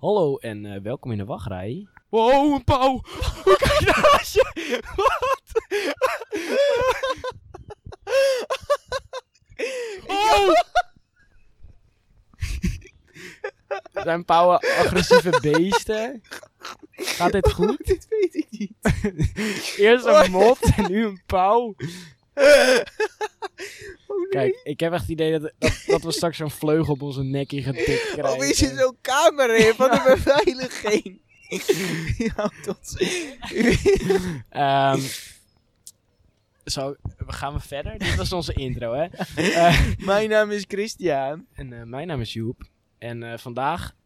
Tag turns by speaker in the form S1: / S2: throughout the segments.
S1: Hallo en eh, welkom in de wachtrij.
S2: Wow, een pauw! Hoe kijk je naast je? Wat? Oh!
S1: Zijn pauwen agressieve beesten? Gaat dit goed?
S2: Dit weet ik niet.
S1: Eerst een mot en nu een pauw.
S2: Oh nee.
S1: Kijk, ik heb echt het idee dat, dat, dat we straks zo'n vleugel op onze nek in getikt krijgen.
S2: Oh, wie zit zo'n kamer in van de beveiliging? Die houdt ons...
S1: Ehm, zo, we gaan we verder? Dit was onze intro, hè? Eh,
S2: Mijn naam is Christian.
S1: en eh, mijn naam is Joep. En eh, vandaag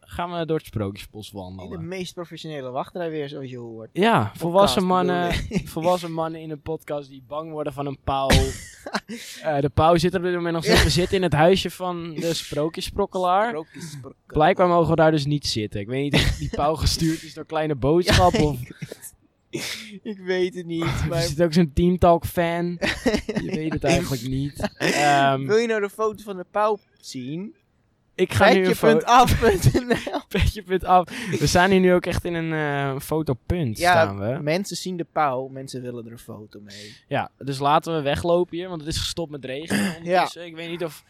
S1: gaan we door het Sprookjesbos
S2: De
S1: wandelen.
S2: meest professionele wachtrij weer, zoals je hoort.
S1: Ja, volwassen
S2: Podcast,
S1: mannen,
S2: bedoel
S1: volwassen mannen in een podcast die bang worden van een pauw. Eh, de pauw zit er op dit moment nog steeds. We zitten in het huisje van de Sprookjesprokkelaar.
S2: Sprookjes-
S1: Blijkbaar mogen we daar dus niet zitten. Ik weet niet of die pauw gestuurd is door kleine boodschap.
S2: Ja,
S1: of
S2: Ik weet het niet,
S1: er
S2: maar...
S1: zit ook zo'n teamtalk fan. Je weet het eigenlijk niet. Ehm,
S2: Wil je nou de foto van de pauw zien?
S1: ik ga nu een foto.
S2: Petje.af.nl
S1: af. We staan hier nu ook echt in een eh, fotopunt.
S2: Ja,
S1: staan we.
S2: Mensen zien de pauw, mensen willen er een foto mee.
S1: ja, dus laten we weglopen hier, want het is gestopt met regen. ondertussen. Ik weet niet of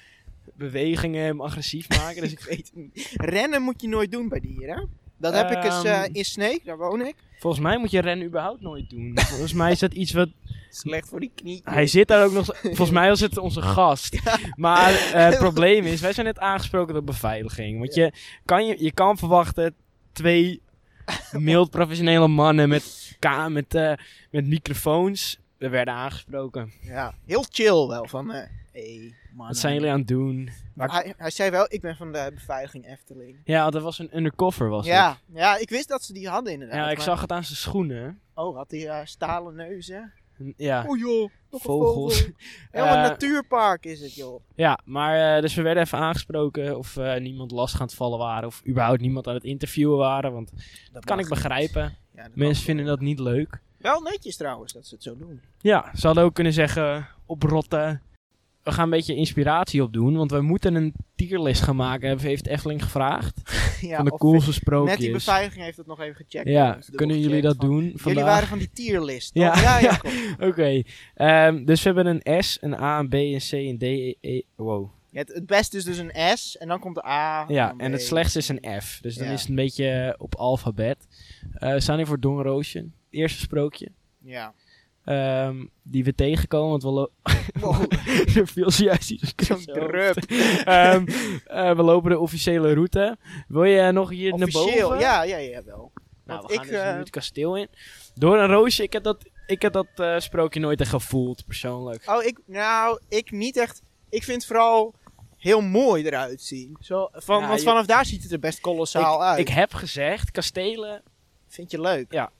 S1: bewegingen hem agressief maken. Dus ik,
S2: weet het niet. Rennen moet je nooit doen bij dieren. Dat heb ik eens eh,
S1: Ehm.
S2: in Sneek, daar woon ik.
S1: volgens mij moet je rennen überhaupt nooit doen. Volgens mij is dat iets wat
S2: Slecht voor die knie.
S1: Hij zit daar ook nog. Volgens mij was het onze gast. Maar eh, het probleem is, wij zijn net aangesproken door beveiliging. Want je, kan je, je kan verwachten twee mild professionele mannen met, ka- met, eh, met microfoons. We werden aangesproken.
S2: Ja, heel chill wel van me. hey, man.
S1: Wat zijn jullie aan het doen?
S2: Hij, hij zei wel, ik ben van de beveiliging Efteling.
S1: Ja, want dat was een undercover, was het.
S2: Ja, ja, ik wist dat ze die hadden inderdaad.
S1: Ja, ik
S2: maar-
S1: zag het aan zijn schoenen.
S2: Oh, had die eh, stalen neuzen.
S1: Ja,
S2: Oh joh, nog
S1: vogels.
S2: een vogel. Helemaal
S1: Eh,
S2: natuurpark is het joh.
S1: Ja, maar eh, dus we werden even aangesproken of eh, niemand last gaan vallen waren. Of überhaupt niemand aan het interviewen waren. Want dat kan ik begrijpen.
S2: Ja, dat
S1: Mensen
S2: mag.
S1: vinden dat niet leuk.
S2: Wel netjes trouwens dat ze het zo doen.
S1: Ja, ze hadden ook kunnen zeggen, oprotten. We gaan een beetje inspiratie opdoen, want we moeten een tierlist gaan maken. Hebben- Heeft Efteling gevraagd?
S2: ja,
S1: van de
S2: of-
S1: coolste
S2: Net die
S1: sprookjes.
S2: beveiliging heeft dat nog even gecheckt.
S1: Ja,
S2: Dus dubbel
S1: kunnen jullie
S2: gecheckt
S1: dat
S2: van-
S1: doen
S2: Jullie
S1: vandaag?
S2: waren van die tierlist.
S1: Ja.
S2: toch? ja, ja,
S1: Ja.
S2: klopt.
S1: Oké, ehm, dus we hebben een S, een A, een B, een C, een D, E, E. Wow.
S2: Het, het beste is dus een S en dan komt de A.
S1: Ja,
S2: dan
S1: en
S2: Ah, B.
S1: het slechtste is een F. Dus dan
S2: Ja.
S1: is het een beetje op alfabet. Eh, we staan hier voor Don Roosje, het eerste sprookje.
S2: Ja.
S1: ehm, die we tegenkomen, want we, lo-
S2: Wow,
S1: er viel zojuist iets op
S2: zo'n
S1: zijn hoofd.
S2: drup.
S1: Ehm, eh, we lopen de officiële route. Wil je nog hier naar
S2: Officieel,
S1: boven?
S2: ja, ja, ja, wel.
S1: Nou,
S2: want
S1: we gaan
S2: ik,
S1: dus
S2: eh,
S1: nu het kasteel in. Door een roosje, ik heb dat, ik heb dat eh, sprookje nooit echt gevoeld, persoonlijk.
S2: Oh, ik, nou, ik niet echt. Ik vind het vooral heel mooi eruit zien. Zo, van,
S1: Ja,
S2: want
S1: je-
S2: vanaf daar ziet het er best kolossaal uit.
S1: Ik heb gezegd, kastelen,
S2: vind je leuk.
S1: Ja.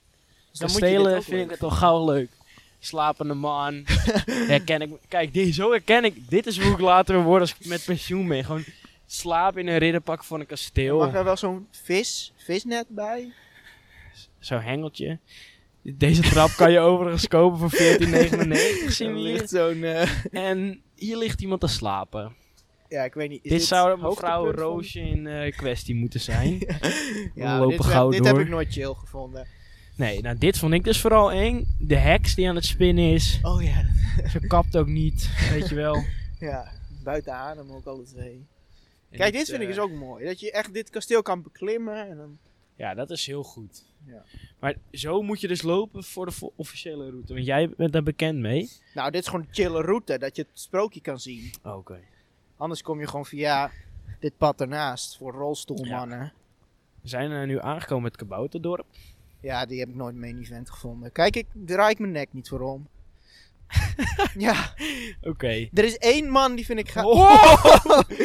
S2: Dus dan moet je dit
S1: kastelen
S2: ook
S1: vind ik
S2: leuk
S1: het al gauw leuk. Slapende man. herken ik, kijk, dit, zo herken ik. Dit is hoe ik later wil worden als ik met pensioen ben. Gewoon slapen in een ridderpak van een kasteel.
S2: Mag er wel zo'n vis, visnet bij?
S1: Zo'n hengeltje. Deze trap kan je overigens kopen voor 14,99. Zien we
S2: Er
S1: hier.
S2: ligt zo'n... eh,
S1: En hier ligt iemand te slapen.
S2: ja, ik weet niet. is
S1: Dit, zou mevrouw
S2: hoogtepunt van-
S1: Roosje in eh, kwestie moeten zijn.
S2: Ja,
S1: lopen
S2: dit,
S1: gauw
S2: dit
S1: door.
S2: heb ik nooit chill gevonden.
S1: nee, nou dit vond ik dus vooral eng. De heks die aan het spinnen is.
S2: Oh ja, dat-
S1: Ze kapt ook niet, weet je wel.
S2: ja. Buiten adem ook alle twee.
S1: En
S2: Kijk, dit
S1: het,
S2: vind ik
S1: eh,
S2: dus ook mooi. Dat je echt dit kasteel kan beklimmen. En dan...
S1: Ja, dat is heel goed.
S2: Ja.
S1: Maar zo moet je dus lopen voor de vo- officiële route. Want jij bent daar bekend mee.
S2: Nou, dit is gewoon een chille route, dat je het sprookje kan zien.
S1: Oké.
S2: Anders kom je gewoon via dit pad ernaast voor rolstoelmannen. Ja,
S1: We zijn er nu aangekomen met Kabouterdorp.
S2: die heb ik nooit main event gevonden. Kijk, ik draai ik mijn nek niet voor om. ja,
S1: Oké.
S2: er is één man die vind ik ga.
S1: Oh, Dit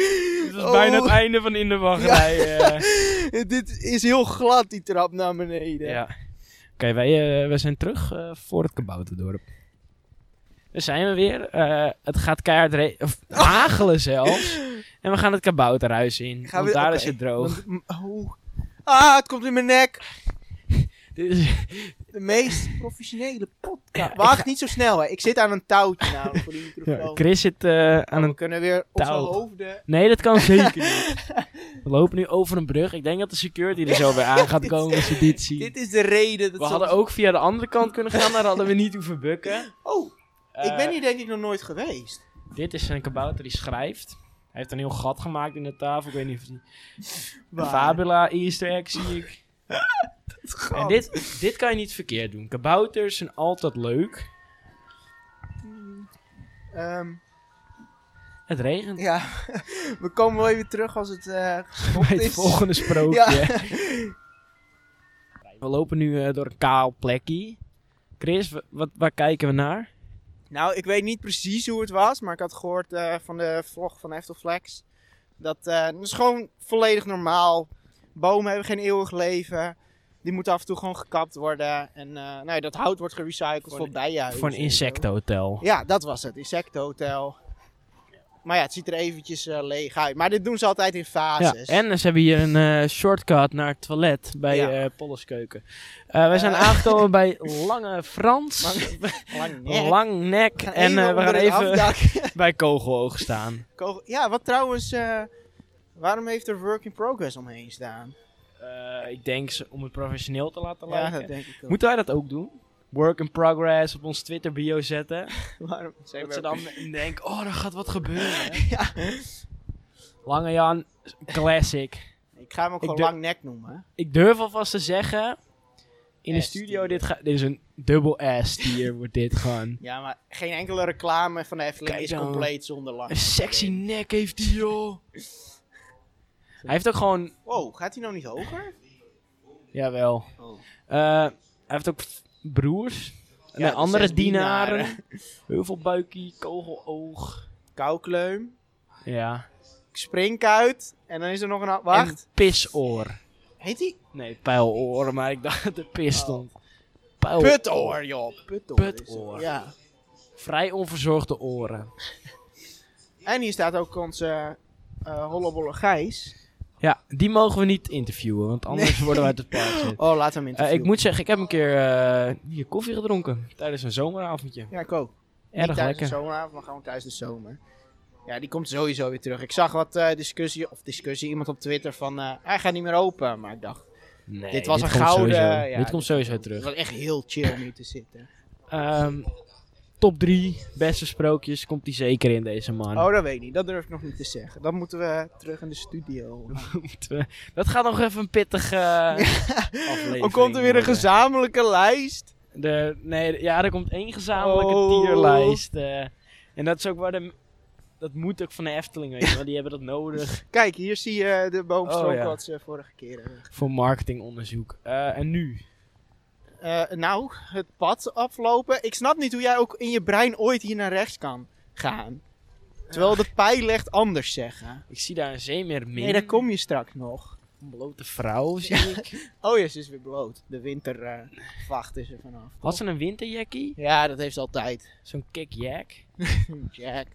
S1: is bijna het
S2: Oh.
S1: einde van In de Wachtrij. eh.
S2: Dit is heel glad, die trap naar beneden.
S1: Ja. Oké, wij, eh, wij zijn terug eh, voor het Kabouterdorp. Daar zijn we weer. Eh, het gaat keihard re- of
S2: Ah!
S1: hagelen zelfs. En we gaan het kabouterhuis in.
S2: Gaan we-
S1: want daar
S2: oké,
S1: is het droog.
S2: want- m- oh. Ah, het komt in mijn nek.
S1: Dit is-
S2: De meest professionele podcast.
S1: Ja, ik
S2: Wacht,
S1: ga-
S2: niet zo snel, hè. Ik zit aan een touwtje namelijk voor die microfoon.
S1: Chris zit eh, aan
S2: we
S1: een...
S2: kunnen weer onze
S1: touw.
S2: hoofden...
S1: Nee, dat kan zeker niet. Want We lopen nu over een brug. Ik denk dat de security er zo weer aan gaat
S2: Dit-
S1: komen als je dit ziet.
S2: Dit is de reden. Dat
S1: we
S2: ze-
S1: hadden ook via de andere kant kunnen gaan, daar hadden we niet hoeven bukken.
S2: Oh, ik
S1: Eh,
S2: ben hier denk ik nog nooit geweest.
S1: Dit is een kabouter die schrijft. Hij heeft een heel gat gemaakt in de tafel. Ik weet niet of die...
S2: Waar?
S1: Fabula easter egg zie ik.
S2: Gat.
S1: En dit, dit kan je niet verkeerd doen. Kabouters zijn altijd leuk.
S2: Ehm,
S1: Het regent.
S2: ja, we komen wel even terug als het eh gestopt
S1: Bij het
S2: is.
S1: volgende sprookje.
S2: Ja.
S1: We lopen nu eh, door een kaal plekje. Chris, wa- wat, waar kijken we naar?
S2: Nou, ik weet niet precies hoe het was, maar ik had gehoord eh, van de vlog van Eftelflex. Dat eh, het is gewoon volledig normaal. Bomen hebben geen eeuwig leven. Die moeten af en toe gewoon gekapt worden. En eh, nou ja, dat hout wordt gerecycled
S1: Voor
S2: voor
S1: een-
S2: bijenhuizen.
S1: Voor een
S2: en zo.
S1: insectenhotel.
S2: Ja, dat was het. Insectenhotel. Maar ja, het ziet er eventjes eh, leeg uit. Maar dit doen ze altijd in
S1: Ja,
S2: fases.
S1: en ze hebben hier een eh, shortcut naar het toilet bij
S2: Ja.
S1: eh Polleskeuken. Eh, wij zijn
S2: Eh.
S1: aangekomen bij Lange Frans,
S2: Lang, lang nek.
S1: Lang Nek
S2: gaan
S1: en eh,
S2: even
S1: we gaan
S2: onder het
S1: even
S2: afdak.
S1: bij Kogeloog staan.
S2: Kogel- Ja, wat trouwens... eh, waarom heeft er Work in Progress omheen staan?
S1: Eh, ik denk ze om het professioneel te laten
S2: Ja,
S1: lijken.
S2: dat denk ik ook.
S1: Moeten wij dat ook doen? Work in progress op ons Twitter bio zetten.
S2: Waarom?
S1: Dat ze dan denken, oh, er gaat wat gebeuren.
S2: Ja.
S1: Lange Jan, classic.
S2: Ik ga hem ook
S1: Ik
S2: gewoon
S1: durf-
S2: lang nek noemen.
S1: Ik durf alvast te zeggen, in de
S2: S
S1: studio,
S2: tier.
S1: dit, ga, dit is een dubbel S-tier, wordt dit gewoon.
S2: Ja, maar geen enkele reclame van de Efteling
S1: Kijk
S2: is
S1: dan.
S2: compleet zonder lang.
S1: Een sexy nek heeft die, joh. Hij heeft ook gewoon,
S2: Wow, gaat hij nou niet hoger?
S1: jawel.
S2: Oh.
S1: Eh, hij heeft ook f- broers. en
S2: Ja, de
S1: andere
S2: zes
S1: dienaren.
S2: dienaren.
S1: Heuvelbuikie, kogeloog.
S2: Koukleum,
S1: Ja.
S2: springkuit en dan is er nog een... a- Wacht,
S1: En pisoor.
S2: heet hij?
S1: Nee, pijloor, maar ik dacht dat er pis
S2: Oh.
S1: stond. Pijl-
S2: Putoor, joh. Putoor. is het.
S1: Oh. Putoor.
S2: Ja.
S1: Vrij onverzorgde oren.
S2: En hier staat ook onze eh hollebolle Gijs.
S1: Ja, die mogen we niet interviewen, want anders worden we uit het park gezet.
S2: Oh, laat hem
S1: Eh,
S2: interviewen.
S1: ik moet zeggen, ik heb een keer eh, hier koffie gedronken tijdens een zomeravondje.
S2: Ja, ik ook.
S1: Erg
S2: Niet tijdens
S1: lekker.
S2: de zomeravond, maar gewoon tijdens de zomer. Ja, die komt sowieso weer terug. Ik zag wat eh, discussie, of discussie, iemand op Twitter van... eh, hij gaat niet meer open, maar ik dacht...
S1: Nee,
S2: dit was een
S1: komt
S2: gouden-
S1: sowieso-
S2: ja,
S1: dit komt
S2: dit-
S1: sowieso
S2: Het
S1: terug.
S2: was echt heel chill om hier te zitten.
S1: Ehm, top 3 beste sprookjes komt die zeker in deze man.
S2: Oh, dat weet ik niet. Dat durf ik nog niet te zeggen. Dan moeten we terug in de studio.
S1: Moeten we- Dat gaat nog even een pittige eh, aflevering.
S2: Dan komt er weer een
S1: worden.
S2: gezamenlijke lijst.
S1: De, nee, ja, er komt één gezamenlijke
S2: Oh.
S1: tierlijst. eh, en dat is ook waar de... Dat moet ook van de Efteling, weet je wel. Die hebben dat nodig
S2: Kijk, hier zie je de boomstrook
S1: Oh, ja.
S2: wat ze vorige keer hebben.
S1: voor marketingonderzoek. Eh, en nu?
S2: Eh, nou, het pad aflopen. Ik snap niet hoe jij ook in je brein ooit hier naar rechts kan gaan. Terwijl de pijl echt anders zeggen.
S1: Ik zie daar een zeemeermin.
S2: Nee, daar kom je straks nog.
S1: Een blote vrouw, zie ik.
S2: Oh ja, ze is weer bloot. De winter eh, wacht is er vanaf.
S1: Had ze een winterjackie?
S2: Ja, dat heeft ze altijd. Hm,
S1: Zo'n kickjack?
S2: Jack.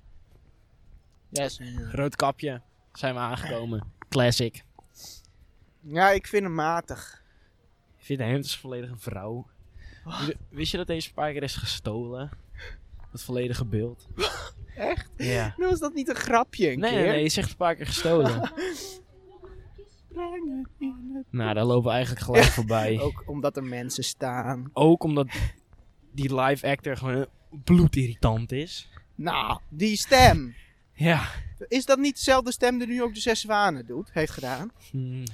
S2: Yes.
S1: Rood kapje. Zijn we aangekomen. Classic.
S2: Ja, ik vind hem matig.
S1: Ik vind hem dus volledig een vrouw.
S2: Oh.
S1: Wist- Wist je dat deze een paar keer is gestolen? Dat volledige beeld.
S2: Echt?
S1: Ja.
S2: Nou, was dat niet een grapje een
S1: Nee,
S2: keer?
S1: nee, nee, je zegt een paar keer gestolen.
S2: Breng het in het-
S1: nou, daar lopen we eigenlijk gelijk voorbij. Ook,
S2: Ook omdat er mensen staan.
S1: omdat die live actor gewoon bloedirritant is.
S2: Nou, die stem.
S1: Ja.
S2: Is dat niet dezelfde stem die nu ook de Zes Zwanen doet, heeft gedaan?
S1: Hm.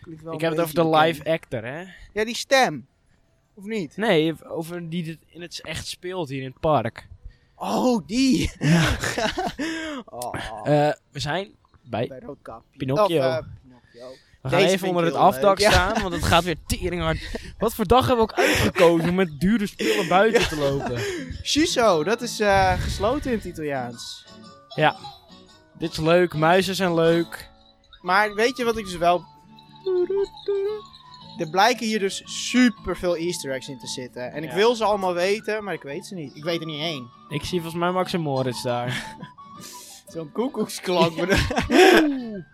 S2: Klinkt wel
S1: Ik
S2: een
S1: heb het over
S2: beetje
S1: de live
S2: bekend.
S1: actor, hè?
S2: Ja, die stem. Of niet?
S1: Nee, over die dit in het echt speelt hier in het park.
S2: Oh, die. oh,
S1: Eh, we zijn bij
S2: bij Roodkapje.
S1: Eh, Pinocchio.
S2: Of, eh, Pinocchio.
S1: We gaan
S2: Deze
S1: even
S2: vind
S1: onder
S2: ik
S1: het
S2: heel
S1: afdak
S2: leuk, ja.
S1: staan, want het gaat weer tering hard. Wat voor dag hebben we ook uitgekozen om met dure spullen buiten te lopen?
S2: Shiso, dat is eh, gesloten in het Italiaans.
S1: Dit is leuk, muizen zijn leuk.
S2: Maar weet je wat ik dus wel... Er blijken hier dus super veel easter eggs in te zitten. En ik
S1: Ja.
S2: wil ze allemaal weten, maar ik weet ze niet. Ik weet er niet heen.
S1: Ik zie volgens mij Max en Moritz daar.
S2: Zo'n koekoeksklok. bedoel-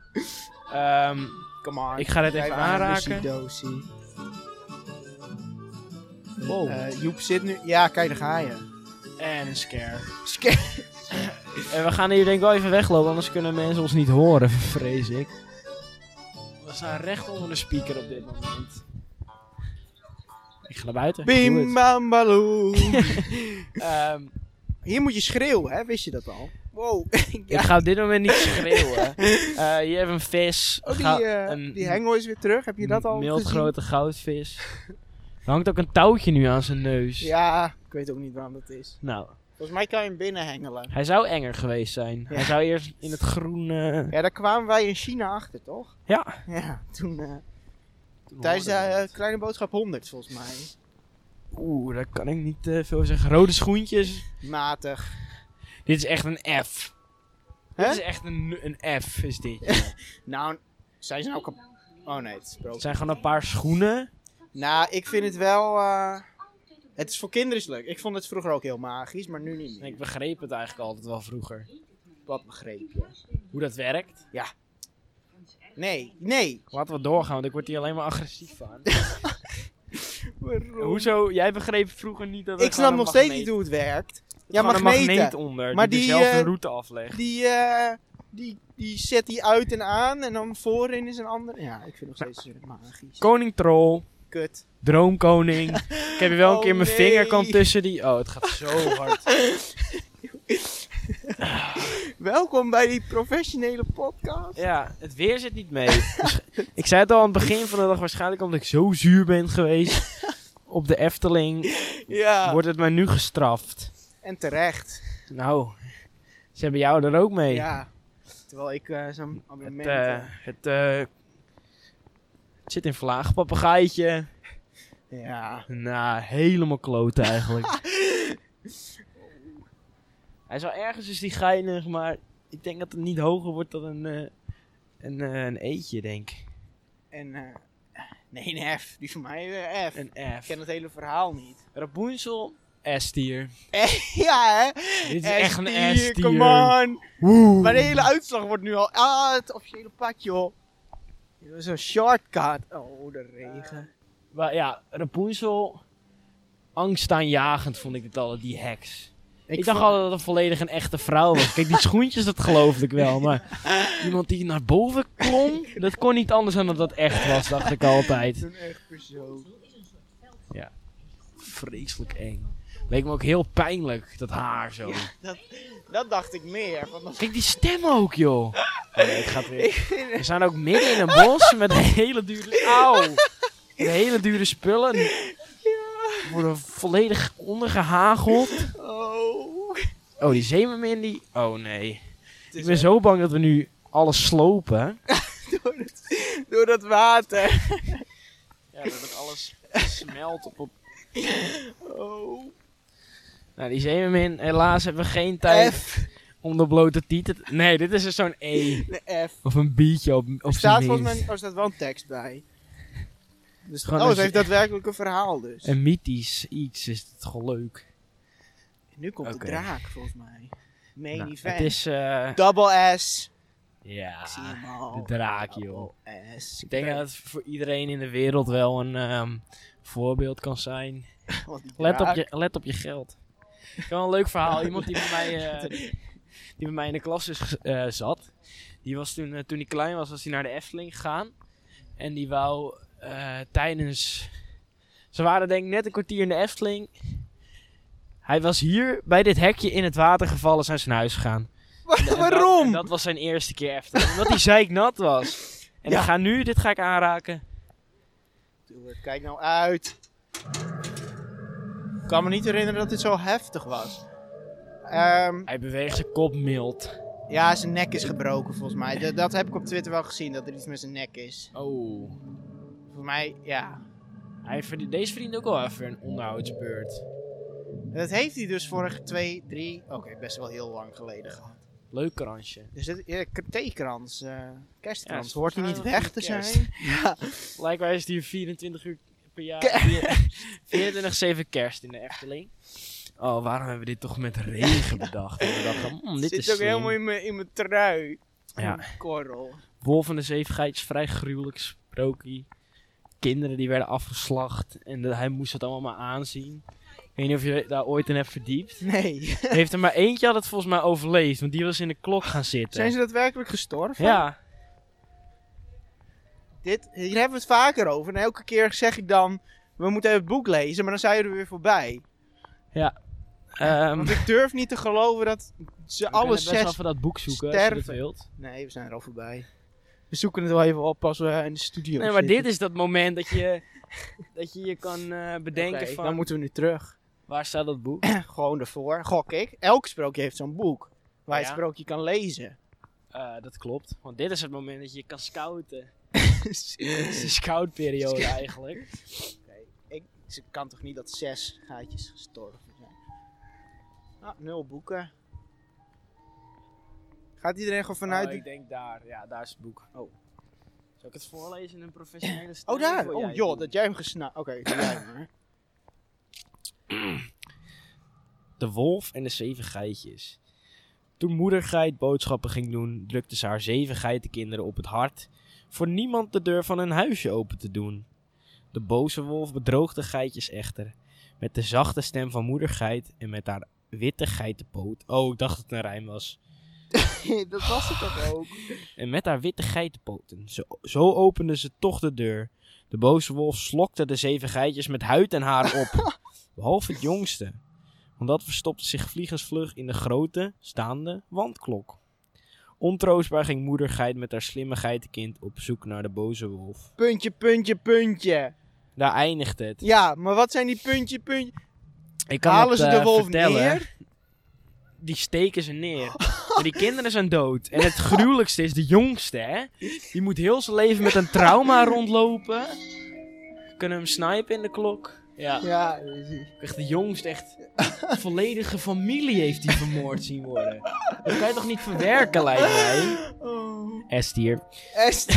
S1: Ehm,
S2: Come on.
S1: ik ga dit even aanraken.
S2: Dosie. Oh.
S1: Wow.
S2: Eh, Joep zit nu... Ja, kijk, daar ga je.
S1: Oh. En een scare.
S2: Sca-
S1: En we gaan hier denk ik wel even weglopen, anders kunnen mensen ons niet horen, vrees ik. staan recht onder de speaker op dit moment. Ik ga naar buiten. Doe
S2: Bim
S1: het.
S2: bam baloe.
S1: Ehm,
S2: Hier moet je schreeuwen, hè? Wist je dat al? Wow. Oh,
S1: Ik ga op dit moment niet schreeuwen. Eh hier hebben we een vis.
S2: Oh, die,
S1: Ga-
S2: eh,
S1: een
S2: die hengel is weer terug. Heb je dat al
S1: mild
S2: gezien?
S1: grote goudvis. Er hangt ook een touwtje nu aan zijn neus.
S2: Ja, ik weet ook niet waarom dat is.
S1: Nou,
S2: Volgens mij kan je hem binnen hengelen.
S1: hij zou enger geweest zijn. Hij zou eerst in het groen... eh,
S2: Ja, daar kwamen wij in China achter, toch?
S1: Ja.
S2: Ja, toen... eh, tijdens de eh, Kleine Boodschap 100, volgens mij.
S1: Oeh, daar kan ik niet eh, veel over zeggen. Rode schoentjes.
S2: Matig.
S1: Dit is echt een F.
S2: Hè?
S1: Dit is echt een, een F, is dit.
S2: Nou, zijn ze nou kap... Oh nee, het is brood.
S1: Het zijn gewoon een paar schoenen.
S2: Nou, ik vind het wel... eh, het is voor kinderen is leuk. Ik vond het vroeger ook heel magisch, maar nu niet meer.
S1: Ik begreep het eigenlijk altijd wel vroeger.
S2: Wat begreep je?
S1: Hoe dat werkt.
S2: Nee, nee.
S1: Laten we doorgaan, want ik word hier alleen maar agressief van.
S2: Waarom?
S1: Hoezo? Jij begreep vroeger niet dat
S2: Ik snap nog steeds niet hoe het werkt. Ja,
S1: Ja, maar een magneet
S2: magneten.
S1: onder
S2: Maar
S1: die,
S2: die,
S1: dezelfde
S2: eh,
S1: route aflegt.
S2: Die, eh, die, die zet die uit en aan en dan voorin is een ander. Ja, ik vind het nog steeds eh, magisch.
S1: Koning Troll,
S2: Kut.
S1: Droomkoning. Ik heb hier wel een
S2: Oh,
S1: keer mijn
S2: nee.
S1: vinger kan tussen die. Oh, het gaat zo hard.
S2: Welkom bij die professionele podcast.
S1: ja, het weer zit niet mee. Dus ik zei het al aan het begin van de dag, waarschijnlijk omdat ik zo zuur ben geweest op de Efteling,
S2: Ja.
S1: wordt het mij nu gestraft.
S2: En terecht.
S1: Nou, ze hebben jou er ook mee.
S2: Ja. Terwijl ik eh, zo'n
S1: Het,
S2: abonnement...
S1: eh, het, eh, het zit in vlaag, papegaaitje.
S2: eh, ja.
S1: Nou, helemaal kloten eigenlijk. Hij is wel ergens is die geinig, maar ik denk dat het niet hoger wordt dan een, eh, een, eh, een eetje, denk ik.
S2: En... eh, nee, een F. Die voor mij eh, F.
S1: Een
S2: Ik
S1: F.
S2: ken het hele verhaal niet.
S1: Rapunzel, S-tier.
S2: ja, hè?
S1: Dit is echt een
S2: S-tier,
S1: S-tier.
S2: Come on.
S1: Woe.
S2: Maar de hele uitslag wordt nu al. Ah, het officiële pad, joh. Dit was een shortcut. Oh, de regen.
S1: Maar ja, Rapunzel, angstaanjagend vond ik het al, die heks. Ik, dacht
S2: vond-
S1: altijd dat het volledig een echte vrouw was. Kijk, die schoentjes, dat geloofde ik wel. Maar iemand die naar boven klom, dat kon niet anders dan dat dat echt was, dacht ik altijd.
S2: Zo'n echt persoon.
S1: vreselijk eng. Leek me ook heel pijnlijk, dat haar zo.
S2: Dat dacht ik meer. Van dat
S1: Kijk die stem ook, joh. Oh nee, het gaat weer. We zijn ook midden in een bos met hele dure... Auw! Met hele dure spullen. We Worden volledig ondergehageld.
S2: oh.
S1: Oh, die zeemermin die... Oh nee.
S2: Het
S1: Ik
S2: is
S1: ben zo bang dat we nu alles slopen.
S2: echt door, het, door dat water.
S1: Ja, dat alles smelt op...
S2: Oh.
S1: Nou, die zeemermin, helaas hebben we geen tijd
S2: F.
S1: om de blote tieten... te- Nee, dit is dus zo'n E.
S2: De F.
S1: Of een biertje op, op
S2: Er
S1: zijn
S2: staat volgens
S1: minst.
S2: mij er staat wel een tekst bij. Dus
S1: Gewoon
S2: oh,
S1: als
S2: het
S1: je-
S2: heeft daadwerkelijk een verhaal dus.
S1: Een mythisch iets is het gewoon leuk.
S2: nu komt
S1: Oké.
S2: de draak volgens mij. Main
S1: Nou,
S2: event.
S1: het is... eh,
S2: Double S.
S1: ja,
S2: Ik zie hem al.
S1: Ah,
S2: Oh,
S1: de draak, joh.
S2: Double S.
S1: ik denk dat het voor iedereen in de wereld wel een ehm, voorbeeld kan zijn.
S2: Want die
S1: Let op,
S2: draak-
S1: je, let op je geld. Ik heb wel een leuk verhaal. Iemand die bij mij, eh, die bij mij in de klas dus, eh, zat, die was toen, eh, toen hij klein was, was hij naar de Efteling gegaan. En die wou eh, tijdens... Ze waren denk ik net een kwartier in de Efteling. Hij was hier bij dit hekje in het water gevallen, zijn ze naar huis gegaan. En dat-
S2: Waarom?
S1: en Dat, was zijn eerste keer Efteling. Omdat hij zeiknat was. En
S2: Ja.
S1: ik ga nu, dit ga ik aanraken.
S2: Doe het, kijk nou uit. Ik kan me niet herinneren dat dit zo heftig was. Ehm,
S1: Hij beweegt zijn kop mild.
S2: ja, zijn nek is gebroken volgens mij. Dat- dat heb ik op Twitter wel gezien, dat er iets met zijn nek is.
S1: Oh.
S2: Volgens mij, ja.
S1: Hij verdient, deze verdient ook wel even een onderhoudsbeurt.
S2: En Dat heeft hij dus vorige twee, drie, oké, best wel heel lang geleden gehad.
S1: Leuk kransje.
S2: Dus dit, ja, k- theekrans, eh,
S1: Ja,
S2: kerstkrans,
S1: is
S2: hoort hij niet
S1: volgens mij
S2: weg te
S1: wel kerst.
S2: zijn? Ja.
S1: Blijkbaar is het hier 24 uur per jaar.
S2: Ke-
S1: vier- 24-7 kerst in de Efteling. Oh, waarom hebben we dit toch met regen bedacht? En we dachten, mm, dit
S2: Zit
S1: is
S2: ook
S1: slim.
S2: helemaal in mijn, in mijn trui.
S1: Ja.
S2: Een Korrel.
S1: Wolf en de Zeefgeit is vrij gruwelijk sprookje. Kinderen die werden afgeslacht en dat- hij moest het allemaal maar aanzien. Ik weet niet of je daar ooit in hebt verdiept.
S2: Nee.
S1: Heeft er maar eentje had het volgens mij overleefd, want die was in de klok gaan zitten.
S2: Zijn ze daadwerkelijk gestorven?
S1: Ja,
S2: dit, hier hebben we het vaker over. En elke keer zeg ik dan, we moeten even het boek lezen, maar dan zijn we er weer voorbij.
S1: Ehm,
S2: Want ik durf niet te geloven dat ze
S1: we kunnen
S2: alle
S1: best wel
S2: zes...
S1: voor dat boek zoeken, als je dat
S2: sterven.
S1: wilt.
S2: Nee, we zijn er al voorbij. We zoeken het wel even op als we in de studio
S1: Nee, maar
S2: zitten.
S1: dit is dat moment dat je dat je, je kan eh, bedenken
S2: Oké,
S1: van...
S2: Dan moeten we nu terug.
S1: Waar staat dat boek?
S2: Gewoon ervoor, gok ik. Elk sprookje heeft zo'n boek. Waar je
S1: Ja.
S2: het sprookje kan lezen.
S1: Eh, dat klopt. Want dit is het moment dat je kan scouten.
S2: Dus
S1: Het is de scoutperiode eigenlijk.
S2: ik, ze kan toch niet dat zes gaatjes gestorven zijn? Ah, nul boeken. Gaat iedereen gewoon vanuit...
S1: Oh,
S2: die-
S1: ik denk daar. Ja, daar is het boek. Oh. Zal ik het voorlezen in een professionele stem?
S2: Oh, daar!
S1: Wil jij
S2: Oh,
S1: het
S2: joh,
S1: doen?
S2: dat jij hem gesnapt... Oké, doe jij hem maar.
S1: De wolf en de zeven geitjes. Toen moeder geit boodschappen ging doen, drukte ze haar zeven geitenkinderen op het hart voor niemand de deur van hun huisje open te doen. De boze wolf bedroog de geitjes echter met de zachte stem van moeder geit en met haar witte geitenpoot. Oh, ik dacht dat het een rijm was.
S2: dat was het toch ook?
S1: En met haar witte geitenpoten. Zo, zo opende ze toch de deur. De boze wolf slokte de zeven geitjes met huid en haar op. behalve het jongste. Want dat verstopte zich vliegensvlug in de grote, staande wandklok. Ontroostbaar ging moeder geit met haar slimme geitenkind op zoek naar de boze wolf.
S2: Puntje, puntje, puntje.
S1: Daar eindigt het.
S2: Ja, maar wat zijn die puntje, puntje...
S1: Ik kan
S2: Halen
S1: het,
S2: ze de
S1: eh,
S2: wolf
S1: vertellen.
S2: neer?
S1: Die steken ze neer. Maar die kinderen zijn dood. En het gruwelijkste is de jongste, hè? Die moet heel zijn leven met een trauma rondlopen. Kunnen hem snipen in de klok. Ja.
S2: Ja, dat is ie.
S1: Echt de jongste, echt. Volledige familie heeft die vermoord zien worden. Dat kan je toch niet verwerken, lijkt mij.
S2: Oh.
S1: Estier.
S2: Est-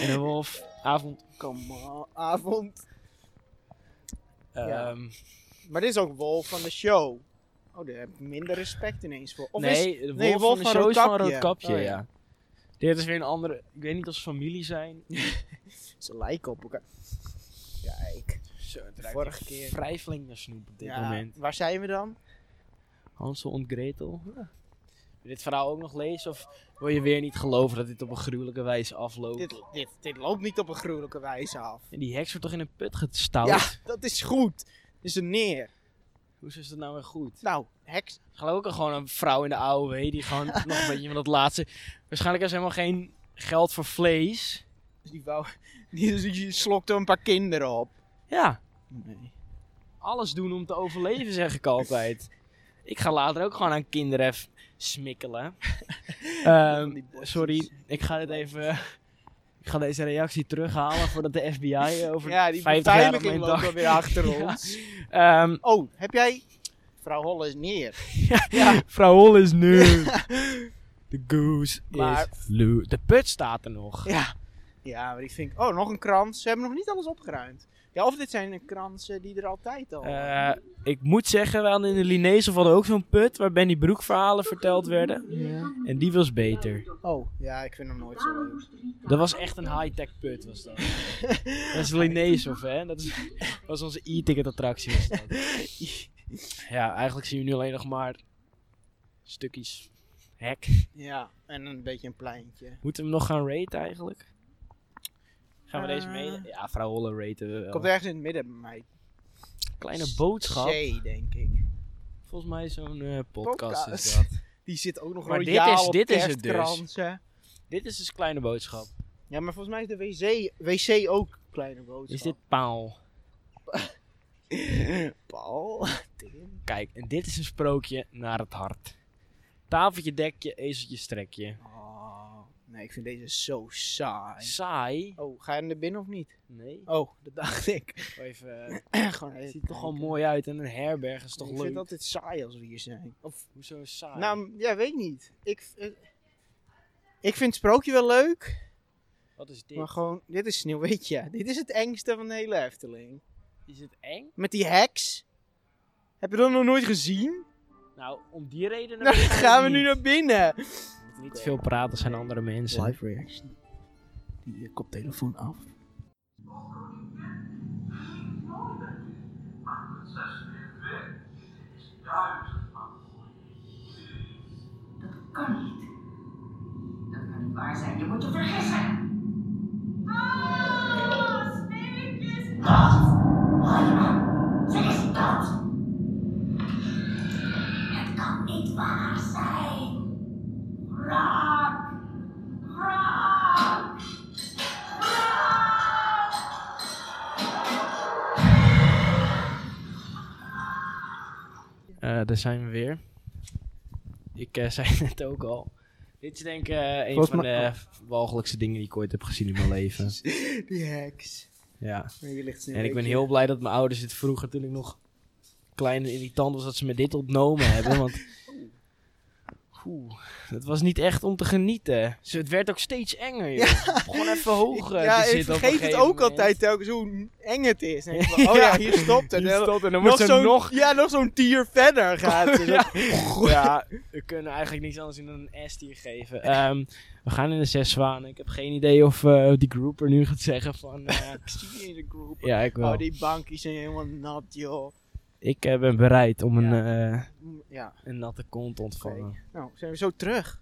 S1: En de wolf. Avond.
S2: Come on, avond. Ja.
S1: Ehm,
S2: Maar dit is ook Wolf van de Show. Oh, daar heb ik minder respect ineens voor. Of is...
S1: nee, de wolf,
S2: nee,
S1: van, de show is van
S2: Roodkapje.
S1: Roodkapje,
S2: Oh, ja.
S1: ja. Dit is weer een andere... Ik weet niet of ze familie zijn.
S2: Ze lijken op elkaar. Kijk.
S1: Zo, het
S2: ruikt Vorige keer.
S1: vrij flink naar snoep op dit
S2: Ja,
S1: moment.
S2: Waar zijn we dan?
S1: Hansel en Gretel. Wil je dit verhaal ook nog lezen? Of wil je weer niet geloven dat dit op een gruwelijke wijze afloopt?
S2: Dit, dit, dit loopt niet op een gruwelijke wijze af.
S1: En die heks wordt toch in een put gestouwd?
S2: Ja, dat is goed. Dat is een neer.
S1: Hoe is dat nou weer goed?
S2: Nou, heks.
S1: Geloof ik gewoon een vrouw in de AOW die gewoon nog een beetje van dat laatste... Waarschijnlijk is helemaal geen geld voor vlees.
S2: Die, wou, die, die slokte een paar kinderen op.
S1: Ja, Ehm,
S2: Nee.
S1: alles doen om te overleven zeg ik altijd. Ik ga later ook gewoon aan kinderen even smikkelen. Ehm,
S2: Die bosjes.
S1: Sorry, ik ga dit even. Ik ga deze reactie terughalen voordat de FBI over
S2: Ja, die
S1: 50 jaar op
S2: beveiliging
S1: mijn
S2: loopt
S1: dag.
S2: alweer achter
S1: Ja.
S2: ons.
S1: Ehm,
S2: Oh, heb jij... Vrouw Holle is neer.
S1: Vrouw Hol is nu. De goose
S2: Maar-
S1: is loose. De put staat er nog.
S2: Ja. Ja, maar die vind ik... Oh, nog een krans. Ze hebben nog niet alles opgeruimd. Ja, of dit zijn de kransen die er altijd al...
S1: Eh, ik moet zeggen, we hadden in de Linezen hadden ook zo'n put waar Benny Broek verhalen verteld werden.
S2: Ja.
S1: En die was beter.
S2: Oh, ja, ik vind hem nooit zo leuk.
S1: Dat was echt een high-tech put, was dat. dat is Linnaeus of hè? Dat is, was onze e-ticket attractie. Was dat. Ja, eigenlijk zien we nu alleen nog maar stukjes hek.
S2: Ja, en een beetje een pleintje.
S1: Moeten we hem nog gaan raten eigenlijk? Gaan we deze
S2: Eh.
S1: mailen? Ja, vrouw Holle raten we wel.
S2: Komt ergens in het midden bij mij.
S1: Kleine boodschap.
S2: C, denk ik.
S1: Volgens mij zo'n eh, podcast, is
S2: Podcast.
S1: dat.
S2: Die zit ook nog
S1: Maar dit
S2: royaal
S1: is-
S2: op
S1: dit is het dus.
S2: kerstkransen.
S1: Dit is dus kleine boodschap.
S2: Ja, maar volgens mij is de wc, wc ook kleine boodschap.
S1: Is dit paal?
S2: Paul? Tim?
S1: Kijk, en dit is een sprookje naar het hart. Tafeltje, dekje, ezeltje, strekje.
S2: Oh, nee, ik vind deze zo saai.
S1: Saai?
S2: Oh, ga je naar binnen of niet?
S1: Nee.
S2: Oh, dat dacht ik.
S1: Even,
S2: Gewoon
S1: het ziet
S2: even
S1: er toch wel
S2: kijken.
S1: mooi uit en een herberg is toch
S2: ik
S1: leuk.
S2: vind het altijd saai als we hier zijn. Of,
S1: Hoezo saai?
S2: nou, ja, weet niet. Ik, eh, ik vind het sprookje wel leuk.
S1: Wat is dit?
S2: Maar gewoon, dit is Sneeuwwitje. Dit is het engste van de hele Efteling.
S1: Is het eng?
S2: Met die heks. Heb je dat nog nooit gezien?
S1: Nou, om die reden...
S2: Nou, dan gaan we nu naar binnen.
S1: Niet veel praten zijn andere mensen.
S2: reaction. Die eh, koptelefoon af.
S3: Dat kan niet. Dat kan niet waar zijn. Je moet je vergissen.
S1: Eh, daar zijn we weer. Ik eh, zei het net ook al. Dit is denk ik eh, een
S2: Volgens
S1: van
S2: mij-
S1: de walgelijkste dingen die ik ooit heb gezien in mijn leven.
S2: Die heks.
S1: Ja.
S2: Maar hier ligt ze een
S1: En ik ben
S2: beetje-
S1: heel blij dat mijn ouders dit vroeger, toen ik nog klein en irritant was, dat ze me dit ontnomen hebben. Want Oeh, het was niet echt om te genieten. Ze, het werd ook steeds enger, joh. Gewoon even
S2: Ik-
S1: hoger
S2: ja,
S1: te
S2: ik
S1: zitten eh, op een
S2: vergeet het
S1: gegeven
S2: ook
S1: moment.
S2: altijd telkens hoe eng het is. Dan denk ik van, oh ja, hier stopt het.
S1: Hier
S2: En
S1: stopt en dan moet ze nog...
S2: Ja, nog zo'n tier verder gaat. ze.
S1: Ja. ja, we kunnen eigenlijk niks anders doen dan een S hier geven. Ehm, we gaan in de zes zwanen. Ik heb geen idee of eh, die groeper nu gaat zeggen van... eh,
S2: Ik zie je in de groep.
S1: ja, ik wel.
S2: Oh, die bankjes zijn helemaal nat, joh.
S1: Ik eh, ben bereid om een, eh,
S2: Ja,
S1: een natte kont te ontvangen.
S2: nou, zijn we zo terug.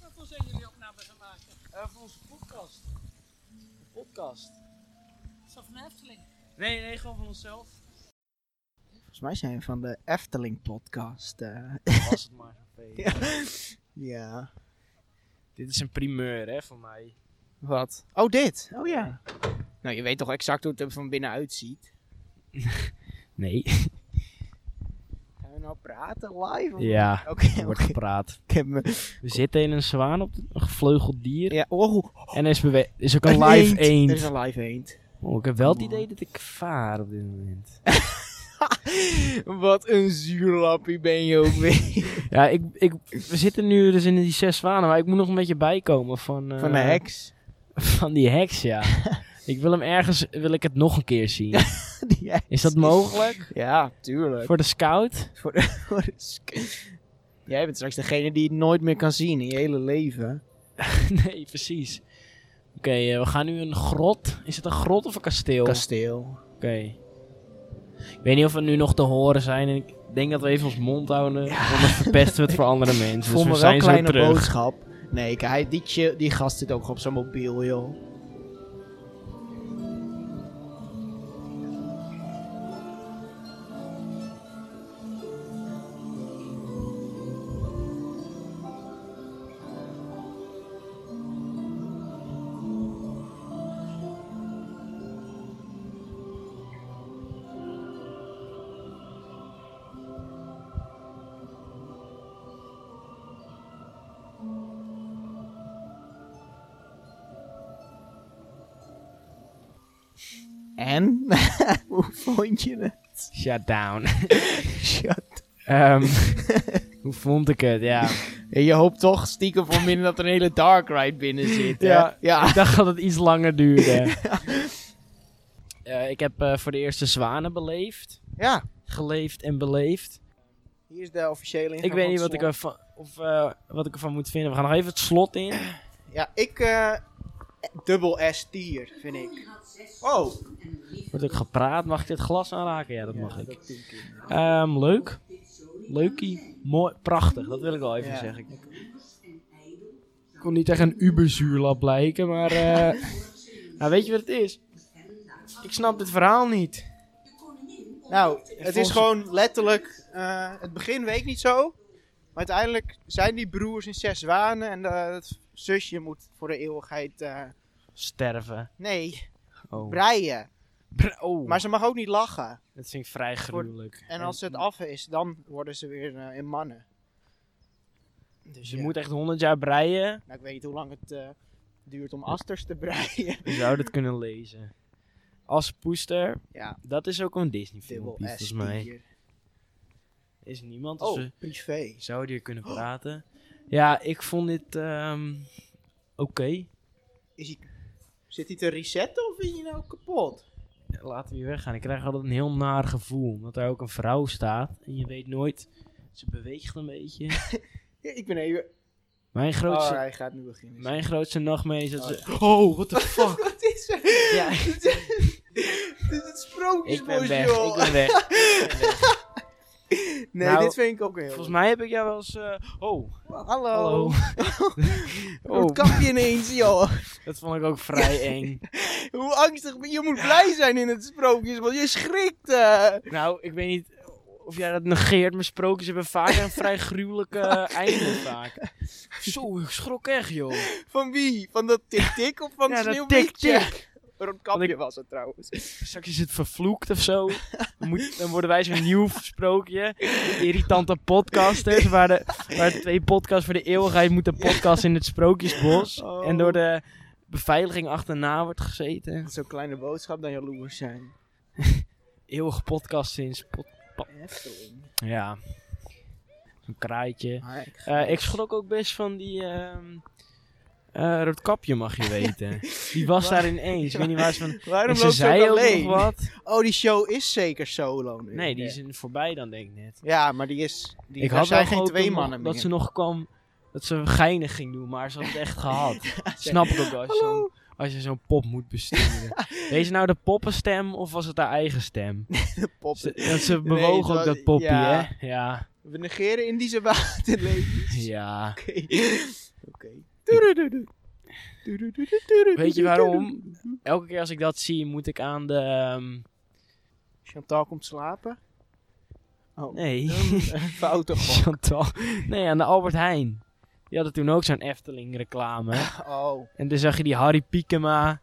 S1: Hoeveel zijn jullie opname gaan maken? Eh, voor onze podcast. podcast?
S3: Zo van de Efteling.
S1: Nee, nee, gewoon van onszelf.
S2: Volgens mij zijn we van de Efteling podcast. eh.
S1: Was het maar zo'n
S2: Ja. ja.
S1: Dit is een primeur, hè, voor mij.
S2: Wat? Oh, dit. Oh ja. Nou, je weet toch exact hoe het er van binnen uitziet.
S1: Nee.
S2: Gaan we nou praten live? of-
S1: Ja,
S2: Oké,
S1: er wordt
S2: oké.
S1: gepraat.
S2: Ik heb me-
S1: We zitten in een zwaan op de- een gevleugeld dier.
S2: Ja, oh.
S1: En er is, bewe- is ook een live eend.
S2: Er is een live eend.
S1: Oh, ik heb wel het
S2: Come
S1: idee dat ik vaar op dit moment.
S2: Wat een zuurlappie ben je ook weer.
S1: Ja, ik, ik, we zitten nu dus in die zes zwanen, maar ik moet nog een beetje bijkomen van... eh,
S2: Van de heks.
S1: Van die heks, ja. ik wil hem ergens, wil ik het nog een keer zien.
S2: Die heks.
S1: Is dat mogelijk?
S2: Ja, tuurlijk.
S1: Voor de scout?
S2: Voor de, voor de sk- Jij bent straks degene die het nooit meer kan zien in je hele leven.
S1: nee, precies. Oké, eh, we gaan nu een grot. Is het een grot of een kasteel? Oké.
S2: Kasteel.
S1: Ik weet niet of we nu nog te horen zijn. En ik denk dat we even ons mond houden. Anders verpesten we het voor andere mensen.
S2: Voel
S1: dus we
S2: me wel
S1: zijn
S2: een
S1: zo
S2: kleine
S1: terug.
S2: boodschap. Nee, kijk, hij- die, chill- die gast zit ook op zijn mobiel, joh. En? Hoe vond je het?
S1: Shut down.
S2: Shut.
S1: Ehm, hoe vond ik het? Ja.
S2: Je hoopt toch stiekem voor minder dat er een hele dark ride binnen zit. hè?
S1: Ja.
S2: ja.
S1: Eh, Ik dacht dat het iets langer duurde. Eh, ik heb eh, voor de eerste zwanen beleefd.
S2: Ja.
S1: Geleefd en beleefd.
S2: Hier is de officiële
S1: Ik weet niet wat ik, ervan, of, eh, wat ik ervan moet vinden. We gaan nog even het slot in.
S2: Ja, ik... eh, dubbel S tier, vind ik. Oh.
S1: Wordt ook gepraat. Mag ik dit glas aanraken? Ja, dat mag ik.
S2: Dat tien keer.
S1: Ehm, leuk. Leukie. Mooi. Prachtig. Dat wil ik al even
S2: Ja.
S1: zeggen. Ik, ik kon niet echt een uberzuurlap lijken, maar... eh, nou, weet je wat het is? Ik snap dit verhaal niet.
S2: Nou, het
S1: volgens-
S2: is gewoon letterlijk. eh, het begin weet ik niet zo. Maar uiteindelijk zijn die broers in zes zwanen. En eh, het zusje moet voor de eeuwigheid. eh,
S1: Sterven.
S2: nee,
S1: Oh.
S2: breien.
S1: Bra- oh.
S2: Maar ze mag ook niet lachen.
S1: Dat vind ik vrij gruwelijk.
S2: En als het af is, dan worden ze weer eh, in mannen.
S1: Dus je
S2: Ja.
S1: moet echt 100 jaar breien.
S2: Nou, ik weet niet hoe lang het eh, duurt om asters te breien.
S1: Je zou dat kunnen lezen. Als poester,
S2: Ja,
S1: dat is ook een Disney
S2: dubbel
S1: filmpje
S2: S
S1: volgens mij.
S2: hier.
S1: Is niemand, dus
S2: Oh,
S1: we
S2: privé.
S1: zouden hier kunnen praten. Ja, ik vond dit ehm, oké.
S2: Is hij, zit hij te resetten of is hij nou kapot?
S1: Laten we hier weggaan. Ik krijg altijd een heel naar gevoel. Omdat daar ook een vrouw staat. En je weet nooit, ze beweegt een beetje.
S2: Ja, ik ben even.
S1: Mijn
S2: Oh,
S1: grootste,
S2: hij gaat nu beginnen.
S1: mijn grootste nachtmerrie is dat
S2: Oh.
S1: ze... Oh, what the fuck.
S2: Wat is er?
S1: Ja.
S2: Dit is het
S1: Ik ben
S2: sprookjesbos,
S1: weg, ik
S2: joh.
S1: ben weg. Ik ben weg.
S2: Nee,
S1: Nou,
S2: dit vind ik ook heel
S1: Volgens mij heb ik jou wel eens... eh, oh,
S2: Hallo.
S1: hallo.
S2: Hoe
S1: oh,
S2: kap je ineens, joh?
S1: dat vond ik ook vrij eng.
S2: Hoe angstig ben je? Je moet blij zijn in het sprookjes, want je schrikt. eh.
S1: Nou, ik weet niet of jij dat negeert, maar sprookjes hebben vaak een vrij gruwelijke eh, einde vaak. Zo, ik schrok echt, joh.
S2: Van wie? Van dat tik-tik of van
S1: Ja,
S2: het
S1: dat
S2: sneeuwwitje?
S1: tik-tik.
S2: Roodkapje
S1: Want ik-
S2: was het trouwens.
S1: Straks is het vervloekt of zo. Dan, moet, dan worden wij zo'n nieuw sprookje. De irritante podcasters, waar, de, waar twee podcasts voor de eeuwigheid moeten podcasten in het sprookjesbos.
S2: Oh.
S1: En door de beveiliging achterna wordt gezeten.
S2: Zo'n kleine boodschap dan jaloers zijn.
S1: Eeuwige podcast sinds... pod-
S2: Efteling.
S1: ja. Een kraaitje.
S2: Maar ik-
S1: Eh, ik schrok ook best van die ehm eh, roodkapje, mag je weten. Die was daar ineens. Ik weet niet waar ze van.
S2: Waarom
S1: En
S2: loopt
S1: ze
S2: ze ook
S1: zei ook
S2: alleen?
S1: nog wat.
S2: Oh, die show is zeker solo nu.
S1: Nee, die is in- voorbij dan denk ik net.
S2: Ja, maar die is... Die,
S1: ik
S2: daar
S1: had
S2: zijn
S1: wel
S2: geen
S1: gehoopt
S2: twee
S1: nog-
S2: mannen meer.
S1: dat ze nog kwam. Dat ze geinig ging doen, maar ze had het echt gehad. Snap ik ook wel. als je
S2: Hallo.
S1: zo'n- Als je zo'n pop moet besturen. Weet ze nou de poppenstem of was het haar eigen stem?
S2: Pop.
S1: Ze, dat ze
S2: Nee,
S1: bewoog
S2: het was-
S1: ook dat poppie,
S2: ja.
S1: hè? Ja.
S2: We negeren Indische waterlevens.
S1: Ja.
S2: Oké. Oké. Doedoedoedoe. Doedoedoedoedoe.
S1: Weet je waarom? Elke keer als ik dat zie, moet ik aan de. ehm,
S2: Chantal komt slapen. Oh,
S1: nee.
S2: fouten gewoon.
S1: Chantal. Nee, aan de Albert Heijn. Die hadden toen ook zo'n Efteling reclame.
S2: Oh.
S1: En toen zag je die Harry Piekema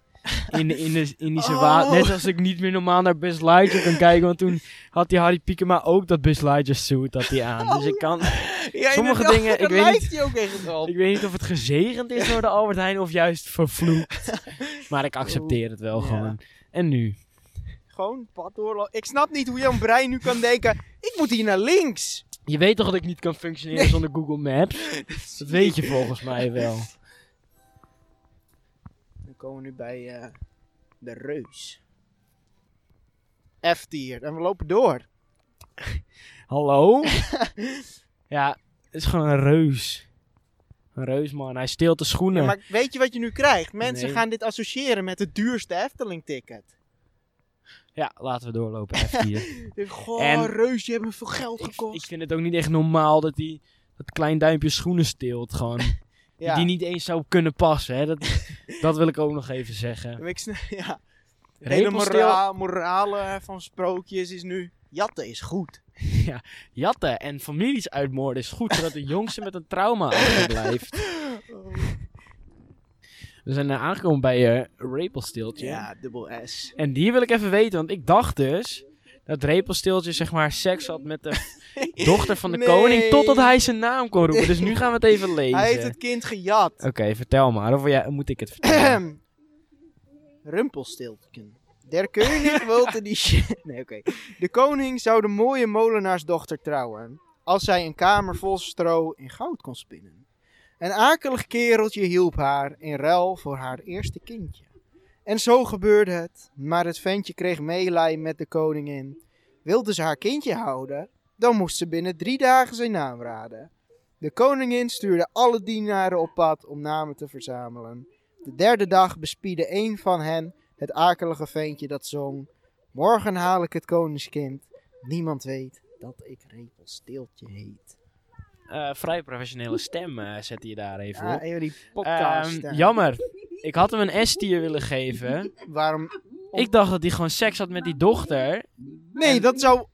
S1: in de in de Indische
S2: Oh.
S1: water. Net als ik niet meer normaal naar Buzz Lightyear kan kijken. Want toen had die Harry Piekema ook dat Buzz Lightyear suit had hij aan. Dus ik kan...
S2: Ja,
S1: Sommige
S2: inderdaad,
S1: dingen,
S2: daar
S1: ik weet
S2: lijkt hij ook echt Oh, op.
S1: Ik weet niet of het gezegend is door de Albert Heijn of juist vervloekt. Maar ik accepteer het wel
S2: Ja.
S1: gewoon. En nu?
S2: Gewoon pad doorlopen. Ik snap niet hoe jouw brein nu kan denken, ik moet hier naar links.
S1: Je weet toch dat ik niet kan functioneren zonder Google Maps? Dat weet je volgens mij wel.
S2: Dan komen we nu bij eh, de reus. F-tier. En we lopen door.
S1: Hallo? ja, het is gewoon een reus. Een reus, man. Hij steelt de schoenen.
S2: Ja, maar weet je wat je nu krijgt? Mensen
S1: Nee.
S2: gaan dit associëren met het duurste Efteling-ticket.
S1: Ja, laten we doorlopen. F hier.
S2: Goh,
S1: En-
S2: reus, je hebt me veel geld
S1: ik, ik
S2: gekost.
S1: vind het ook niet echt normaal dat hij dat klein duimpje schoenen steelt. Gewoon.
S2: ja.
S1: Die niet eens zou kunnen passen. Hè? Dat, dat wil ik ook nog even zeggen.
S2: Maar ik sna- ja. De hele
S1: Repelsteel-
S2: mora morale van sprookjes is nu, jatten is goed.
S1: Jatten en families uitmoorden is goed, zodat de jongste met een trauma achterblijft. Oh, We zijn eh, aangekomen bij eh Rapelsteeltje.
S2: Ja, dubbel S.
S1: En die wil ik even weten, want ik dacht dus dat Repelsteeltje zeg maar seks had met de dochter van de
S2: Nee.
S1: koning, totdat hij zijn naam kon roepen. Dus nu gaan we het even lezen.
S2: Hij heeft het kind gejat.
S1: Oké, vertel maar. Of ja, moet ik het vertellen?
S2: Rumpelstiltken. Der koning wilde die... sch- Nee, oké. De koning zou de mooie molenaarsdochter trouwen... als zij een kamer vol stro en goud kon spinnen. Een akelig kereltje hielp haar in ruil voor haar eerste kindje. En zo gebeurde het, maar het ventje kreeg meelij met de koningin. Wilde ze haar kindje houden, dan moest ze binnen drie dagen zijn naam raden. De koningin stuurde alle dienaren op pad om namen te verzamelen. De derde dag bespiedde een van hen het akelige veentje dat zong: Morgen haal ik het koningskind. Niemand weet dat ik Repelsteeltje heet.
S1: Eh, vrij professionele stem eh zette je daar even
S2: Ah,
S1: op.
S2: joh, die podcast.
S1: Ehm,
S2: eh,
S1: jammer. Ik had hem een S-tier willen geven.
S2: Waarom?
S1: Ik dacht dat hij gewoon seks had met die dochter.
S2: Nee, dat zou.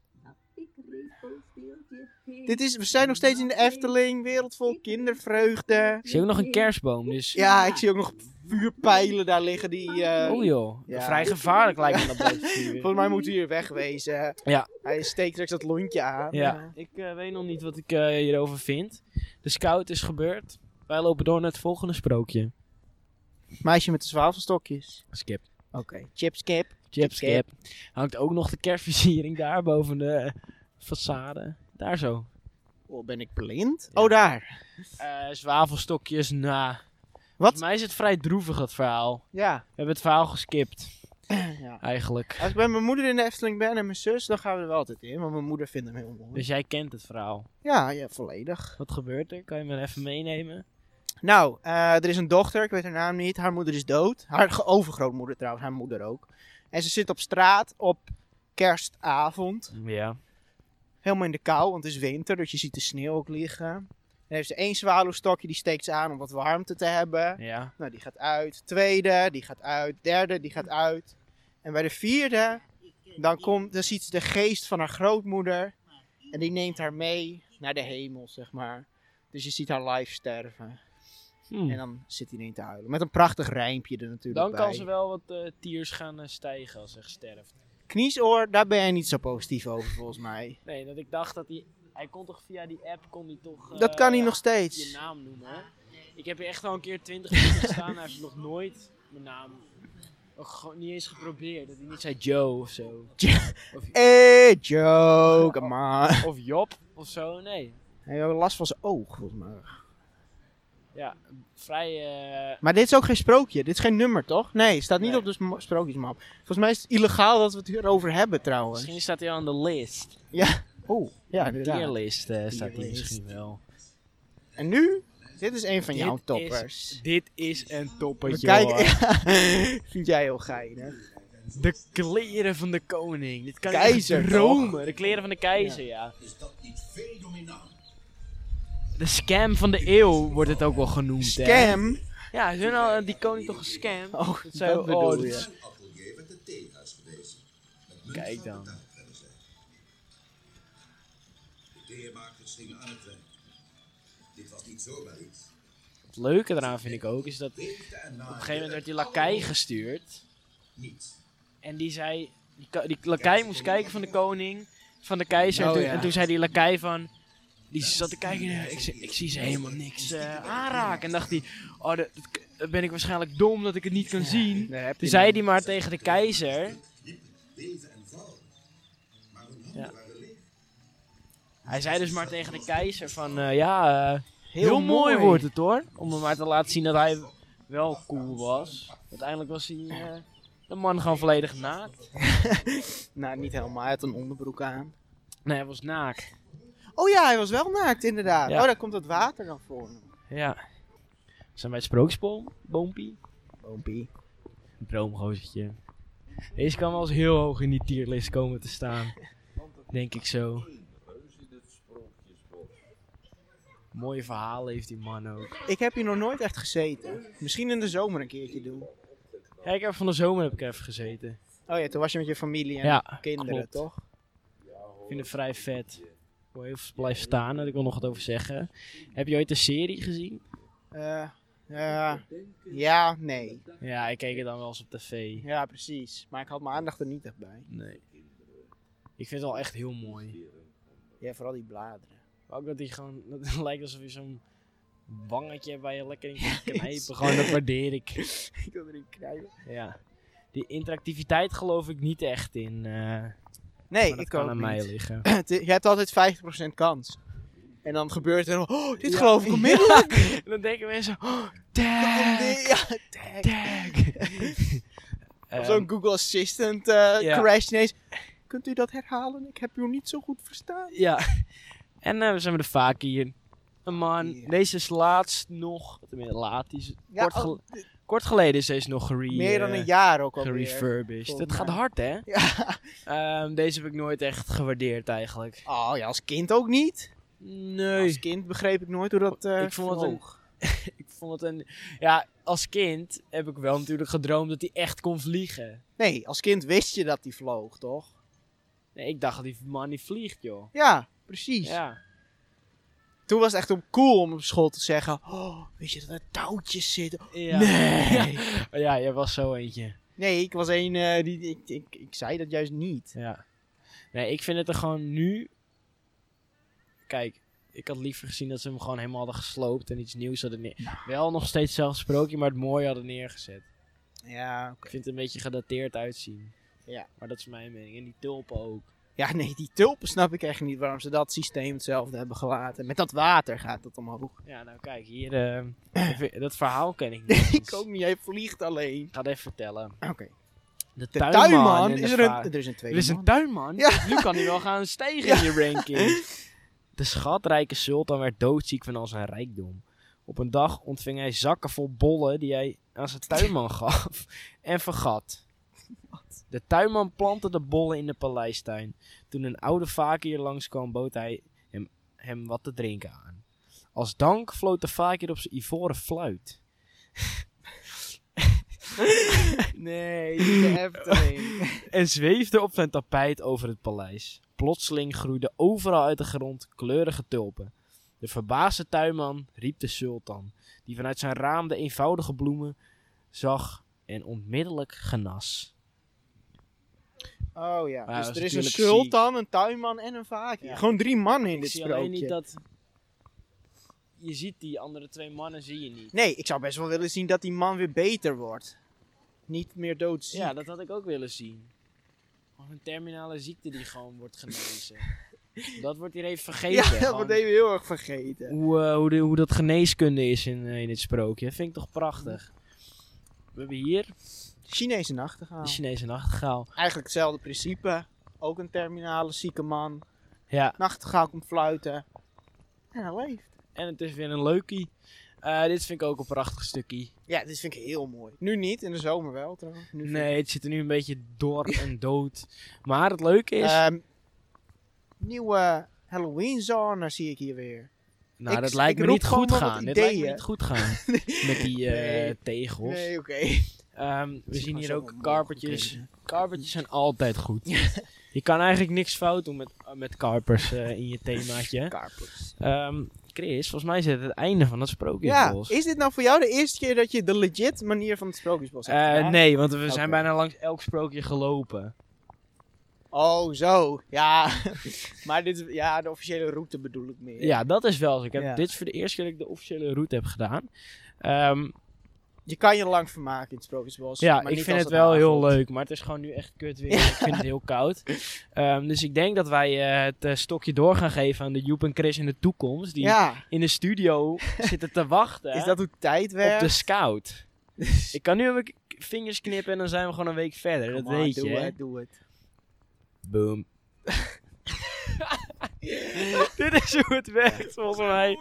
S2: Dit is, we zijn nog steeds in de Efteling, wereld vol kindervreugde.
S1: Ik zie ook nog een kerstboom, dus...
S2: Ja, ik zie ook nog vuurpijlen daar liggen die. eh,
S1: Oh joh,
S2: Ja.
S1: vrij gevaarlijk lijkt me dat blootvuur.
S2: volgens mij moeten we hier wegwezen.
S1: Ja.
S2: Hij steekt straks dat lontje aan.
S1: Ja, ik eh, weet nog niet wat ik eh, hierover vind. De scout is gebeurd. Wij lopen door naar het volgende sprookje.
S2: Meisje met de zwavelstokjes.
S1: Skip.
S2: Oké. Chip skip.
S1: Chip,
S2: Skip.
S1: skip. Hangt ook nog de kerstversiering daar boven de eh, façade. Daar zo.
S2: Oh, ben ik blind?
S1: Ja.
S2: Oh, daar.
S1: Eh, zwavelstokjes, na.
S2: Wat?
S1: Volgens mij is het vrij droevig, dat verhaal.
S2: Ja.
S1: We hebben het verhaal geskipt,
S2: ja.
S1: eigenlijk.
S2: Als ik bij mijn moeder in de Efteling ben en mijn zus, dan gaan we er wel altijd in. Want mijn moeder vindt hem heel mooi.
S1: Dus jij kent het verhaal.
S2: Ja, ja, volledig.
S1: Wat gebeurt er? Kan je me even meenemen?
S2: Nou, eh, er is een dochter, ik weet haar naam niet. Haar moeder is dood. Haar ge- overgrootmoeder trouwens, haar moeder ook. En ze zit op straat op kerstavond.
S1: Ja.
S2: Helemaal in de kou, want het is winter, dus je ziet de sneeuw ook liggen. Dan heeft ze één zwaluwstokje, die steekt ze aan om wat warmte te hebben.
S1: Ja.
S2: Nou, die gaat uit. Tweede, die gaat uit. Derde, die gaat uit. En bij de vierde, dan, komt, dan ziet ze de geest van haar grootmoeder. En die neemt haar mee naar de hemel, zeg maar. Dus je ziet haar live sterven.
S1: Hm.
S2: En dan zit hij ineens te huilen. Met een prachtig rijmpje er natuurlijk
S1: Dan
S2: bij.
S1: kan ze wel wat eh, tiers gaan eh, stijgen als ze sterft.
S2: Kniesoor, daar ben jij niet zo positief over volgens mij.
S1: Nee, dat ik dacht dat hij... Hij kon toch via die app, kon hij toch... eh,
S2: Dat kan hij nog
S1: Je
S2: steeds.
S1: naam noemen, hè? Ik heb hier echt al een keer 20 minuten gestaan en hij heeft nog nooit mijn naam... Ook gewoon niet eens geprobeerd. Dat hij niet zei Joe of zo. Of,
S2: Hey Joe, come on. Hij
S1: of Job of zo, nee.
S2: heeft ook last van zijn oog volgens mij.
S1: Ja, vrij... eh,
S2: Maar dit is ook geen sprookje. Dit is geen nummer, toch? Nee, het staat niet
S1: Nee.
S2: op de sm- sprookjesmap. Volgens mij is het illegaal dat we het hierover hebben, trouwens.
S1: misschien staat hij al aan de list.
S2: Oeh, ja,
S1: de
S2: inderdaad.
S1: tierlist eh, staat hij
S2: Tierlist.
S1: misschien wel.
S2: En nu? Dit is een van jouw
S1: Dit
S2: toppers.
S1: is- dit is een
S2: We
S1: toppertje,
S2: kijken-
S1: hoor.
S2: Vind jij heel geinig.
S1: De kleren van de koning. Dit kan
S2: Keizer,
S1: niet dromen. De kleren van de keizer, ja. De scam van de eeuw wordt het ook wel genoemd. Hè?
S2: Scam?
S1: Ja, ze zijn al eh, die koning toch gescamd?
S2: Oh,
S1: Dat
S2: dat bedoel
S1: oh, dit
S2: je.
S1: is- Kijk dan.
S4: Theemakers gingen aan het werk. Dit was niet zomaar iets.
S1: Het leuke eraan vind ik ook is dat op een
S4: Liefde en
S1: gegeven
S4: naaien
S1: moment werd die lakai gestuurd.
S4: niets.
S1: En die zei, die, ka- die lakai moest kijken van de koning, van de keizer.
S2: Oh,
S1: en, toen,
S2: ja.
S1: en toen zei die lakai van, die zat te kijken, eh, ik, zie- ik zie ze helemaal niks eh, aanraken. En dacht hij, oh, dat- dat k- dan ben ik waarschijnlijk dom dat ik het niet kan zien.
S2: daar heb je
S1: Toen zei
S2: hem.
S1: hij maar tegen de keizer,
S4: Leven en vrouwen. Maar hun handen
S1: Ja.
S4: waren leeg.
S1: hij zei dus maar tegen de keizer van, eh, ja, eh, heel,
S2: Heel
S1: mooi.
S2: mooi.
S1: wordt het hoor. Om hem maar te laten zien dat hij wel cool was. Uiteindelijk was hij... eh, de man gewoon volledig naakt.
S2: Nou, niet helemaal. Hij had een onderbroek aan.
S1: Nee, hij was naakt.
S2: Oh ja, hij was wel naakt, inderdaad.
S1: Ja.
S2: Oh, daar komt dat water dan voor.
S1: Ja. Zijn wij het sprookjesboom, boompie?
S2: Boompie.
S1: Een droomgozertje. Deze kan wel eens heel hoog in die tierlist komen te staan. Denk ik zo. Mooie verhalen heeft die man ook.
S2: Ik heb hier nog nooit echt gezeten. Misschien in de zomer een keertje doen.
S1: Ja, ik heb van de zomer heb ik even gezeten.
S2: Oh ja, toen was je met je familie en
S1: Ja,
S2: kinderen,
S1: klopt.
S2: toch?
S1: Ik vind het vrij vet. Ik wil heel veel blijven staan, daar wil ik wil nog wat over zeggen. Heb je ooit de serie gezien?
S2: Eh, ja, ja, nee.
S1: Ja, ik keek het dan wel eens op tv.
S2: Ja, precies. Maar ik had mijn aandacht er niet echt bij.
S1: Nee. Ik vind het wel echt heel mooi.
S2: Ja, vooral die bladeren.
S1: Maar ook dat hij gewoon, dat het lijkt alsof je zo'n wangetje hebt waar je lekker in kan knijpen. Gewoon, dat waardeer ik.
S2: ik wil erin knijpen.
S1: Ja. Die interactiviteit geloof ik niet echt in. eh,
S2: Nee,
S1: maar dat
S2: ik
S1: kan
S2: ook
S1: aan
S2: niet.
S1: mij liggen.
S2: Het i- Je hebt altijd 50% kans. En dan gebeurt er... Oh, dit
S1: Ja.
S2: geloof ik onmiddellijk.
S1: En dan denken mensen, oh,
S2: Komt
S1: tag,
S2: die- Ja, tag.
S1: tag.
S2: Of
S1: Ehm,
S2: zo'n Google Assistant eh,
S1: ja.
S2: crash ineens. Kunt u dat herhalen? Ik heb u niet zo goed verstaan.
S1: ja. En eh, we zijn we er vaak hier. Een man,
S2: Ja.
S1: deze is laatst nog, tenminste laat, die is,
S2: Ja,
S1: kort,
S2: al-
S1: gel- kort geleden is deze nog gere,
S2: Meer dan
S1: eh,
S2: een jaar ook alweer.
S1: gerefurbished. Het
S2: volgens
S1: gaat
S2: mij.
S1: hard hè?
S2: Ja.
S1: Ehm, deze heb ik nooit echt gewaardeerd eigenlijk.
S2: Oh ja, als kind ook niet. Als
S1: Nee.
S2: kind begreep ik nooit hoe dat eh
S1: Ik vond het een-
S2: vloog.
S1: Ik vond het een... Ja, als kind heb ik wel natuurlijk gedroomd dat hij echt kon vliegen.
S2: Nee, als kind wist je dat die vloog, toch?
S1: Nee, ik dacht, die man die vliegt, joh.
S2: Ja, precies.
S1: Ja.
S2: Toen was het echt om cool om op school te zeggen: Oh, weet je dat er touwtjes zitten?
S1: ja.
S2: Nee.
S1: Ja, jij was zo eentje.
S2: Nee, ik was een eh, die. Ik, ik, ik zei dat juist niet.
S1: Ja. Nee, ik vind het er gewoon nu... Kijk, ik had liever gezien dat ze hem gewoon helemaal hadden gesloopt en iets nieuws hadden
S2: Nou.
S1: neer... Wel nog steeds hetzelfde sprookje, maar het mooi hadden neergezet.
S2: Ja,
S1: Ik vind het een beetje gedateerd uitzien.
S2: Ja.
S1: Maar dat is mijn mening. En die tulpen ook.
S2: ja, nee, die tulpen snap ik echt niet waarom ze dat systeem hetzelfde hebben gelaten. Met dat water gaat dat omhoog.
S1: Ja, nou kijk, hier... eh, dat verhaal ken ik niet.
S2: ik
S1: eens.
S2: ook niet, hij vliegt alleen.
S1: Ik ga het even vertellen.
S2: Oké.
S1: De
S2: De
S1: tuinman,
S2: tuinman,
S1: en de
S2: is er
S1: va-
S2: een. Er is een tweede.
S1: Er is een
S2: man.
S1: tuinman.
S2: Ja.
S1: Nu kan hij wel gaan stijgen in je ranking. De schatrijke sultan werd doodziek van al zijn rijkdom. Op een dag ontving hij zakken vol bollen die hij aan zijn tuinman gaf en vergat. De tuinman plantte de bollen in de paleistuin. Toen een oude vakier langskwam, bood hij hem, hem wat te drinken aan. Als dank floot de vakier op zijn ivoren fluit.
S2: Nee, niet de Efteling.
S1: en zweefde op zijn tapijt over het paleis. Plotseling groeiden overal uit de grond kleurige tulpen. De verbaasde tuinman riep de sultan, die vanuit zijn raam de eenvoudige bloemen zag en onmiddellijk genas.
S2: Oh ja,
S1: dat
S2: dus
S1: is
S2: er is een
S1: natuurlijk
S2: sultan, een tuinman en een vaakje.
S1: Ja.
S2: Gewoon drie mannen in
S1: Ik
S2: dit
S1: zie alleen
S2: sprookje.
S1: niet dat... Je ziet die andere twee mannen, zie je niet.
S2: Nee, ik zou best wel willen zien dat die man weer beter wordt. Niet meer doodziek.
S1: Ja, dat had ik ook willen zien. Gewoon een terminale ziekte die gewoon wordt genezen. dat wordt hier even
S2: Ja,
S1: vergeten.
S2: dat
S1: gewoon.
S2: wordt even heel erg vergeten.
S1: hoe, eh, hoe, de- hoe dat geneeskunde is in, eh, in dit sprookje. Vind ik toch prachtig. We hebben hier
S2: Chinese nachtegaal.
S1: de Chinese nachtegaal.
S2: Eigenlijk hetzelfde principe. Ook een terminale zieke man.
S1: Ja,
S2: Nachtegaal komt fluiten. En hij leeft.
S1: en het is weer een leukie. Eh, dit vind ik ook een prachtig stukje.
S2: Ja, dit vind ik heel mooi. Nu niet, in de zomer wel trouwens. Nu vind ik-
S1: Nee, het zit er nu een beetje door en dood. Maar het leuke is...
S2: Ehm, nieuwe Halloween zone zie ik hier weer.
S1: nou,
S2: ik-
S1: dat lijkt
S2: ik
S1: me
S2: roep
S1: niet
S2: gewoon
S1: goed
S2: maar wat
S1: gaan. Dit lijkt me
S2: ideeën.
S1: niet goed gaan. Met die eh,
S2: Nee.
S1: tegels.
S2: Nee, oké.
S1: Ehm, we
S2: is
S1: zien
S2: gewoon
S1: hier
S2: zo'n
S1: ook
S2: mogelijk
S1: karpertjes.
S2: reden.
S1: Karpertjes zijn altijd goed. je kan eigenlijk niks fout doen met, met karpers eh, in je themaatje.
S2: Karpers.
S1: Ehm, Chris, volgens mij is het het einde van dat
S2: Ja,
S1: sprookjesbos.
S2: is dit nou voor jou de eerste keer dat je de legit manier van het sprookjesbos hebt
S1: Eh,
S2: gedaan?
S1: nee, want we
S2: Oké.
S1: zijn bijna langs elk sprookje gelopen.
S2: Oh, zo. Ja. maar dit is, ja, de officiële route bedoel ik meer.
S1: Ja, dat is wel zo. Ik heb,
S2: Ja.
S1: Dit is voor de eerste keer dat ik de officiële route heb gedaan. Ehm,
S2: Je kan je lang vermaken in het sprookjesbos.
S1: ja,
S2: maar
S1: ik
S2: niet
S1: vind
S2: als
S1: het wel heel
S2: hagelt.
S1: leuk, maar het is gewoon nu echt kut weer. ik vind het heel koud. Ehm, dus ik denk dat wij eh, het eh, stokje door gaan geven aan de Joep en Chris in de toekomst. Die
S2: Ja,
S1: in de studio zitten te wachten
S2: is dat hoe tijd
S1: op
S2: werkt?
S1: de scout. ik kan nu even k- vingers knippen en dan zijn we gewoon een week verder.
S2: Come
S1: dat
S2: on,
S1: weet
S2: doe
S1: je. hè?
S2: Het, doe het.
S1: Boom. Dit is hoe het werkt, volgens mij.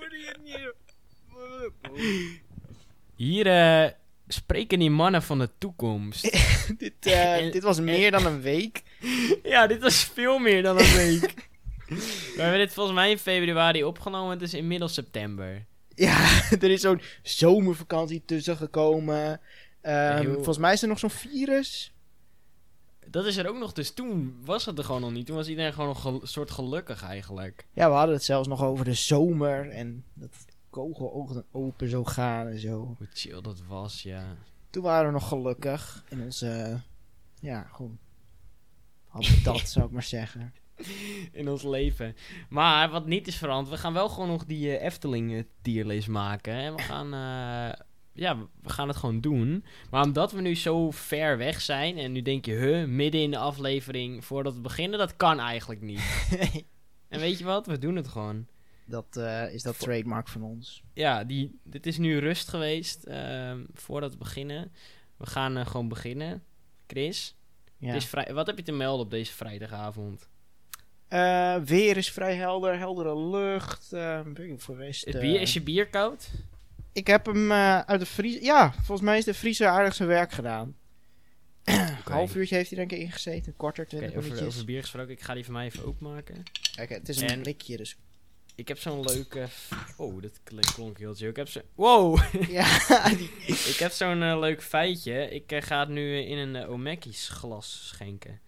S1: Hier eh, spreken die mannen van de toekomst.
S2: dit, eh,
S1: En-
S2: dit was meer dan een week.
S1: ja, dit was veel meer dan een week. We hebben dit volgens mij in februari opgenomen. Het is inmiddels september.
S2: Ja, er is zo'n zomervakantie tussen gekomen. Ehm,
S1: Heel-
S2: Volgens mij is er nog zo'n virus.
S1: Dat is er ook nog, dus toen was het er gewoon nog niet. Toen was iedereen gewoon nog een soort gelukkig eigenlijk.
S2: Ja, we hadden het zelfs nog over de zomer. En dat kogelogen open zo gaan en zo.
S1: Hoe chill dat was, ja.
S2: Toen waren we nog gelukkig in onze, eh, ja, gewoon habitat zou ik maar zeggen.
S1: In ons leven. Maar wat niet is veranderd, we gaan wel gewoon nog die eh, Efteling eh, tierlist maken. En we gaan, eh, ja, we gaan het gewoon doen. Maar omdat we nu zo ver weg zijn en nu denk je, huh, midden in de aflevering voordat we beginnen, dat kan eigenlijk niet. en weet je wat, we doen het gewoon.
S2: Dat eh, is dat trademark van ons.
S1: ja, die, dit is nu rust geweest ehm, voordat we beginnen. We gaan eh, gewoon beginnen. Chris,
S2: Ja.
S1: het is vrij, wat heb je te melden op deze vrijdagavond?
S2: Eh, weer is vrij helder, heldere lucht. eh, weet ik, voor de rest,
S1: Is,
S2: eh,
S1: bier, is je bier koud?
S2: Ik heb hem eh, uit de vriezer. Ja, volgens mij is de vriezer aardig zijn werk gedaan. Een half uurtje heeft hij denk ik ingezeten, korter,
S1: Oké,
S2: 20
S1: over,
S2: minuutjes.
S1: over bier gesproken, ik ga die van mij even openmaken.
S2: Kijk, het is een
S1: en-
S2: blikje dus.
S1: Ik heb zo'n leuke... Oh, dat kl- klonk heel chill. Ik heb zo'n... Wow!
S2: ja, die-
S1: ik heb zo'n eh, leuk feitje. Ik eh, ga het nu eh, in een eh, Omeki's glas schenken.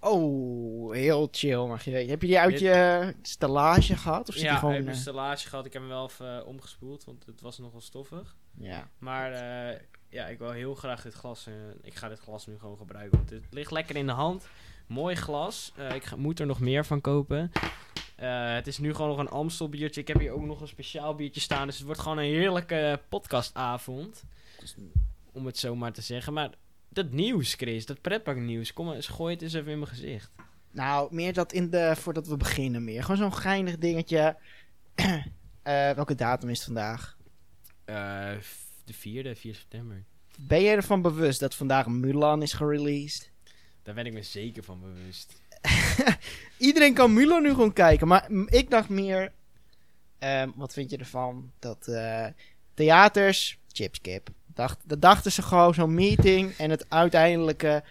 S2: oh, heel chill mag je weten. Heb je die uit
S1: Dit-
S2: je stallage gehad? Of zit die
S1: Ja,
S2: gewoon...
S1: ik heb een
S2: eh,
S1: stellage gehad. Ik heb hem wel even eh, omgespoeld, want het was nogal stoffig.
S2: ja.
S1: Maar eh, ja, ik wil heel graag dit glas. eh, ik ga dit glas nu gewoon gebruiken. Want het ligt lekker in de hand. Mooi glas. Eh, ik ga- moet er nog meer van kopen. Eh, het is nu gewoon nog een Amstel biertje. Ik heb hier ook nog een speciaal biertje staan. Dus het wordt gewoon een heerlijke podcastavond. Om het zo maar te zeggen. Maar dat nieuws, Chris. Dat pretparknieuws. Kom eens, gooi het eens even in mijn gezicht.
S2: Nou, meer dat in de, voordat we beginnen meer. Gewoon zo'n geinig dingetje. Eh, welke datum is het vandaag?
S1: Eh, f- de 4e, 4 september.
S2: Ben je ervan bewust dat vandaag Mulan is gereleased?
S1: Daar ben ik me zeker van bewust.
S2: Iedereen kan Mulan nu gewoon kijken. Maar mm, ik dacht meer... ehm, wat vind je ervan? Dat eh, theaters... Chipskip. Dacht, dat dachten ze gewoon, zo'n meeting. En het uiteindelijke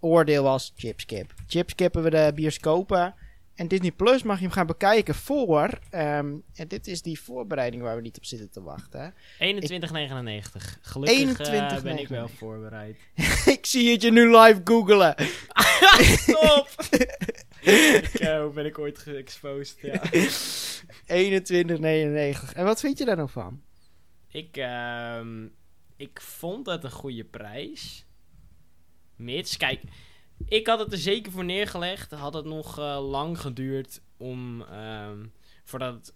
S2: oordeel was Chipskip. Chipskip hebben we de bioscopen. En Disney Plus mag je hem gaan bekijken voor. ehm, en dit is die voorbereiding waar we niet op zitten te wachten.
S1: 21,99. Gelukkig eh,
S2: 21,99.
S1: ben ik wel voorbereid.
S2: ik zie het je nu live googelen.
S1: Stop! ik, eh, hoe ben ik ooit geëxposed? Ja.
S2: 21,99. En wat vind je daar nou van?
S1: ik, ehm, ik vond dat een goede prijs. Mits, kijk, ik had het er zeker voor neergelegd. Had het nog eh, lang geduurd om, ehm, voordat het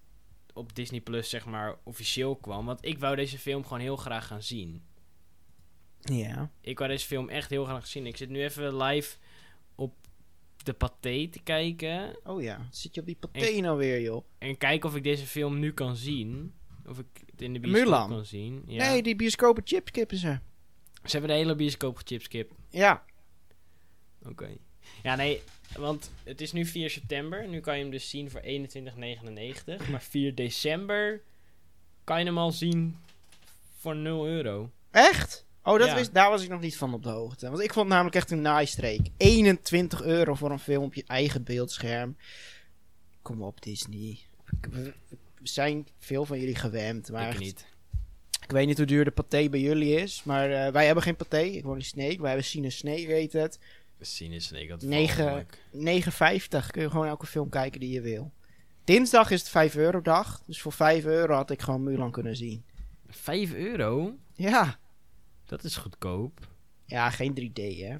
S1: op Disney Plus zeg maar officieel kwam. Want ik wou deze film gewoon heel graag gaan zien.
S2: Ja.
S1: Ik wou deze film echt heel graag zien. Ik zit nu even live op de Pathé te kijken.
S2: Oh ja. Zit je op die paté nou weer, joh?
S1: En kijken of ik deze film nu kan zien. Of ik het in de bioscoop
S2: Mulan.
S1: kan zien. Ja.
S2: Nee, die bioscopen chipskippen ze.
S1: Ze hebben de hele bioscoop gechipskip.
S2: Ja.
S1: Oké. Ja, nee, want het is nu 4 september. Nu kan je hem dus zien voor 21,99. Maar 4 december kan je hem al zien voor 0 euro.
S2: Echt? Oh, dat
S1: Ja.
S2: wist, daar was ik nog niet van op de hoogte. Want ik vond het namelijk echt een naaistreek. 21 euro voor een film op je eigen beeldscherm. Kom op, Disney. We we zijn veel van jullie gewend. Maar
S1: ik
S2: echt,
S1: niet.
S2: ik weet niet hoe duur de paté bij jullie is. Maar eh, wij hebben geen paté. Ik woon in Snake. Wij hebben Cine Snake, heet het.
S1: Sinus, nee, ik had
S2: Negen.
S1: mogelijk.
S2: 9,50 kun je gewoon elke film kijken die je wil. Dinsdag is het 5 euro dag. Dus voor 5 euro had ik gewoon Mulan kunnen zien.
S1: 5 euro?
S2: Ja.
S1: Dat is goedkoop.
S2: Ja, geen 3D hè.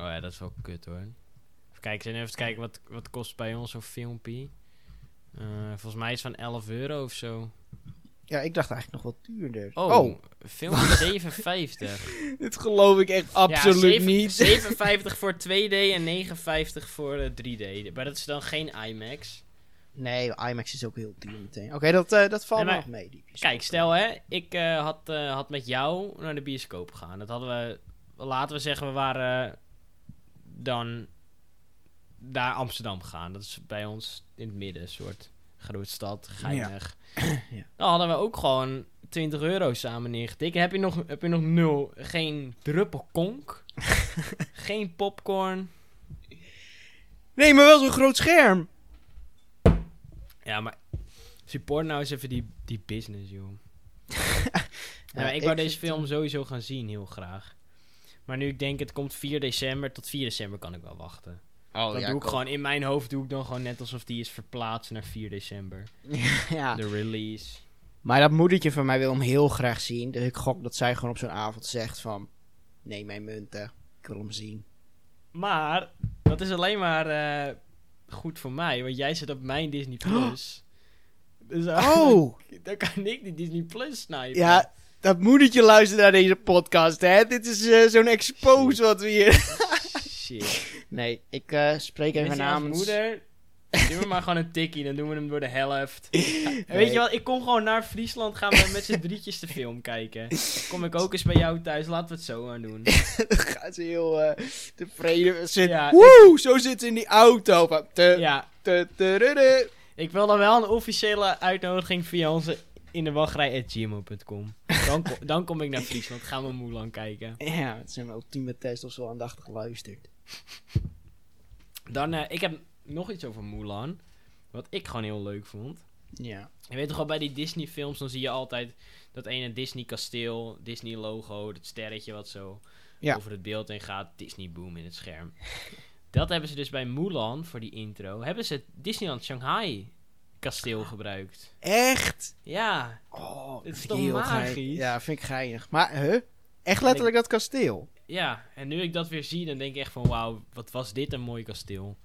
S1: Oh ja, dat is wel kut hoor. Even kijken, zijn even te kijken wat, wat kost bij ons zo'n filmpje. Eh, volgens mij is het van 11 euro of zo.
S2: Ja, ik dacht eigenlijk nog wat duurder.
S1: Oh, filmpje 7,50.
S2: dit geloof ik echt
S1: ja, 7 7,50 voor 2D en 9,50 voor eh, 3D. Maar dat is dan geen IMAX.
S2: Nee, IMAX is ook heel duur meteen. Oké, dat, eh, dat valt
S1: Nee,
S2: me
S1: maar-
S2: nog mee. Die bioscoop.
S1: Kijk, stel hè, ik eh, had, eh, had met jou naar de bioscoop gegaan. Dat hadden we, laten we zeggen, we waren dan naar Amsterdam gegaan. Dat is bij ons in het midden, een soort grote stad, geinig.
S2: Ja.
S1: Dan hadden we ook gewoon 20 euro samen neergetikt. Heb je nog, heb je nog nul, geen druppel konk, geen popcorn.
S2: Nee, maar wel zo'n groot scherm.
S1: Ja, maar support nou eens even die, die business, joh. Nou, maar ik
S2: ik
S1: wou deze
S2: vind,
S1: film sowieso gaan zien, heel graag. Maar nu ik denk, het komt 4 december. Tot 4 december kan ik wel wachten.
S2: Oh,
S1: dan doe ik gewoon, in mijn hoofd doe ik dan gewoon net alsof die is verplaatst naar 4 december.
S2: ja.
S1: De release.
S2: Maar dat moedertje van mij wil hem heel graag zien. Dus ik gok dat zij gewoon op zo'n avond zegt van... Neem mijn munten. Ik wil hem zien.
S1: Maar, dat is alleen maar eh, goed voor mij. Want jij zit op mijn Disney+. Plus. Dus eigenlijk-
S2: Oh!
S1: Dan kan ik die Disney Plus snijden.
S2: Ja, dat moedertje luistert naar deze podcast, hè? Dit is eh, zo'n expose wat we hier...
S1: Shit.
S2: Nee, ik eh, spreek
S1: Ik
S2: even namens...
S1: moeder. Doe me maar gewoon een tikkie, dan doen we hem door de helft. En Weet je wat, ik kom gewoon naar Friesland gaan we met z'n drietjes de film kijken. Kom ik ook eens bij jou thuis, laten we het zo aan doen.
S2: Dan gaat ze heel eh, tevreden zitten.
S1: Ja,
S2: Woe, zo zit ze in die auto. Van te,
S1: Ja,
S2: te, te, ru, ru.
S1: ik wil dan wel een officiële uitnodiging via onze in de wachtrij.gmo.com. Dan, ko- dan kom ik naar Friesland, gaan we Mulan kijken.
S2: Ja, het is een ultieme test of ze wel aandachtig luistert.
S1: Dan, eh, ik heb nog iets over Mulan, wat ik gewoon heel leuk vond.
S2: Ja.
S1: Je weet toch wel, bij die Disney films, dan zie je altijd dat ene Disney kasteel, Disney logo, dat sterretje wat zo
S2: Ja.
S1: over het beeld heen gaat, Disney boom in het scherm. Dat hebben ze dus bij Mulan, voor die intro, hebben ze het Disneyland Shanghai kasteel gebruikt.
S2: Echt?
S1: Ja,
S2: Oh,
S1: Het is
S2: vind
S1: toch
S2: ik
S1: magisch?
S2: geinig. Ja, vind ik geinig. Maar, huh? Echt letterlijk dat kasteel?
S1: ja. En nu ik dat weer zie, dan denk ik echt van, wauw, wat was dit een mooi kasteel.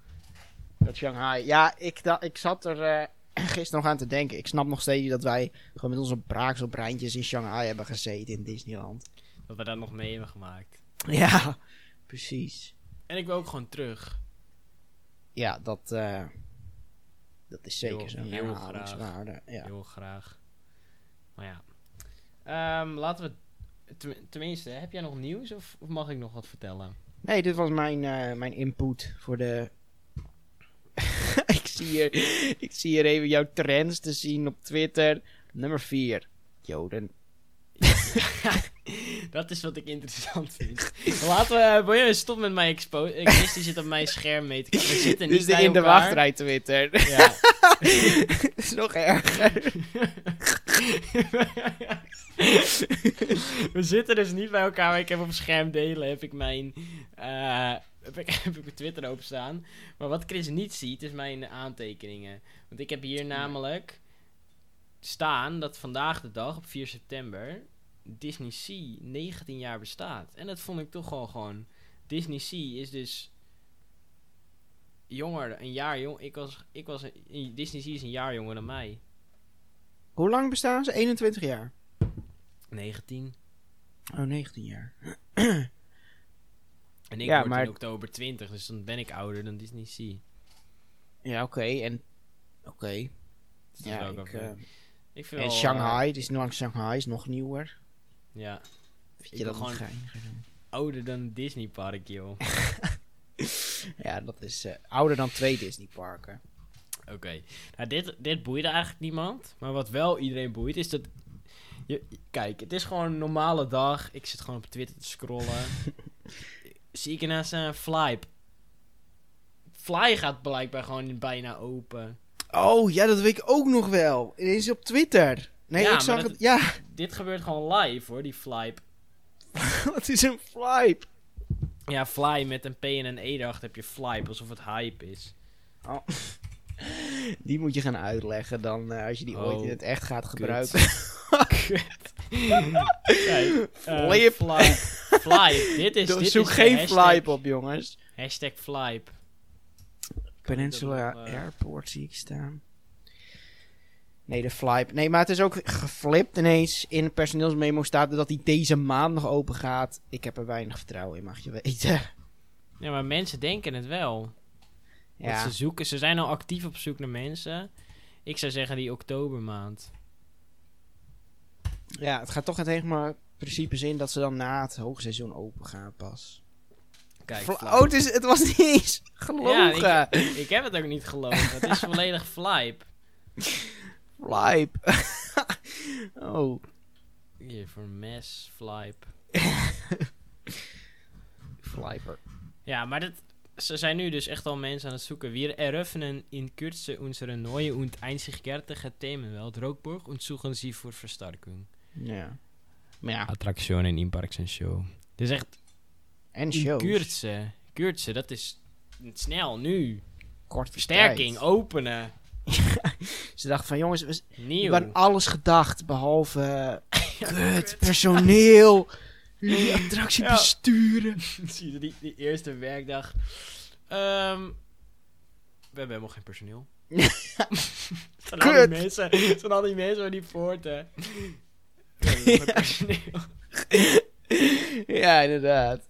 S2: Dat Shanghai. Ja, ik, da- ik zat er eh, gisteren nog aan te denken. Ik snap nog steeds dat wij gewoon met onze braaks op breintjes in Shanghai hebben gezeten in Disneyland.
S1: Dat we daar nog mee hebben gemaakt.
S2: Ja, precies.
S1: En ik wil ook gewoon terug.
S2: Ja, dat, eh, dat is zeker
S1: Heel-
S2: zo'n
S1: heel
S2: herhalingswaarde. Ja.
S1: Heel graag. Maar ja. Ehm, laten we... ten- Tenminste, heb jij nog nieuws of, of mag ik nog wat vertellen?
S2: Nee, dit was mijn, eh, mijn input voor de. ik, zie hier, ik zie hier even jouw trends te zien op Twitter. Nummer 4. Joden.
S1: Dat is wat ik interessant vind. Laten we, eh, wil je stop met mijn expo. Ik wist, die zit op mijn scherm mee te kijken. We zitten niet
S2: Dus de
S1: bij
S2: in de
S1: elkaar.
S2: wachtrij Twitter.
S1: Ja.
S2: Dat is nog erger.
S1: we zitten dus niet bij elkaar, maar ik heb op scherm delen heb ik mijn, eh, heb ik, heb ik mijn Twitter openstaan. Maar wat Chris niet ziet, is mijn aantekeningen. Want ik heb hier namelijk staan dat vandaag de dag, op 4 september, Disney Sea 19 jaar bestaat. En dat vond ik toch wel gewoon... Disney Sea is dus jonger, een jaar jong. Ik was, ik was een- Disney Sea is een jaar jonger dan mij.
S2: Hoe lang bestaan ze? 21 jaar.
S1: 19.
S2: Oh, 19 jaar.
S1: En ik
S2: Ja,
S1: word
S2: maar-
S1: in oktober 20, dus dan ben ik ouder dan Disney Sea.
S2: Ja, oké. en. Oké.
S1: Dus
S2: Ja,
S1: dat is ook
S2: ik,
S1: wel-
S2: eh,
S1: ik vind
S2: en
S1: wel, eh,
S2: Shanghai, het is langs Shanghai, is nog nieuwer.
S1: ja,
S2: Vind
S1: Ik
S2: je dat
S1: wil
S2: nog
S1: gewoon-
S2: geiniger dan?
S1: ouder dan een Disney Park, joh. Oké.
S2: Ja, dat is eh, ouder dan twee Disneyparken.
S1: Nou, dit, dit boeide eigenlijk niemand. Maar wat wel iedereen boeit, is dat... Je, kijk, het is gewoon een normale dag. Ik zit gewoon op Twitter te scrollen. Zie ik naast een Fly. Fly gaat blijkbaar gewoon bijna open.
S2: Oh, ja, dat weet ik ook nog wel. Het is op Twitter. Nee,
S1: Ja,
S2: ik zag
S1: maar dat-
S2: het. Ja,
S1: Dit gebeurt gewoon live, hoor, die Fly.
S2: wat is een flype?
S1: Ja, Fly met een P en een E erachter heb je Fly, alsof het hype is.
S2: Die moet je gaan uitleggen dan eh, als je die ooit
S1: Oh,
S2: in het echt gaat
S1: kut.
S2: gebruiken.
S1: Kut. Kijk, eh,
S2: Flip.
S1: Fly. Fly. Dit is, dit
S2: Zoek
S1: is
S2: geen
S1: de hashtag,
S2: flype op, jongens.
S1: Hashtag Flype.
S2: Peninsula
S1: nog, eh,
S2: Airport zie ik staan. Nee, de flype. Nee, maar het is ook geflipt ineens. In het personeelsmemo staat dat hij deze maand nog open gaat. Ik heb er weinig vertrouwen in, mag je weten.
S1: Ja, maar mensen denken het wel. Want
S2: Ja,
S1: Ze, zoeken, ze zijn al actief op zoek naar mensen. Ik zou zeggen die oktobermaand.
S2: ja het gaat toch het helemaal principes in dat ze dan na het hoogseizoen open gaan pas.
S1: Kijk,
S2: Vla-
S1: Flype.
S2: oh, het, is, het was niet eens gelogen.
S1: Ja, ik, ik heb het ook niet gelogen. Het is volledig Flype.
S2: Flype. oh,
S1: Hier, voor mes, Flype.
S2: Flyper.
S1: Ja, maar dat, ze zijn nu dus echt al mensen aan het zoeken. Wir eröffnen in Kürze unsere neue und einzigartige Themenwelt Rookburg und suchen sie voor versterking.
S2: Ja. Maar ja,
S1: Attractionen in Parks en Show. Dus echt,
S2: en
S1: in
S2: shows.
S1: Kürze. Kürze, dat is snel, nu.
S2: Kort
S1: Versterking,
S2: tijd.
S1: openen,
S2: Ze dachten van, jongens, we, we
S1: nieuw.
S2: hebben alles gedacht, behalve... eh, kut, personeel. Jullie attractie
S1: Ja.
S2: besturen.
S1: Zie je die, die eerste werkdag. Ehm, we hebben helemaal geen personeel. Het zijn al die
S2: Kut.
S1: mensen, het zijn al die mensen die poorten. We hebben helemaal geen personeel.
S2: ja, inderdaad.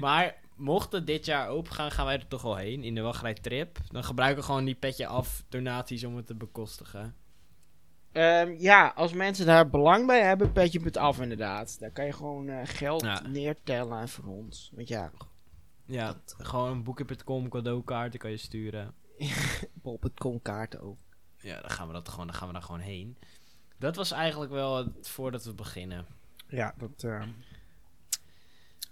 S1: Maar mocht het dit jaar open gaan, gaan wij er toch wel heen in de wachtrij trip. Dan gebruiken we gewoon die petje af donaties om het te bekostigen.
S2: Ehm, ja, als mensen daar belang bij hebben, petje het af inderdaad. Daar kan je gewoon eh, geld
S1: Ja.
S2: neertellen voor ons. Want ja,
S1: Ja, gewoon boeken.com cadeaukaarten kan je sturen.
S2: bol.com kaarten ook.
S1: Ja, dan gaan we dat gewoon, dan gaan we daar gewoon heen. Dat was eigenlijk wel het voordat we beginnen.
S2: Ja, dat. eh,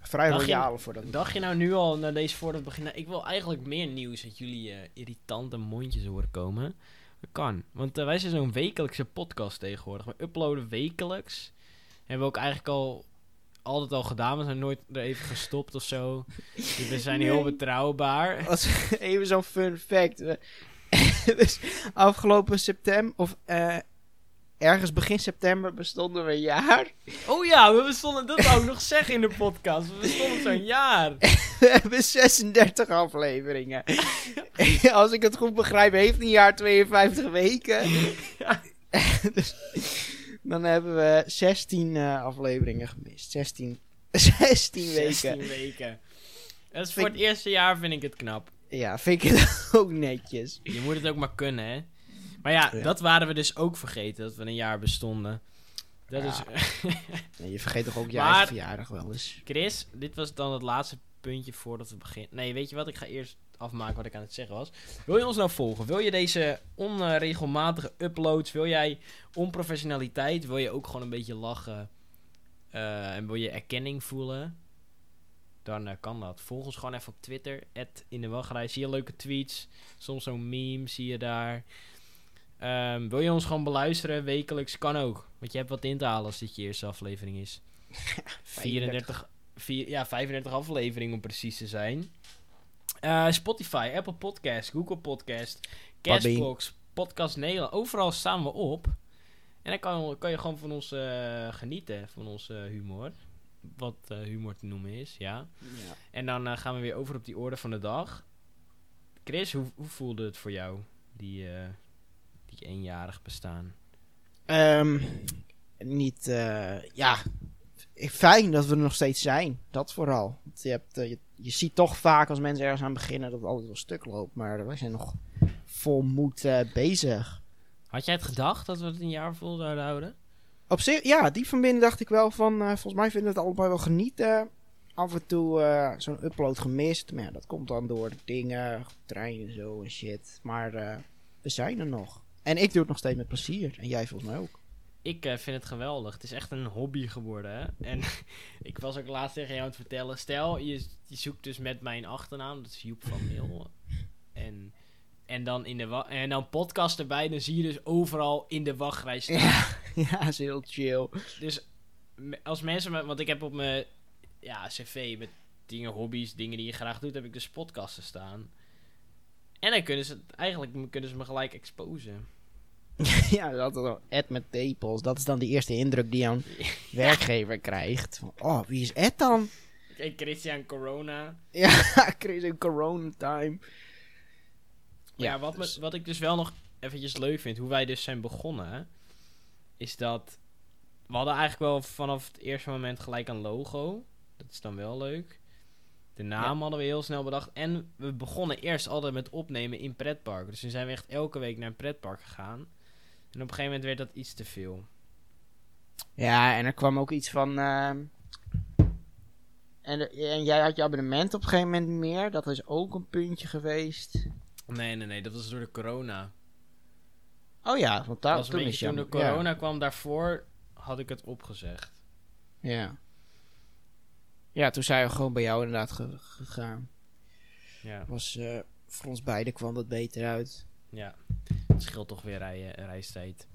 S2: vrij
S1: Dag in-
S2: royale voor dat.
S1: Dacht je nou nu al naar deze voordat we beginnen? Ik wil eigenlijk meer nieuws dat jullie eh, irritante mondjes horen komen. Dat kan. Want eh, wij zijn zo'n wekelijkse podcast tegenwoordig. We uploaden wekelijks. Hebben we ook eigenlijk al altijd al gedaan. We zijn nooit er even gestopt of zo. Dus we zijn heel betrouwbaar.
S2: Als, even zo'n fun fact. We- dus afgelopen september, of eh, ergens begin september, bestonden we een jaar.
S1: Oh ja, we bestonden dat wou ik nog zeggen in de podcast. We bestonden zo'n jaar.
S2: We hebben 36 afleveringen. Als ik het goed begrijp, heeft een jaar 52 weken. dus, dan hebben we 16 eh, afleveringen gemist. 16, 16 weken.
S1: 16 weken. Dat is voor
S2: Vind-
S1: het eerste jaar vind ik het knap.
S2: Ja, vind ik het ook netjes.
S1: Je moet het ook maar kunnen, hè? Maar ja,
S2: Ja.
S1: dat waren we dus ook vergeten, dat we een jaar bestonden. Dat
S2: Ja.
S1: is...
S2: Nee, je vergeet toch ook je
S1: Maar-
S2: eigen verjaardag wel eens.
S1: Chris, dit was dan het laatste puntje voordat we beginnen. Nee, weet je wat? Ik ga eerst afmaken wat ik aan het zeggen was. Wil je ons nou volgen? Wil je deze onregelmatige uploads? Wil jij onprofessionaliteit? Wil je ook gewoon een beetje lachen? eh, en wil je erkenning voelen, dan eh, kan dat. Volg ons gewoon even op Twitter, in de wachtrij. Zie je leuke tweets, soms zo'n meme zie je daar. Ehm, wil je ons gewoon beluisteren, wekelijks, kan ook. Want je hebt wat in te halen als dit je eerste aflevering is. 34, vier- ja, 35 afleveringen om precies te zijn. Eh, Spotify, Apple Podcast, Google Podcast,
S2: Podbean.
S1: Cashbox, Podcast Nederland. Overal staan we op. En dan kan, kan je gewoon van ons eh, genieten, van onze humor. Wat eh, humor te noemen is, ja.
S2: Ja.
S1: En dan eh, gaan we weer over op die orde van de dag. Chris, hoe, hoe voelde het voor jou, die, eh, die eenjarig bestaan?
S2: Ehm, niet, eh, ja, fijn dat we er nog steeds zijn. Dat vooral. Want Je, hebt, eh, je, je ziet toch vaak als mensen ergens aan beginnen dat het altijd wel stuk loopt. Maar wij zijn nog vol moed eh, bezig.
S1: Had jij het gedacht dat we het een jaar vol zouden houden?
S2: Op zich, ja, diep van binnen dacht ik wel van, eh, volgens mij vinden we het allebei wel genieten. Af en toe eh, zo'n upload gemist. Maar ja, dat komt dan door dingen, treinen en zo en shit. Maar eh, we zijn er nog. En ik doe het nog steeds met plezier. En jij volgens mij ook.
S1: Ik eh, vind het geweldig. Het is echt een hobby geworden. Hè? En ik was ook laatst tegen jou aan het vertellen. Stel, je, je zoekt dus met mijn achternaam. Dat is Joep van Meel. En, en, dan in de wa- en dan podcast erbij. Dan zie je dus overal in de wachtrij staan.
S2: ja, is heel chill.
S1: Dus me- als mensen... me- Want ik heb op mijn ja, cv met dingen, hobby's, dingen die je graag doet... heb ik dus podcasten staan. En dan kunnen ze... Eigenlijk kunnen ze me gelijk exposen.
S2: Ja, dat is dan Ed met tepels. Dat is dan de eerste indruk die jouw werkgever krijgt. Van, Oh, wie is Ed dan?
S1: Kijk, Christian Corona...
S2: Ja, Chris in corona time.
S1: Ja,
S2: Ja,
S1: wat, me-
S2: dus-
S1: wat ik dus wel nog eventjes leuk vind, hoe wij dus zijn begonnen, is dat we hadden eigenlijk wel vanaf het eerste moment gelijk een logo. Dat is dan wel leuk. De naam hadden we heel snel bedacht. En we begonnen eerst altijd met opnemen in pretparken. Dus toen zijn we echt elke week naar een pretpark gegaan. En op een gegeven moment werd dat iets te veel.
S2: Ja, en er kwam ook iets van... ehm, en, er- en jij had je abonnement op een gegeven moment niet meer. Dat is ook een puntje geweest.
S1: Nee, nee, nee. Dat was door de corona.
S2: Oh ja, want
S1: Dat
S2: daar,
S1: was een
S2: toen is
S1: beetje toen
S2: jammer.
S1: de corona kwam. Daarvoor had ik het opgezegd.
S2: Ja. ja. Ja, toen zijn we gewoon bij jou inderdaad ge- gegaan.
S1: Ja.
S2: Was, eh, voor ons beiden kwam dat beter uit.
S1: ja. Het scheelt toch weer rij, reistijd.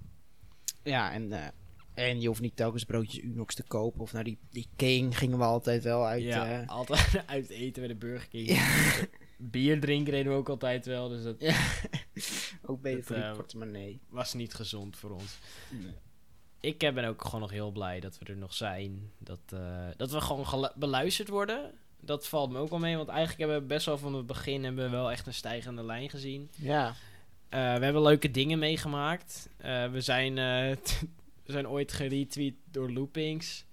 S2: Ja, en, eh, en je hoeft niet telkens broodjes Unox te kopen. Of naar die, die King gingen we altijd wel uit.
S1: ja,
S2: eh,
S1: altijd uit eten bij de Burger King. Bier drinken deden we ook altijd wel, dus dat
S2: ook beter
S1: dat,
S2: voor die
S1: eh,
S2: portemonnee.
S1: was niet gezond voor ons. Ik eh, ben ook gewoon nog heel blij dat we er nog zijn. Dat, eh, dat we gewoon gelu- beluisterd worden. Dat valt me ook wel mee, want eigenlijk hebben we best wel van het begin hebben we wel echt een stijgende lijn gezien.
S2: Ja.
S1: Eh, we hebben leuke dingen meegemaakt. Eh, we, zijn, eh, we zijn ooit geretweet door Loopings.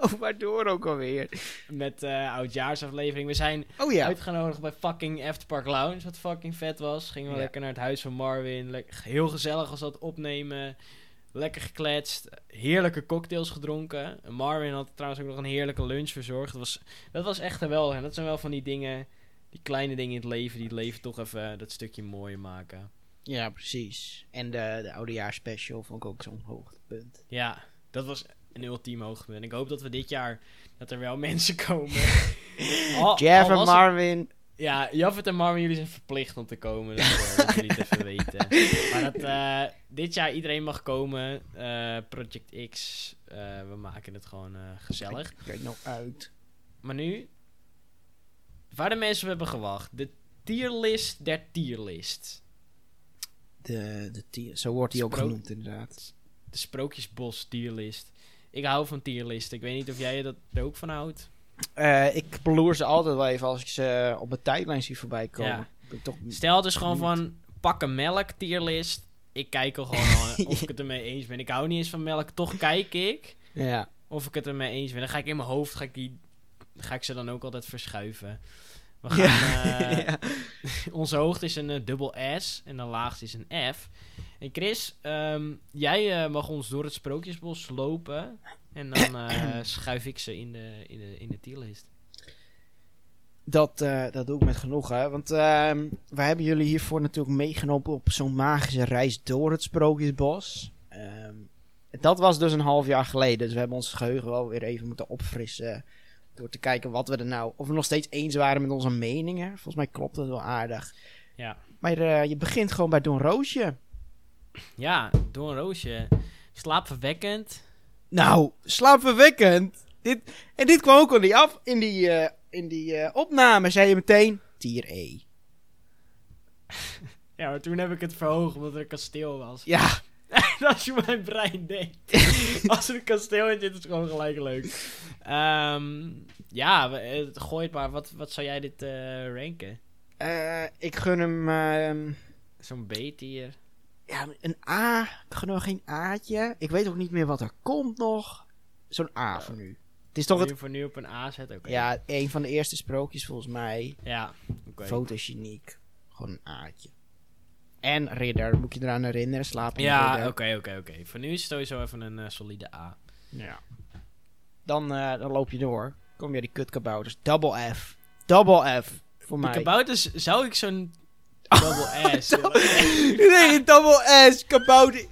S2: Oh, waardoor ook alweer.
S1: Met eh oudjaarsaflevering. We zijn
S2: Oh ja.
S1: Uitgenodigd bij fucking Afterpark Lounge, wat fucking vet was. Gingen we
S2: Ja.
S1: lekker naar het huis van Marvin. lek- heel gezellig was dat opnemen. Lekker gekletst. Heerlijke cocktails gedronken. En Marvin had trouwens ook nog een heerlijke lunch verzorgd. Dat was, dat was echt geweldig. En dat zijn wel van die dingen, die kleine dingen in het leven, die het leven toch even eh, dat stukje mooier maken.
S2: Ja, precies. En de, de oudejaarspecial vond ik ook zo'n hoogtepunt.
S1: Ja, dat was een ultiem hoogtepunt. Ik hoop dat we dit jaar, dat er wel mensen komen. Al-
S2: Jeff
S1: al
S2: en
S1: was het-
S2: Marvin.
S1: Ja, Jaffet en Marvin, jullie zijn verplicht om te komen. Dat eh, moeten jullie het even weten. Maar dat eh, dit jaar iedereen mag komen. eh, Project X. eh, we maken het gewoon eh, gezellig.
S2: Kijk- Kijk nou uit.
S1: Maar nu, waar de mensen op hebben gewacht. De tierlist der tierlist.
S2: De, de tier, zo wordt hij ook
S1: Sprook-
S2: genoemd inderdaad.
S1: De Sprookjesbos tierlist. Ik hou van tierlisten. Ik weet niet of jij dat er ook van houdt.
S2: Eh, ik beloer ze altijd wel even als ik ze op mijn tijdlijn zie voorbij komen.
S1: Ja.
S2: Ik ben toch...
S1: Stel dus gewoon van, pak een melk tierlist. Ik kijk er gewoon aan of ik het ermee eens ben. Ik hou niet eens van melk, toch kijk ik.
S2: Ja.
S1: of ik het ermee eens ben. Dan ga ik in mijn hoofd, ga ik, die, ga ik ze dan ook altijd verschuiven. We gaan,
S2: Ja.
S1: eh,
S2: Ja.
S1: Onze hoogte is een eh, dubbel S en de laagste is een F. En Chris, ehm, jij eh, mag ons door het Sprookjesbos lopen. En dan eh, schuif ik ze in de, in de, in de tierlist.
S2: Dat, eh, dat doe ik met genoegen. Want ehm we hebben jullie hiervoor natuurlijk meegenomen op zo'n magische reis door het Sprookjesbos. Ehm, dat was dus een half jaar geleden. Dus we hebben ons geheugen wel weer even moeten opfrissen. Door te kijken wat we er nou. Of we nog steeds eens waren met onze meningen. Volgens mij klopt dat wel aardig.
S1: Ja.
S2: Maar eh, je begint gewoon bij Don Roosje.
S1: Ja, Don Roosje. Slaapverwekkend.
S2: Nou, slaapverwekkend. Dit, en dit kwam ook al niet af in die, eh, in die eh, opname. Zei je meteen: Tier E.
S1: Ja, maar toen heb ik het verhoogd omdat er een kasteel was.
S2: Ja,
S1: En als je mijn brein deed. als er een kasteel in zit, is het gewoon gelijk leuk. Ehm, ja, we- eh, gooi het maar. Wat, wat zou jij dit eh, ranken?
S2: eh, ik gun hem ehm,
S1: Zo'n B-tier.
S2: ja, een A. Ik gun hem geen A'tje. Ik weet ook niet meer wat er komt nog. Zo'n A voor nu. Het is toch
S1: Wil
S2: het
S1: je voor nu op een A zetten? Oké.
S2: Ja, een van de eerste sprookjes volgens mij.
S1: Ja, oké.
S2: Fotogeniek. Gewoon een aardje. En ridder, moet je eraan herinneren. Slaap
S1: Ja,
S2: ridder.
S1: oké, oké, oké. Voor nu is het sowieso even een eh, solide A.
S2: Ja. Dan, eh, dan loop je door. Kom je die kutkabouters. Double F. Double F. Voor
S1: De
S2: mij.
S1: kabouters zou ik zo'n
S2: Oh,
S1: double S willen.
S2: nee, double S. Kabouter.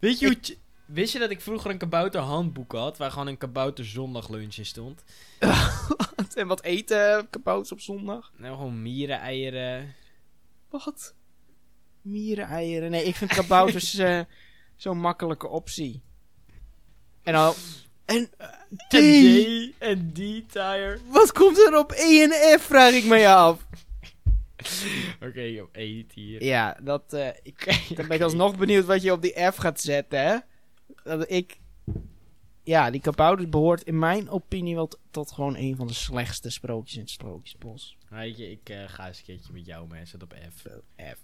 S1: Weet je, hoe ch- wist je dat ik vroeger een kabouter handboek had, waar gewoon een kabouter zondaglunch in stond?
S2: En wat eten kabouters op zondag?
S1: Nou, gewoon mieren, eieren.
S2: Wat? Miereneieren. Nee, ik vind kabouters eh, zo'n makkelijke optie. En dan... En... Tee.
S1: En D, en D tire.
S2: Wat komt er op E en F, vraag ik mij af.
S1: Oké, op E tier.
S2: Ja, dat, eh, ik,
S1: Oké,
S2: dan ben
S1: oké.
S2: ik alsnog benieuwd wat je op die F gaat zetten, hè. Dat ik... Ja, die kabouters behoort in mijn opinie wel t- tot gewoon een van de slechtste sprookjes in het Sprookjesbos.
S1: Weet je, ik eh, ga eens een keertje met jou mee, zet op F.
S2: F.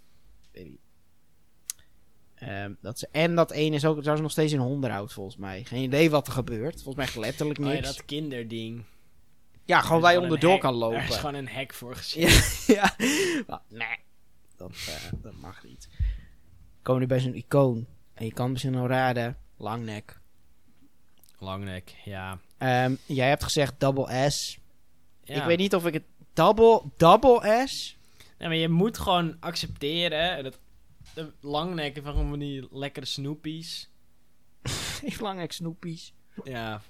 S2: baby. Ehm, dat ze, en dat één is ook trouwens nog steeds in hondenhout, volgens mij. Geen idee wat er gebeurt. Volgens mij echt letterlijk
S1: Oh
S2: niks.
S1: ja,
S2: ja,
S1: dat kinderding.
S2: gewoon
S1: Er is
S2: waar je
S1: een
S2: onderdoor
S1: hek-
S2: kan lopen.
S1: Er is gewoon een hek voor gezien.
S2: Ja, ja. Maar nee, dat, eh, dat mag niet. Komen nu bij zo'n icoon. En je kan dus misschien al raden, langnek.
S1: Langnek, ja.
S2: Ehm, jij hebt gezegd double S.
S1: ja.
S2: Ik weet niet of ik het double, double S...
S1: Nee, maar je moet gewoon accepteren dat de langnekken van gewoon van die lekkere snoepies.
S2: Heeft langnek snoepies.
S1: Ja,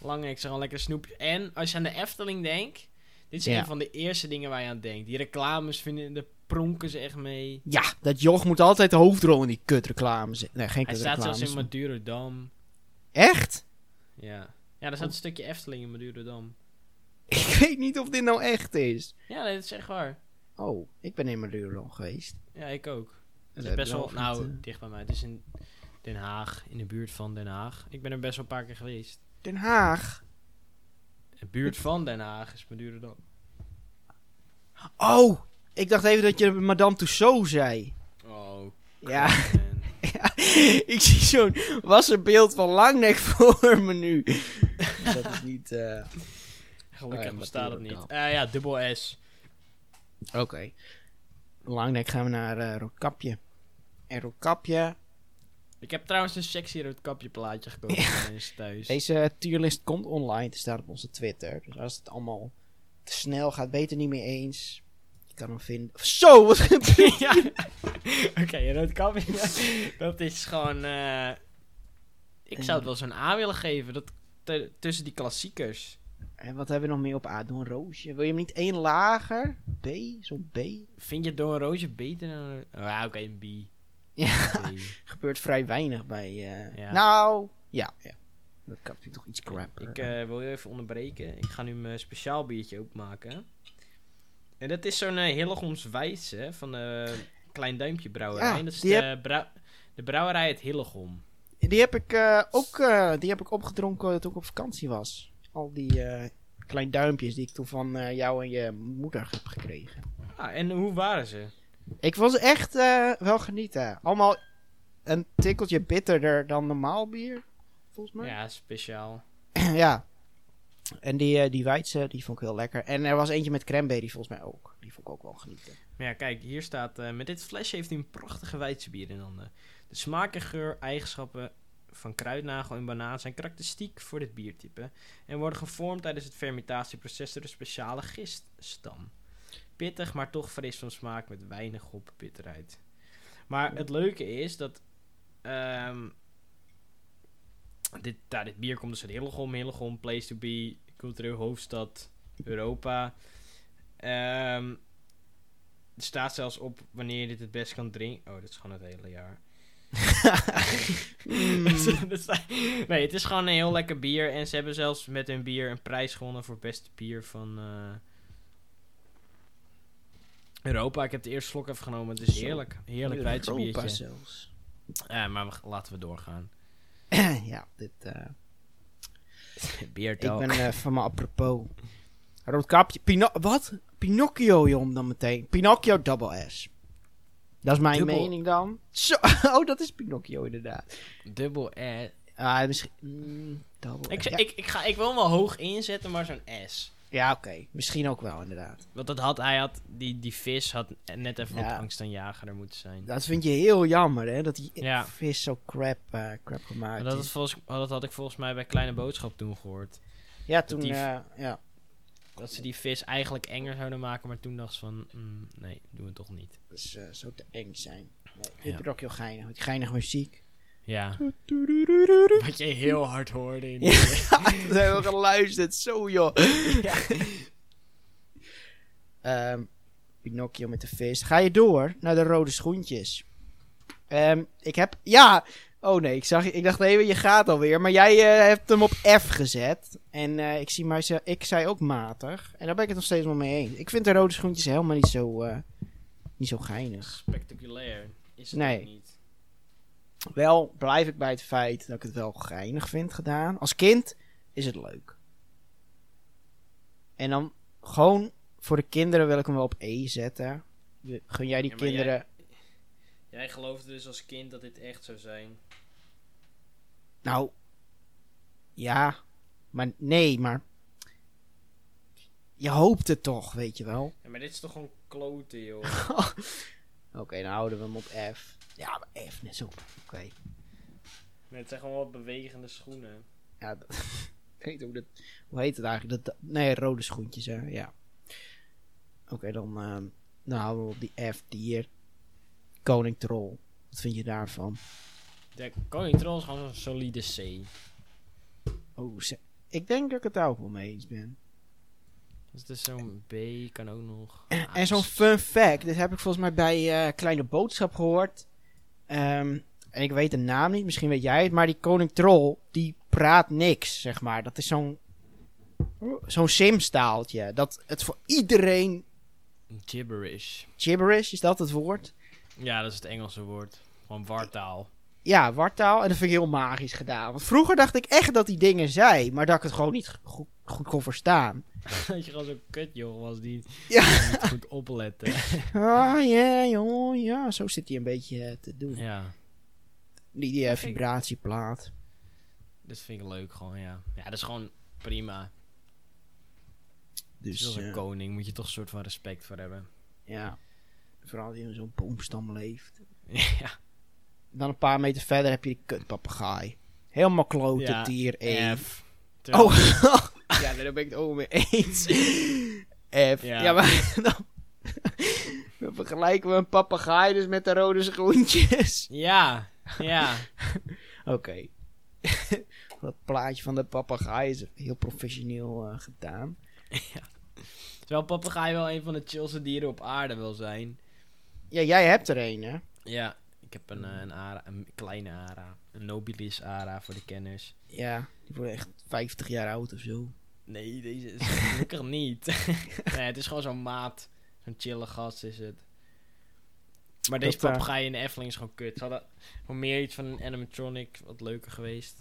S1: langnekken zijn gewoon lekkere snoepjes. En als je aan de Efteling denkt, dit is
S2: Ja.
S1: een van de eerste dingen waar je aan denkt. Die reclames vinden, daar pronken ze echt mee.
S2: Ja, dat joch moet altijd de hoofdrol in die kutreclames. Nee, geen
S1: Hij staat
S2: kutreclames.
S1: zelfs in Madurodam.
S2: Echt?
S1: Ja. ja, daar staat
S2: Oh.
S1: een stukje Efteling in Madurodam.
S2: Ik weet niet of dit nou echt is.
S1: Ja, nee, dat is echt waar.
S2: Oh, ik ben in Madurodam geweest.
S1: Ja, ik ook. Het is
S2: Dat
S1: best
S2: heb
S1: wel,
S2: ik nog
S1: nou,
S2: niet, eh,
S1: dicht bij mij. Het is in Den Haag, in de buurt van Den Haag. Ik ben er best wel een paar keer geweest.
S2: Den Haag.
S1: De buurt van Den Haag is Madurodam.
S2: Oh, ik dacht even dat je Madame Tussauds zei.
S1: Oh,
S2: Ja.
S1: man.
S2: ik zie zo'n wassenbeeld van Langnek voor me nu. dat is niet... eh,
S1: Gelukkig
S2: Oh ja,
S1: bestaat het niet.
S2: natuurlijk
S1: Eh, ja, dubbel S.
S2: Oké. Langnek gaan we naar eh Roodkapje. En Roodkapje...
S1: Ik heb trouwens een sexy rood kapje plaatje gekocht voor mensen thuis.
S2: Deze tierlist komt online te staan op onze Twitter. Dus als het allemaal te snel gaat, beter niet meer eens. Je kan hem vinden... Zo, wat gebeurt
S1: Ja. Oké, een rood kapje. dat is gewoon. eh, ik zou het wel zo'n A willen geven. Dat t- tussen die klassiekers.
S2: En wat hebben we nog meer op A? Doe een roosje. Wil je hem niet één lager? B? Zo'n B?
S1: Vind je Don Roosje beter dan. Ah, oké, een B.
S2: Ja.
S1: B.
S2: Gebeurt vrij weinig bij... eh,
S1: Ja.
S2: Nou, ja. ja. Dat kan natuurlijk toch iets crap.
S1: Ik eh, wil je even onderbreken. Ik ga nu mijn speciaal biertje openmaken. En dat is zo'n uh, Hillegons Wijze van de Klein Duimpje Brouwerij.
S2: Ja,
S1: dat is
S2: die
S1: de, brou- de brouwerij het Hillegom.
S2: Die heb ik eh, ook eh, die heb ik opgedronken toen ik op vakantie was. Al die eh, klein duimpjes die ik toen van eh, jou en je moeder heb gekregen.
S1: Ah, en hoe waren ze?
S2: Ik was echt eh, wel genieten. Allemaal een tikkeltje bitterder dan normaal bier, volgens mij.
S1: Ja, speciaal.
S2: Ja. En die, eh, die Weidse, die vond ik heel lekker. En er was eentje met cranberry volgens mij ook. Die vond ik ook wel genieten.
S1: Maar ja, kijk, hier staat... eh, met dit flesje heeft u een prachtige Weidse bier in handen. De smaak en geur, eigenschappen van kruidnagel en banaan... zijn karakteristiek voor dit biertype... en worden gevormd tijdens het fermentatieproces... door een speciale giststam. Pittig, maar toch fris van smaak... met weinig hopbitterheid. Maar het leuke is dat... ehm, Dit, nou, dit bier komt dus uit Hillegom. Hillegom, place to be, cultureel hoofdstad Europa. Ehm, er staat zelfs op wanneer je dit het best kan drinken. Oh, dat is gewoon het hele jaar. Er staat- nee, het is gewoon een heel lekker bier. En ze hebben zelfs met hun bier een prijs gewonnen voor het beste bier van eh, Europa. Ik heb de eerste slok even genomen. Het is
S2: Zo.
S1: heerlijk. Heerlijk Leidse
S2: Europa
S1: biertje.
S2: zelfs.
S1: Ja, maar we- laten we doorgaan.
S2: ja, dit, eh, ik
S1: Beertelk.
S2: ben eh, van me apropos. Roodkapje. Pino wat? Pinocchio, jong, dan meteen. Pinocchio double S. Dat is mijn
S1: Dubbel.
S2: mening dan. Zo, oh, dat is Pinocchio inderdaad.
S1: Dubbel S.
S2: Ah, misschien... mm, double
S1: Ik,
S2: S. Ja,
S1: ik, ik, ga, ik wil hem wel hoog inzetten, maar zo'n S.
S2: ja, oké. Misschien ook wel, inderdaad.
S1: Want dat had, hij had, die, die vis had net even
S2: Ja.
S1: op angst aan jager er moeten zijn.
S2: Dat vind je heel jammer, hè? Dat die
S1: Ja.
S2: vis zo crap, eh,
S1: Maar
S2: crap gemaakt
S1: dat,
S2: is.
S1: was volgens, dat had ik volgens mij bij Kleine Boodschap toen gehoord.
S2: Ja, toen...
S1: die-
S2: eh, ja.
S1: Dat ze die vis eigenlijk enger zouden maken, maar toen dacht ze van, mm, nee, doen we toch niet.
S2: Dus eh, zou te eng zijn. Nee, ik
S1: Ja.
S2: vind het ook heel geinig. want Geinige muziek.
S1: Ja. Wat je heel hard hoorde. In
S2: Ja, dat hebben we geluisterd. Zo joh. Ehm, Pinocchio met de vis. Ga je door naar de rode schoentjes. Ehm, ik heb... Ja! Oh nee, ik, zag, ik dacht even, je gaat alweer. Maar jij eh, hebt hem op F gezet. En eh, ik zie mij... ze- Ik zei ook matig. En daar ben ik het nog steeds wel mee eens. Ik vind de rode schoentjes helemaal niet zo... eh, niet zo geinig.
S1: Spectaculair is het
S2: Nee.
S1: ook niet.
S2: Wel blijf ik bij het feit dat ik het wel geinig vind gedaan. Als kind is het leuk. En dan gewoon voor de kinderen wil ik hem wel op E zetten. We- Gun jij die
S1: Ja, maar jij-
S2: kinderen.
S1: Jij geloofde dus als kind dat dit echt zou zijn.
S2: Nou. Ja. Maar nee, maar. Je hoopt het toch, weet je wel.
S1: Ja, maar dit is toch gewoon kloten, joh.
S2: Oké, dan houden we hem op F. Ja, maar F net zo. Oké.
S1: Nee, het zijn gewoon wat bewegende schoenen.
S2: Ja, dat, ik weet hoe, dat, hoe heet het eigenlijk? Dat, nee, rode schoentjes, hè? Ja. Oké, dan, ehm dan houden we op die F hier. Koning Troll. Wat vind je daarvan?
S1: De koning troll is gewoon een solide C.
S2: Oh, ze- ik denk dat ik het daar ook wel mee eens ben.
S1: Dus het is zo'n B, kan ook nog. Ah,
S2: En zo'n fun fact, dit heb ik volgens mij bij eh, Kleine Boodschap gehoord. Ehm, en ik weet de naam niet, misschien weet jij het, maar die koning troll, die praat niks, zeg maar. Dat is zo'n zo'n simstaaltje. Dat het voor iedereen
S1: Gibberish.
S2: gibberish, is dat het woord?
S1: Ja, dat is het Engelse woord. Gewoon wartaal.
S2: Ja, wartaal. En dat vind ik heel magisch gedaan. Want vroeger dacht ik echt dat die dingen zei, maar dat ik het gewoon niet goed, goed kon verstaan.
S1: dat je gewoon zo'n kut, joh, was die
S2: Ja.
S1: niet goed opletten.
S2: Ah, ja, joh, ja. Zo zit hij een beetje eh, te doen.
S1: ja.
S2: Die, die eh, vibratieplaat.
S1: Dat vind ik leuk gewoon, ja. Ja, dat is gewoon prima. Dus
S2: Dus,
S1: als een
S2: eh,
S1: koning moet je toch een soort van respect voor hebben.
S2: ja. Vooral die in zo'n boomstam leeft.
S1: ja.
S2: Dan een paar meter verder heb je die kutpapegaai. Helemaal klote
S1: Ja,
S2: tier 1.
S1: F. Terwijl-
S2: Oh, ja, daar ben ik het ook mee eens. F. Ja,
S1: Ja.
S2: maar dan, dan vergelijken we een papegaai dus met de rode schoentjes.
S1: Ja, ja.
S2: Oké. Dat plaatje van de papegaai is heel professioneel eh, gedaan.
S1: Terwijl papegaai wel een van de chillste dieren op aarde wil zijn.
S2: Ja, jij hebt er een, hè?
S1: Ja, ik heb een, eh, een, ara, een kleine ara. Een nobilis ara voor de kenners.
S2: Ja, die worden echt 50 jaar oud of zo.
S1: Nee, deze is gelukkig niet. nee, het is gewoon zo'n maat. Zo'n chille gast is het. Maar deze
S2: Dat, eh,
S1: papegaai in de Efteling is gewoon kut. Ze hadden gewoon meer iets van een animatronic wat leuker geweest.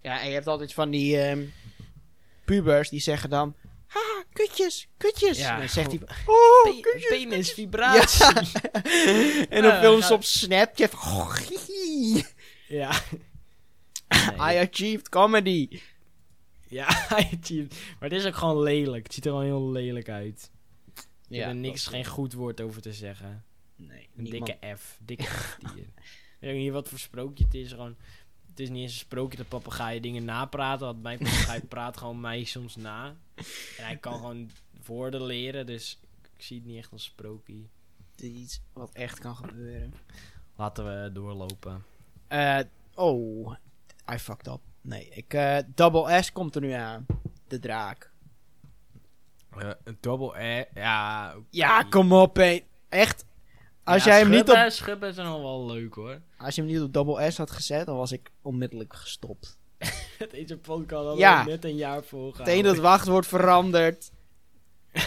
S2: Ja, en je hebt altijd van die ehm, pubers die zeggen dan... Haha, kutjes, kutjes.
S1: Ja,
S2: en dan zegt hij...
S1: goed.
S2: Oh,
S1: Pe-
S2: kutjes.
S1: penis, vibratie.
S2: en dan
S1: Ah, Ja,
S2: filmen
S1: ga-
S2: ze op Snapchat. Oh, hihi,
S1: Ja.
S2: I achieved comedy.
S1: Ja, achieved. Maar het is ook gewoon lelijk. Het ziet er gewoon heel lelijk uit. Ik heb er niks, geen goed woord over te zeggen.
S2: Nee,
S1: Een
S2: niemand-
S1: dikke F. Dikke F dier. Ik weet ook niet wat voor sprookje het is. Gewoon, het is niet eens een sprookje dat papegaaien dingen napraten. Want mijn papegaai praat gewoon mij soms na. En hij kan gewoon woorden leren. Dus ik zie het niet echt als een sprookje.
S2: Het is iets wat echt kan gebeuren.
S1: Laten we doorlopen.
S2: Eh, oh, I fucked up. Nee, ik, eh, Double S komt er nu aan. De draak.
S5: Eh, een double E. Ja, oké.
S2: Ja, kom op, hé. Echt. Als, jij hem niet op,
S1: Schubben is nog wel leuk hoor.
S2: als je hem niet op Double S had gezet, dan was ik onmiddellijk gestopt.
S1: Het is een podcast al
S2: Ja.
S1: net een jaar voor.
S2: Meteen dat wachtwoord veranderd. Die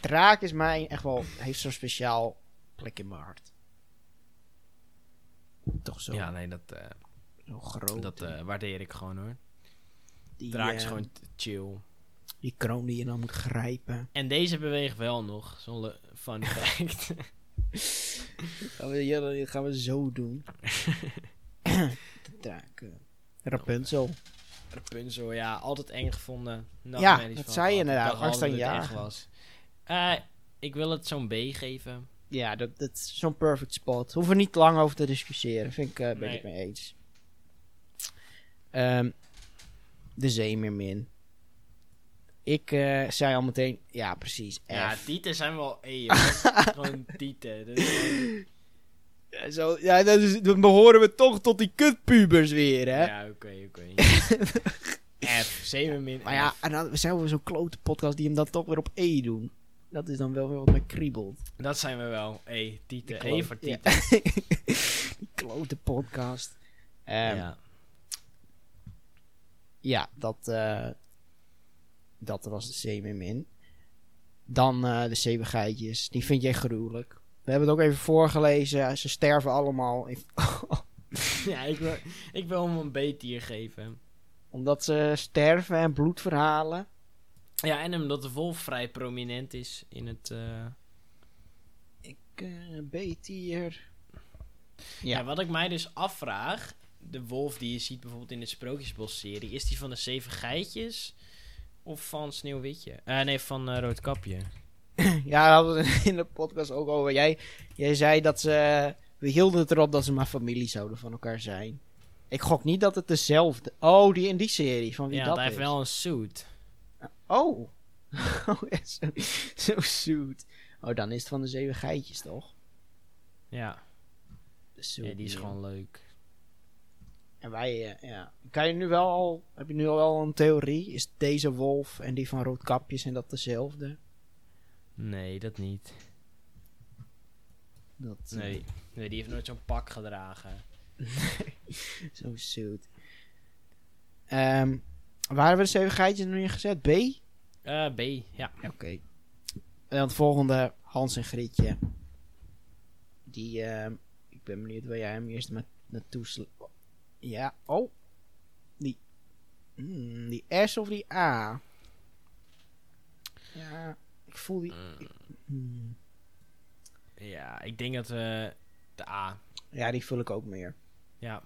S2: draak is mij echt wel... Heeft zo'n speciaal plek in mijn hart. Toch zo,
S5: Ja, nee, dat, eh,
S2: zo groot.
S5: dat eh, waardeer ik gewoon hoor.
S2: die,
S1: draak is
S2: eh,
S1: gewoon t- chill.
S2: Die kroon die je dan moet grijpen.
S1: En deze beweegt wel nog, zonder fun fact.
S2: Gaan we, ja, dat gaan we zo doen. de draak. eh, Rapunzel.
S1: Rapunzel, ja, altijd eng gevonden.
S2: Ja,
S1: Nachtmerries
S2: dat
S1: van
S2: zei je
S1: gehad. Ik
S2: inderdaad,
S1: dacht altijd
S2: angst aan
S1: dat het
S2: jagen.
S1: eng was. Eh, ik wil het zo'n B geven.
S2: Ja, dat, dat is zo'n perfect spot. Hoeven we niet lang over te discussiëren. Vind ik, eh, ben
S1: Nee.
S2: ik het mee eens. Ehm, de Zeemermin. Ik eh, zei al meteen, ja precies, F.
S1: Ja, tieten zijn wel E. hoor. Gewoon tieten. Dat is gewoon-
S2: Ja, zo, ja dat is, dan behoren we toch tot die kutpubers weer, hè.
S1: Ja, oké, oké. F, zeemermin.
S2: Maar ja,
S1: F.
S2: en dan zijn we zo'n klote podcast die hem dan toch weer op E doen. Dat is dan wel weer wat me kriebelt.
S1: dat zijn we wel. E, tieten.
S2: klote-
S1: E voor
S2: ja.
S1: tieten.
S2: Die klote podcast. Ehm, ja.
S1: Ja.
S2: dat, eh, dat was de zeemermin. Dan eh, de zeebegeitjes. Die vind jij gruwelijk. We hebben het ook even voorgelezen. Ze sterven allemaal. in-
S1: Ja, ik wil, ik wil hem een B-tier geven.
S2: omdat ze sterven en bloed verhalen.
S1: Ja, en omdat de wolf vrij prominent is in het... eh,
S2: Ik, eh B-tier. Ja.
S1: Ja. wat ik mij dus afvraag, de wolf die je ziet bijvoorbeeld in de Sprookjesbos-serie, is die van de Zeven Geitjes of van Sneeuwwitje? Eh, nee, van eh, Roodkapje.
S2: Ja, daar hadden we het in de podcast ook over. Jij, jij zei dat ze... We hielden het erop dat ze maar familie zouden van elkaar zijn. Ik gok niet dat het dezelfde... Oh, die in die serie. Van wie
S1: ja,
S2: dat
S1: want hij heeft
S2: is.
S1: wel een suit.
S2: Oh. Oh, ja, zo, zo zoet. Oh, dan is het van de zeven geitjes, toch?
S1: Ja,
S2: De zoet
S1: ja die is
S2: meal.
S1: gewoon leuk.
S2: En wij, eh, ja. Kan je nu wel al... Heb je nu al wel een theorie? Is deze wolf en die van Roodkapjes en dat dezelfde?
S1: Nee, dat niet.
S2: Dat, eh,
S1: Nee, nee die heeft nooit zo'n pak gedragen.
S2: Zo zoet. Ehm, waar hebben we de zeven geitjes nu in gezet? B? Ja,
S1: Eh, B, ja.
S2: Oké. En dan het volgende, Hans en Grietje. Die, ehm, ik ben benieuwd waar jij hem eerst met, naartoe sla- Ja, oh. Die, Hmm, die S of die A? Ja, ik voel die...
S1: Mm.
S2: ik- hmm.
S1: Ja, ik denk dat we de A.
S2: Ja, die vul ik ook meer.
S1: Ja.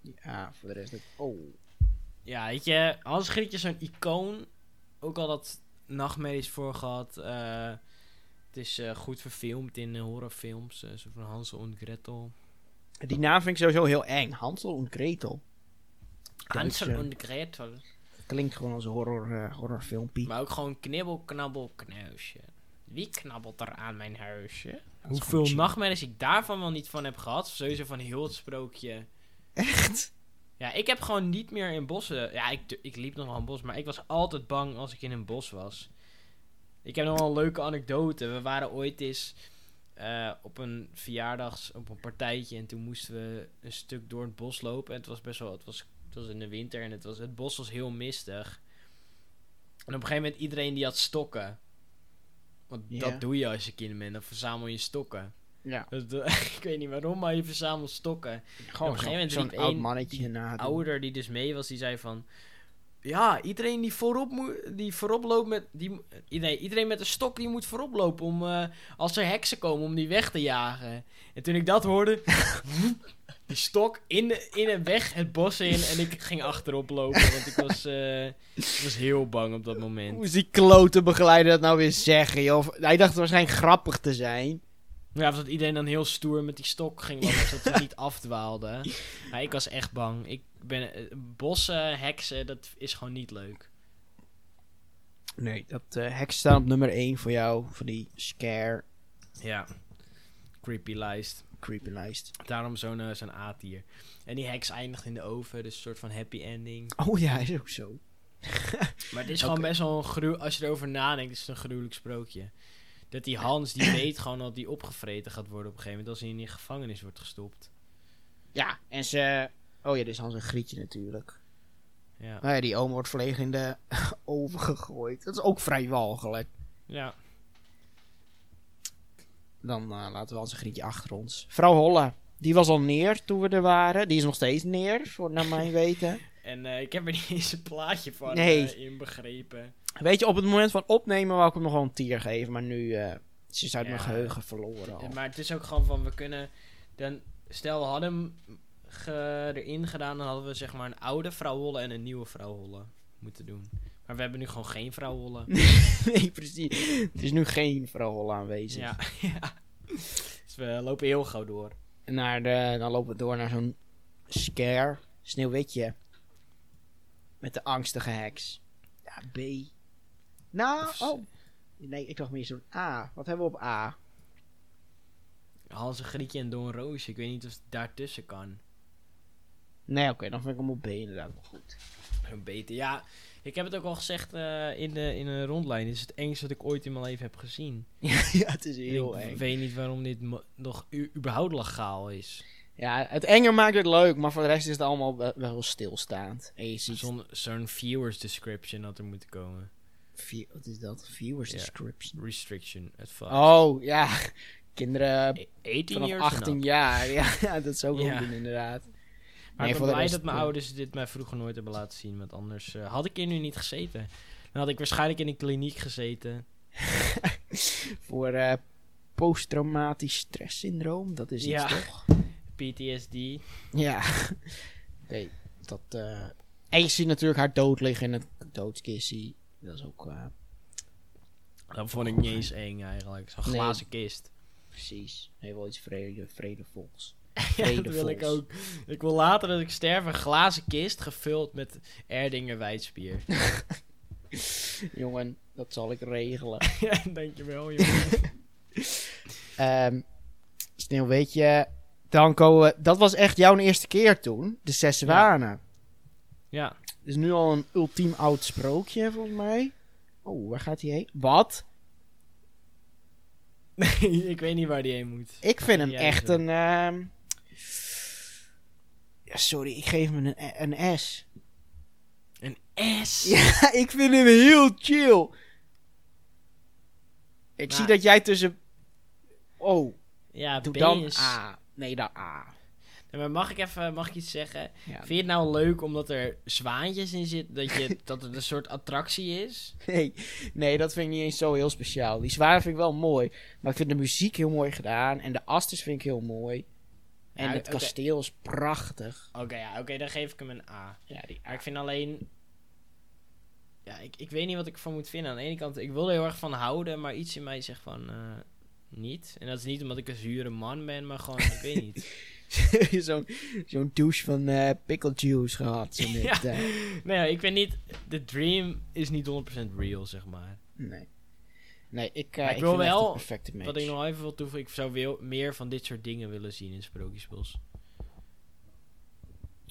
S2: Die A, voor de rest... heb ik- Oh.
S1: Ja, weet je, Hans Grietje is zo'n icoon. Ook al dat nachtmerries voor gehad. eh, het is eh, goed verfilmd in eh, horrorfilms. eh, zo van Hansel en Gretel.
S2: Die naam vind ik sowieso heel eng. Hansel en Gretel.
S1: Hansel
S2: eh,
S1: en Gretel.
S2: Klinkt gewoon als een horror, eh, horrorfilmpie.
S1: Maar ook gewoon knibbel, knabbel, kneusje. Wie knabbelt er aan mijn huisje?
S2: is
S1: Hoeveel
S2: goed.
S1: nachtmerries ik daarvan wel niet van heb gehad. Sowieso van heel het sprookje.
S2: Echt?
S1: Ja, ik heb gewoon niet meer in bossen. Ja, ik, du- ik liep nog wel in bos, maar ik was altijd bang als ik in een bos was. Ik heb nog wel een leuke anekdote. We waren ooit eens eh, op een verjaardags, op een partijtje en toen moesten we een stuk door het bos lopen. En het was best wel, het was, het was in de winter en het, was, het bos was heel mistig. En op een gegeven moment iedereen die had stokken. Want
S2: Ja.
S1: dat doe je als je kind bent, dan verzamel je stokken.
S2: Ja.
S1: Dus dat- ik weet niet waarom, maar je verzamelt stokken
S2: Gewoon
S1: Op een gegeven moment
S2: zo'n
S1: riep
S2: oud
S1: één
S2: mannetje
S1: die
S2: na.
S1: ouder die dus mee was, die zei van... Ja, iedereen die voorop, moet, die voorop loopt met... Die, mo- nee, iedereen met een stok die moet voorop lopen om... eh, als er heksen komen, om die weg te jagen. En toen ik dat hoorde... die stok in, de, in en weg het bos in. En ik ging achterop lopen, want ik was, eh, ik was heel bang op dat moment.
S2: Hoe is die klote begeleider dat nou weer zeggen, joh? Hij dacht waarschijnlijk grappig te zijn.
S1: Ja, of dat iedereen dan heel stoer met die stok ging lopen, zodat ze niet afdwaalden. Maar ik was echt bang. Ik ben, eh, bossen, heksen, dat is gewoon niet leuk.
S2: Nee, dat eh heks staan op nummer 1 voor jou. Voor die scare
S1: Ja. Creepy lijst.
S2: creepy lijst.
S1: Daarom zo'n eh, zo'n A-tier. En die heks eindigt in de oven, dus een soort van happy ending.
S2: Oh ja, is ook zo.
S1: Maar het is gewoon
S2: Oké.
S1: best wel een gruw... Als je erover nadenkt, is het een gruwelijk sprookje. Dat die Hans, die weet gewoon dat die opgevreten gaat worden op een gegeven moment... als hij in die gevangenis wordt gestopt.
S2: Ja, en ze... Oh ja, dit is Hans een Grietje natuurlijk.
S1: Ja.
S2: Nou ja, die oom wordt volledig in de oven gegooid. Dat is ook vrij walgelijk.
S1: Ja.
S2: Dan eh, laten we Hans een Grietje achter ons. Vrouw Holle, die was al neer toen we er waren. Die is nog steeds neer, voor, naar mijn weten.
S1: En eh, ik heb er niet eens een plaatje van
S2: Nee.
S1: eh, in begrepen.
S2: Weet je, op het moment van opnemen wou ik hem nog wel een tier geven. Maar nu, eh, ze is uit
S1: Ja.
S2: mijn geheugen verloren al.
S1: Maar het is ook gewoon van, we kunnen... Dan, stel, we hadden hem ge- erin gedaan... dan hadden we zeg maar een oude vrouwholle en een nieuwe vrouwholle moeten doen. Maar we hebben nu gewoon geen vrouwholle.
S2: nee, precies. Er is nu geen vrouw Holle aanwezig.
S1: Ja, ja. Dus we lopen heel gauw door.
S2: Naar de, dan lopen we door naar zo'n scare. Sneeuwwitje. Met de angstige heks. Ja, B. Nou,
S1: Of C.
S2: oh. Nee, ik dacht meer zo'n A. Wat hebben we op A?
S1: Hans en Grietje en Don Roosje. Ik weet niet of het daartussen kan.
S2: Nee, oké, dan vind ik hem op B inderdaad nog goed.
S1: Een beter. Ja, ik heb het ook al gezegd eh, in, de, in een rondlijn. Dit is het engste wat ik ooit in mijn leven heb gezien.
S2: ja, het is
S1: ik
S2: heel eng.
S1: weet niet waarom dit mo- nog u- überhaupt legaal is.
S2: Ja, het enger maakt het leuk, maar voor de rest is het allemaal wel, wel stilstaand. En je ziet
S1: Zo'n zo'n viewers description had er moeten komen.
S2: vi- wat is dat? Viewers
S1: Ja.
S2: description.
S1: Restriction. Het fuck.
S2: Oh, ja. Kinderen
S1: E- 18
S2: vanaf
S1: years
S2: 18 jaar. Ja, ja, dat zou ik ook
S1: Ja.
S2: doen inderdaad.
S1: Maar ik
S2: voor
S1: ben
S2: de
S1: blij
S2: rest-
S1: dat mijn
S2: ja.
S1: ouders dit mij vroeger nooit hebben laten zien. Want anders eh, had ik hier nu niet gezeten. Dan had ik waarschijnlijk in een kliniek gezeten.
S2: Voor eh, posttraumatisch stresssyndroom, dat is iets
S1: Ja.
S2: toch?
S1: PTSD.
S2: Ja. Oké, dat... eh, En je ziet natuurlijk haar dood liggen in het doodskissie. Dat is ook... eh,
S1: Dat vond ik niet eens eng eigenlijk. Zo'n
S2: Nee.
S1: glazen kist.
S2: precies. Heel wel iets vrede, vredevols.
S1: Ja, dat wil ik
S2: Vredevols.
S1: ook. Ik wil later dat ik sterf een glazen kist gevuld met Erdinger wijdspier.
S2: Jongen, dat zal ik regelen.
S1: ja, dankjewel, jongen.
S2: Ehm Sneeuw, weet je, Danko, eh, dat was echt jouw eerste keer toen, de Zes Zwanen.
S1: ja,
S2: Dus nu al een ultiem oud sprookje, volgens mij. Oh, waar gaat hij heen? Wat?
S1: nee, ik weet niet waar die heen moet.
S2: Ik vind hem
S1: Ja,
S2: echt
S1: zo.
S2: een... ehm, Ja, sorry, ik geef hem een, een S.
S1: Een S!
S2: Ja, ik vind hem heel chill. Ik
S1: Maar-
S2: zie dat jij tussen... Oh,
S1: Ja,
S2: doe
S1: B
S2: dan
S1: is...
S2: A. Nee, dan A.
S1: Nee, maar mag ik even mag ik iets zeggen?
S2: Ja.
S1: Vind je het nou leuk omdat er zwaantjes in zitten? Dat, je, dat het een soort attractie is?
S2: Nee, nee, dat vind ik niet eens zo heel speciaal. Die zwaar vind ik wel mooi. Maar ik vind de muziek heel mooi gedaan. En de asters vind ik heel mooi. En
S1: Ja,
S2: het
S1: oké.
S2: kasteel is prachtig.
S1: Oké, ja, oké, dan geef ik hem een A.
S2: Ja, die
S1: Maar ik vind alleen... Ja, ik, ik weet niet wat ik ervan moet vinden. Aan de ene kant, ik wil er heel erg van houden, maar iets in mij zegt van... eh, niet. En dat is niet omdat ik een zure man ben, maar gewoon, ik weet niet.
S2: zo'n zo'n douche van eh, pickle juice gehad. Zo net,
S1: Ja.
S2: eh.
S1: Nee, ja, ik ben niet... De dream is niet 100% real, zeg maar.
S2: nee. Nee, ik, eh,
S1: Maar ik
S2: ik,
S1: wil
S2: vind echt
S1: wel
S2: de perfecte match.
S1: Wat ik nog even wil toevoegen, ik zou wel meer van dit soort dingen willen zien in Sprookjesbos.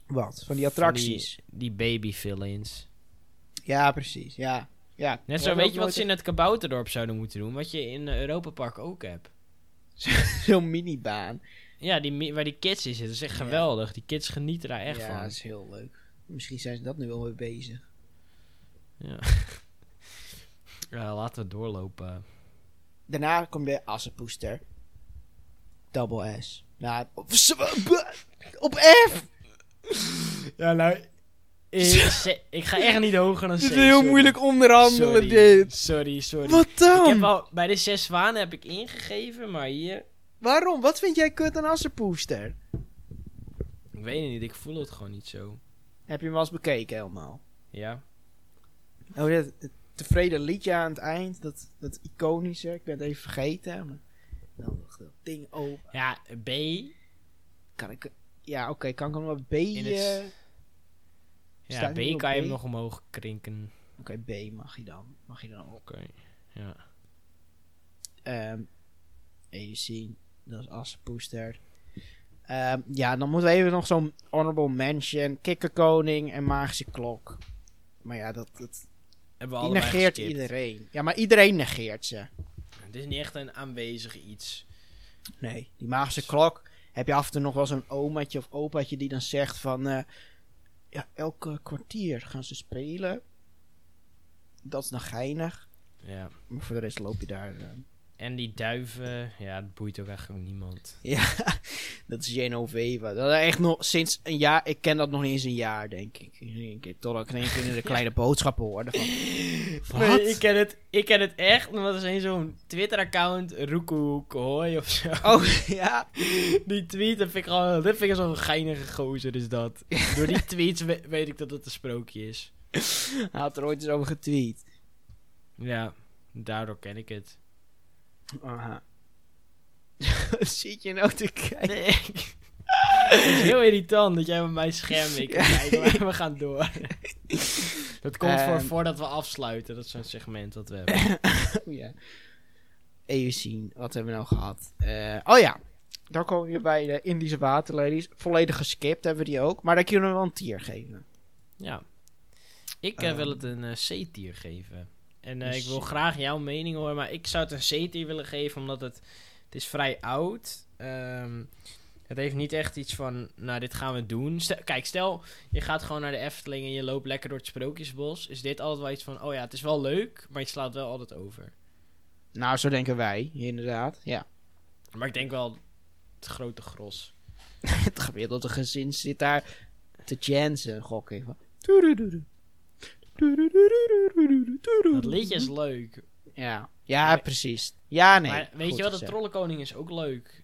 S2: Wat? Van die attracties.
S1: Van die, die baby fill-ins.
S2: Ja, precies. Ja. ja.
S1: Net
S2: We
S1: zo,
S2: hebben
S1: weet je
S2: ook
S1: wat ze in het kabouterdorp zouden moeten doen? Wat je in eh, Europa Park ook hebt.
S2: nooit- Zo'n minibaan.
S1: Ja, die, mi- waar die kids in zitten, dat is echt
S2: Ja.
S1: geweldig. Die kids genieten daar echt
S2: ja,
S1: van.
S2: dat is heel leuk. Misschien zijn ze dat nu wel mee bezig.
S1: Ja. Ja, laten we doorlopen.
S2: Daarna kom je Assenpoester. Double S. Nou, op, op F!
S1: Ja, nou. Ik, ga echt niet hoger dan 6.
S2: Dit is heel moeilijk onderhandelen,
S1: Sorry,
S2: dit.
S1: sorry. sorry.
S2: Wat
S1: Ik heb
S2: dan?
S1: al, bij de zes zwanen heb ik ingegeven, maar hier...
S2: Waarom? Wat vind jij kut aan Assenpoester?
S1: Ik weet het niet, ik voel het gewoon niet zo.
S2: Heb je hem wel eens bekeken helemaal?
S1: Ja.
S2: Oh, dat, het tevreden liedje aan het eind, dat, dat iconische, ik ben het even vergeten. Maar dan nog dat ding open.
S1: Ja, B.
S2: Kan ik, ja, oké, kan ik hem wel B?
S1: In
S2: eh,
S1: het-
S2: Oké,
S1: Ja,
S2: Staat
S1: B
S2: hij op
S1: kan je hem
S2: B?
S1: nog omhoog krinken.
S2: B mag je dan. Mag je dan ook.
S1: Oké. Ja.
S2: Ehm, even zien, dat is Assenpoester. Ehm, ja, dan moeten we even nog zo'n honorable mention. Kikkerkoning en Magische Klok. Maar ja, dat, dat,
S1: Hebben we
S2: die
S1: allemaal
S2: negeert
S1: geskipt.
S2: iedereen. Ja, maar iedereen negeert ze.
S1: Het is niet echt een aanwezig iets.
S2: Nee, die magische klok. Heb je af en toe nog wel zo'n omaatje of opaatje die dan zegt van... eh, ja, elke kwartier gaan ze spelen. Dat is dan geinig.
S1: Ja.
S2: Maar voor de rest loop je daar... eh,
S1: En die duiven, ja, dat boeit ook echt gewoon niemand.
S2: ja, dat is Genoveva. Dat is echt nog sinds een jaar... Ik ken dat nog niet eens een jaar, denk ik. In één keer, Totdat ik in één keer in de kleine boodschappen hoorde van... Wat?
S1: Nee, ik ken het, ik ken het echt, want dat is een zo'n Twitter-account, Roekoe Kooi of zo.
S2: Oh, ja.
S1: Die tweet, dat vind ik gewoon, dat vind ik zo'n geinige gozer is dat. Door die tweets we- weet ik dat het een sprookje is.
S2: Hij had er ooit eens over getweet.
S1: Ja, daardoor ken ik het.
S2: Aha. Zit je nou te kijken?
S1: Nee. Het is heel irritant dat jij op mijn scherm weer kan kijken, maar we gaan door. Dat komt voor
S2: Ehm.
S1: voordat we afsluiten. Dat is zo'n segment dat we hebben.
S2: Oh, Ja. Even zien, wat hebben we nou gehad? Eh, oh ja, dan komen we bij de Indische waterlelies. Volledig geskipt hebben we die ook, maar daar kunnen we wel een tier geven.
S1: Ja. Ik eh, wil
S2: Ehm.
S1: het een eh, C-tier geven. En eh,
S2: Een
S1: ik wil
S2: C.
S1: graag jouw mening horen, maar ik zou het een C-tier willen geven omdat het, het is vrij oud. Ehm het heeft niet echt iets van, nou dit gaan we doen. Stel- kijk, stel je gaat gewoon naar de Efteling en je loopt lekker door het Sprookjesbos. Is dit altijd wel iets van, oh ja, het is wel leuk, maar je slaat wel altijd over.
S2: Nou, zo denken wij, inderdaad. Ja.
S1: Maar ik denk wel het grote gros.
S2: Het gemiddelde gezin zit daar te jansen, gok ik. van. Toedoedoedoe. Toedoedoedoedoedoedoedoedoedoedoe.
S1: Dat liedje is leuk.
S2: Ja, ja
S1: Maar-
S2: precies. Ja, nee.
S1: maar weet je
S2: goed
S1: wel, de
S2: gezegd.
S1: Trollenkoning is ook leuk.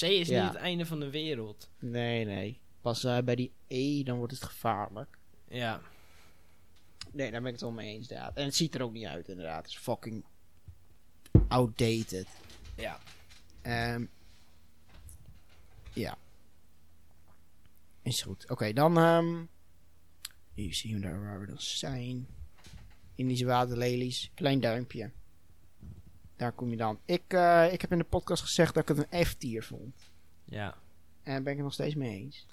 S1: C is
S2: Ja.
S1: niet het einde van de wereld.
S2: Nee, nee. Pas eh, bij die E, dan wordt het gevaarlijk.
S1: Ja.
S2: Nee, daar ben ik het wel mee eens, inderdaad. En het ziet er ook niet uit, inderdaad. Het is fucking outdated.
S1: Ja.
S2: Ehm ja. Is goed. Oké, dan. ehm hier zien we daar waar we dan zijn. Indische waterlelies. Klein duimpje. Daar kom je dan. Ik, eh, ik heb in de podcast gezegd dat ik het een F-tier vond.
S1: Ja.
S2: En daar ben ik het nog steeds mee eens.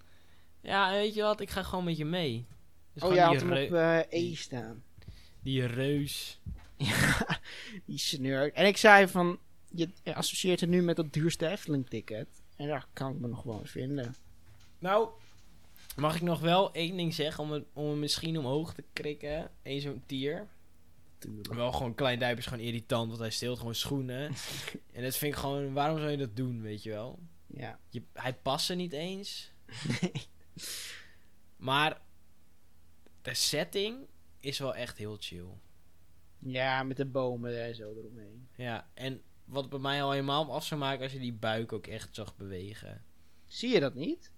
S1: Ja, en weet je wat? Ik ga gewoon met je mee. Dus
S2: oh
S1: gewoon
S2: ja,
S1: die,
S2: had hem
S1: reu-
S2: op eh, E staan.
S1: die reus.
S2: Die snurk. En ik zei van. Je associeert het nu met dat duurste Efteling-ticket. En daar kan ik me nog wel in vinden.
S1: Nou, mag ik nog wel één ding zeggen om het, om het misschien omhoog te krikken? Eén zo'n tier.
S2: Tuurlijk.
S1: Wel gewoon klein duimpje is gewoon irritant, want hij steelt gewoon schoenen. en dat vind ik gewoon, waarom zou je dat doen, weet je wel?
S2: Ja.
S1: Je, hij past er niet eens. Maar de setting is wel echt heel chill.
S2: ja, met de bomen en zo eromheen.
S1: Ja, en wat bij mij al helemaal af zou maken als je die buik ook echt zag bewegen.
S2: Zie je dat niet?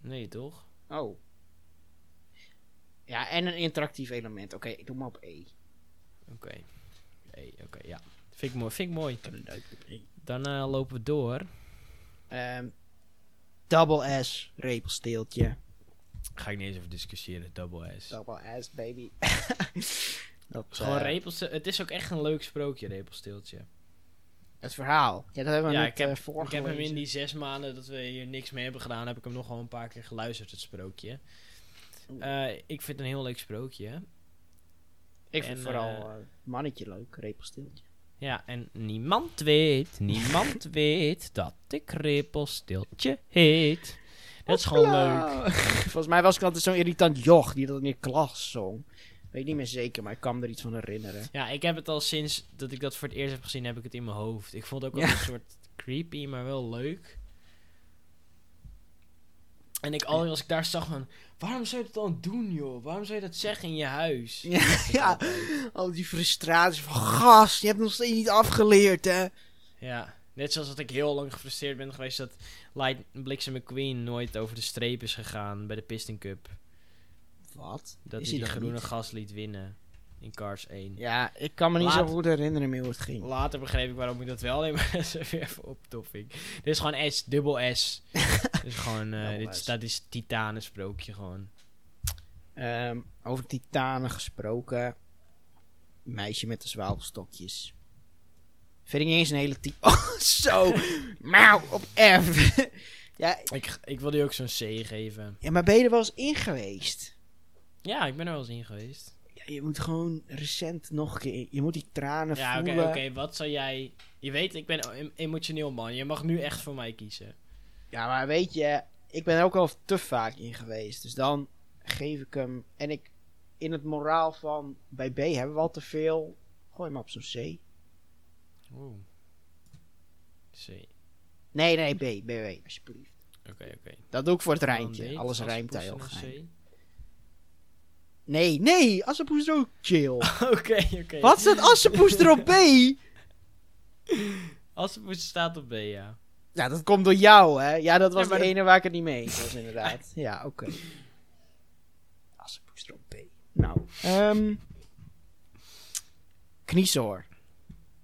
S1: Nee, toch?
S2: Oh. Ja, en een interactief element. Oké, ik doe maar op E.
S1: Oké. Nee, oké, ja. Vind ik mooi. Vind ik mooi.
S2: Leuk.
S1: Dan eh, lopen we door.
S2: Ehm double S, repelsteeltje.
S1: Ga ik niet eens over discussiëren, double S.
S2: Double S, baby. dat,
S1: Het is gewoon
S2: eh,
S1: repelste- Het is ook echt een leuk sprookje, repelsteeltje.
S2: het verhaal. Ja, dat hebben we
S1: Ja,
S2: net
S1: ik heb,
S2: eh,
S1: ik heb hem in
S2: voorgelezen.
S1: die zes maanden dat we hier niks mee hebben gedaan, heb ik hem nog wel een paar keer geluisterd, het sprookje. Eh, ik vind het een heel leuk sprookje.
S2: Ik vind
S1: en,
S2: vooral
S1: eh,
S2: eh, mannetje leuk, repelsteeltje.
S1: Ja, en niemand weet, niemand weet dat ik repelsteeltje heet. Dat is gewoon leuk.
S2: Leuk. Volgens mij was ik altijd zo'n irritant joch die dat in de klas zong. Weet niet meer zeker, maar ik kan me er iets van herinneren.
S1: Ja, ik heb het al sinds dat ik dat voor het eerst heb gezien, heb ik het in mijn hoofd. Ik vond het ook
S2: Ja.
S1: wel een soort creepy, maar wel leuk. En ik al als ik daar zag van, waarom zou je dat dan doen, joh? Waarom zou je dat zeggen in je huis?
S2: Ja, ja. al die frustratie van gast, je hebt nog steeds niet afgeleerd, hè.
S1: Ja, net zoals dat ik heel lang gefrustreerd ben geweest dat Light Bliksem McQueen nooit over de streep is gegaan bij de Piston Cup.
S2: Wat?
S1: Dat
S2: Is
S1: hij die
S2: hij dat
S1: groene
S2: niet?
S1: gas liet winnen in Cars 1.
S2: Ja, ik kan me niet
S1: Laat-
S2: zo goed herinneren meer hoe het ging.
S1: Later begreep ik waarom ik dat wel neem, maar dat is weer even optoffing. Dit is gewoon S, dubbel S. dit is gewoon, eh,
S2: Dubbel
S1: dit, is-
S2: S.
S1: dat is titanensprookje gewoon.
S2: Ehm, over titanen gesproken. Meisje met de zwaalstokjes. Vind ik niet eens een hele ti- Oh, zo. Mauw, op F. Ja,
S1: Ik, ik wil die ook zo'n C geven.
S2: ja, maar ben je er wel eens in geweest?
S1: Ja, ik ben er wel eens in geweest.
S2: Ja, je moet gewoon recent nog een keer... Je moet die tranen
S1: Ja, oké,
S2: voelen.
S1: oké. wat zou jij... Je weet, ik ben em- emotioneel man. Je mag nu echt voor mij kiezen.
S2: Ja, maar weet je, ik ben er ook al te vaak in geweest. Dus dan geef ik hem. En ik, in het moraal van bij B hebben we al te veel. Gooi hem op zo'n C.
S1: Oeh. C. Oké,
S2: Nee, nee, B, B, B, alsjeblieft.
S1: oké.
S2: Dat doe ik voor het rijmpje.
S1: Dan D,
S2: Alles rijmt daar
S1: aspoes
S2: heel
S1: en
S2: geheim.
S1: een
S2: Nee, nee, Assepoes er ook chill.
S1: C. Oké, oké.
S2: Wat staat Assepoes er op B?
S1: Assepoes staat op B, ja.
S2: Nou, dat komt door jou, hè? Ja, dat was
S1: Ja, maar
S2: de
S1: dat-
S2: ene waar ik het niet mee eens was, inderdaad. Ja, oké. Assepoes er op B. Nou, ehm Kniezoor.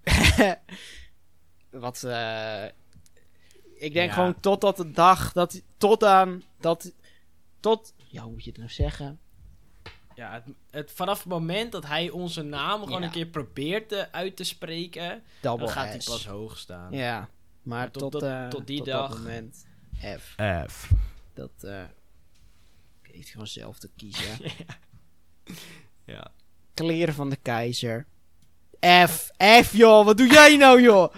S2: Wat, eh ik denk
S1: Ja.
S2: gewoon totdat de dag, dat, tot aan, dat, tot, ja, hoe moet je het nou zeggen?
S1: Ja, het, het, vanaf het moment dat hij onze naam gewoon
S2: Ja.
S1: een keer probeert te, uit te spreken,
S2: Double
S1: dan gaat hij
S2: S.
S1: pas hoog staan.
S2: Ja, maar
S1: tot
S2: tot,
S1: dat-
S2: eh,
S1: tot die
S2: tot
S1: dag.
S2: dat moment, F.
S6: F.
S2: Dat, eh ik heeft gewoon zelf te kiezen.
S1: Ja.
S2: Kleren van de keizer. F, F joh, wat doe jij nou joh?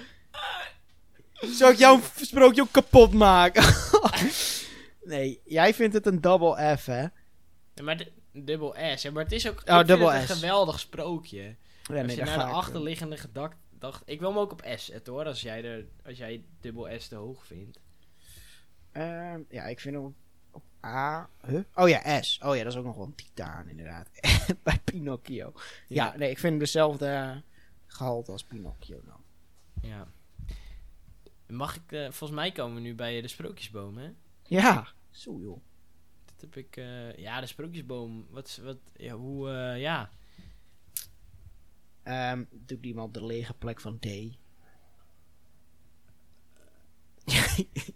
S2: Zou ik jouw sprookje ook kapot maken? nee, jij vindt het een double F hè?
S1: Ja, maar d- dubbel S. Ja, maar het is ook
S2: Oh,
S1: ik vind
S2: dubbel
S1: het
S2: S.
S1: een geweldig sprookje.
S2: Ja,
S1: als je naar de
S2: daar ga ik, eh,
S1: achterliggende gedachte... dacht- Ik wil hem ook op S zetten hoor, als jij, er, als jij dubbel S te hoog vindt.
S2: ehm, ja, ik vind hem op, op A. Huh? Oh ja, S. Oh ja, dat is ook nog wel een titaan inderdaad. Bij Pinocchio. Ja,
S1: Ja.
S2: nee, ik vind hem dezelfde eh, gehalte als Pinocchio dan.
S1: Ja. Mag ik... eh, volgens mij komen we nu bij eh, de sprookjesboom, hè?
S2: Ja, zo joh.
S1: Dat heb ik... eh, ja, de sprookjesboom. Wat... is- wat ja, hoe... eh, ja.
S2: Ehm, doe ik die maar op de lege plek van D.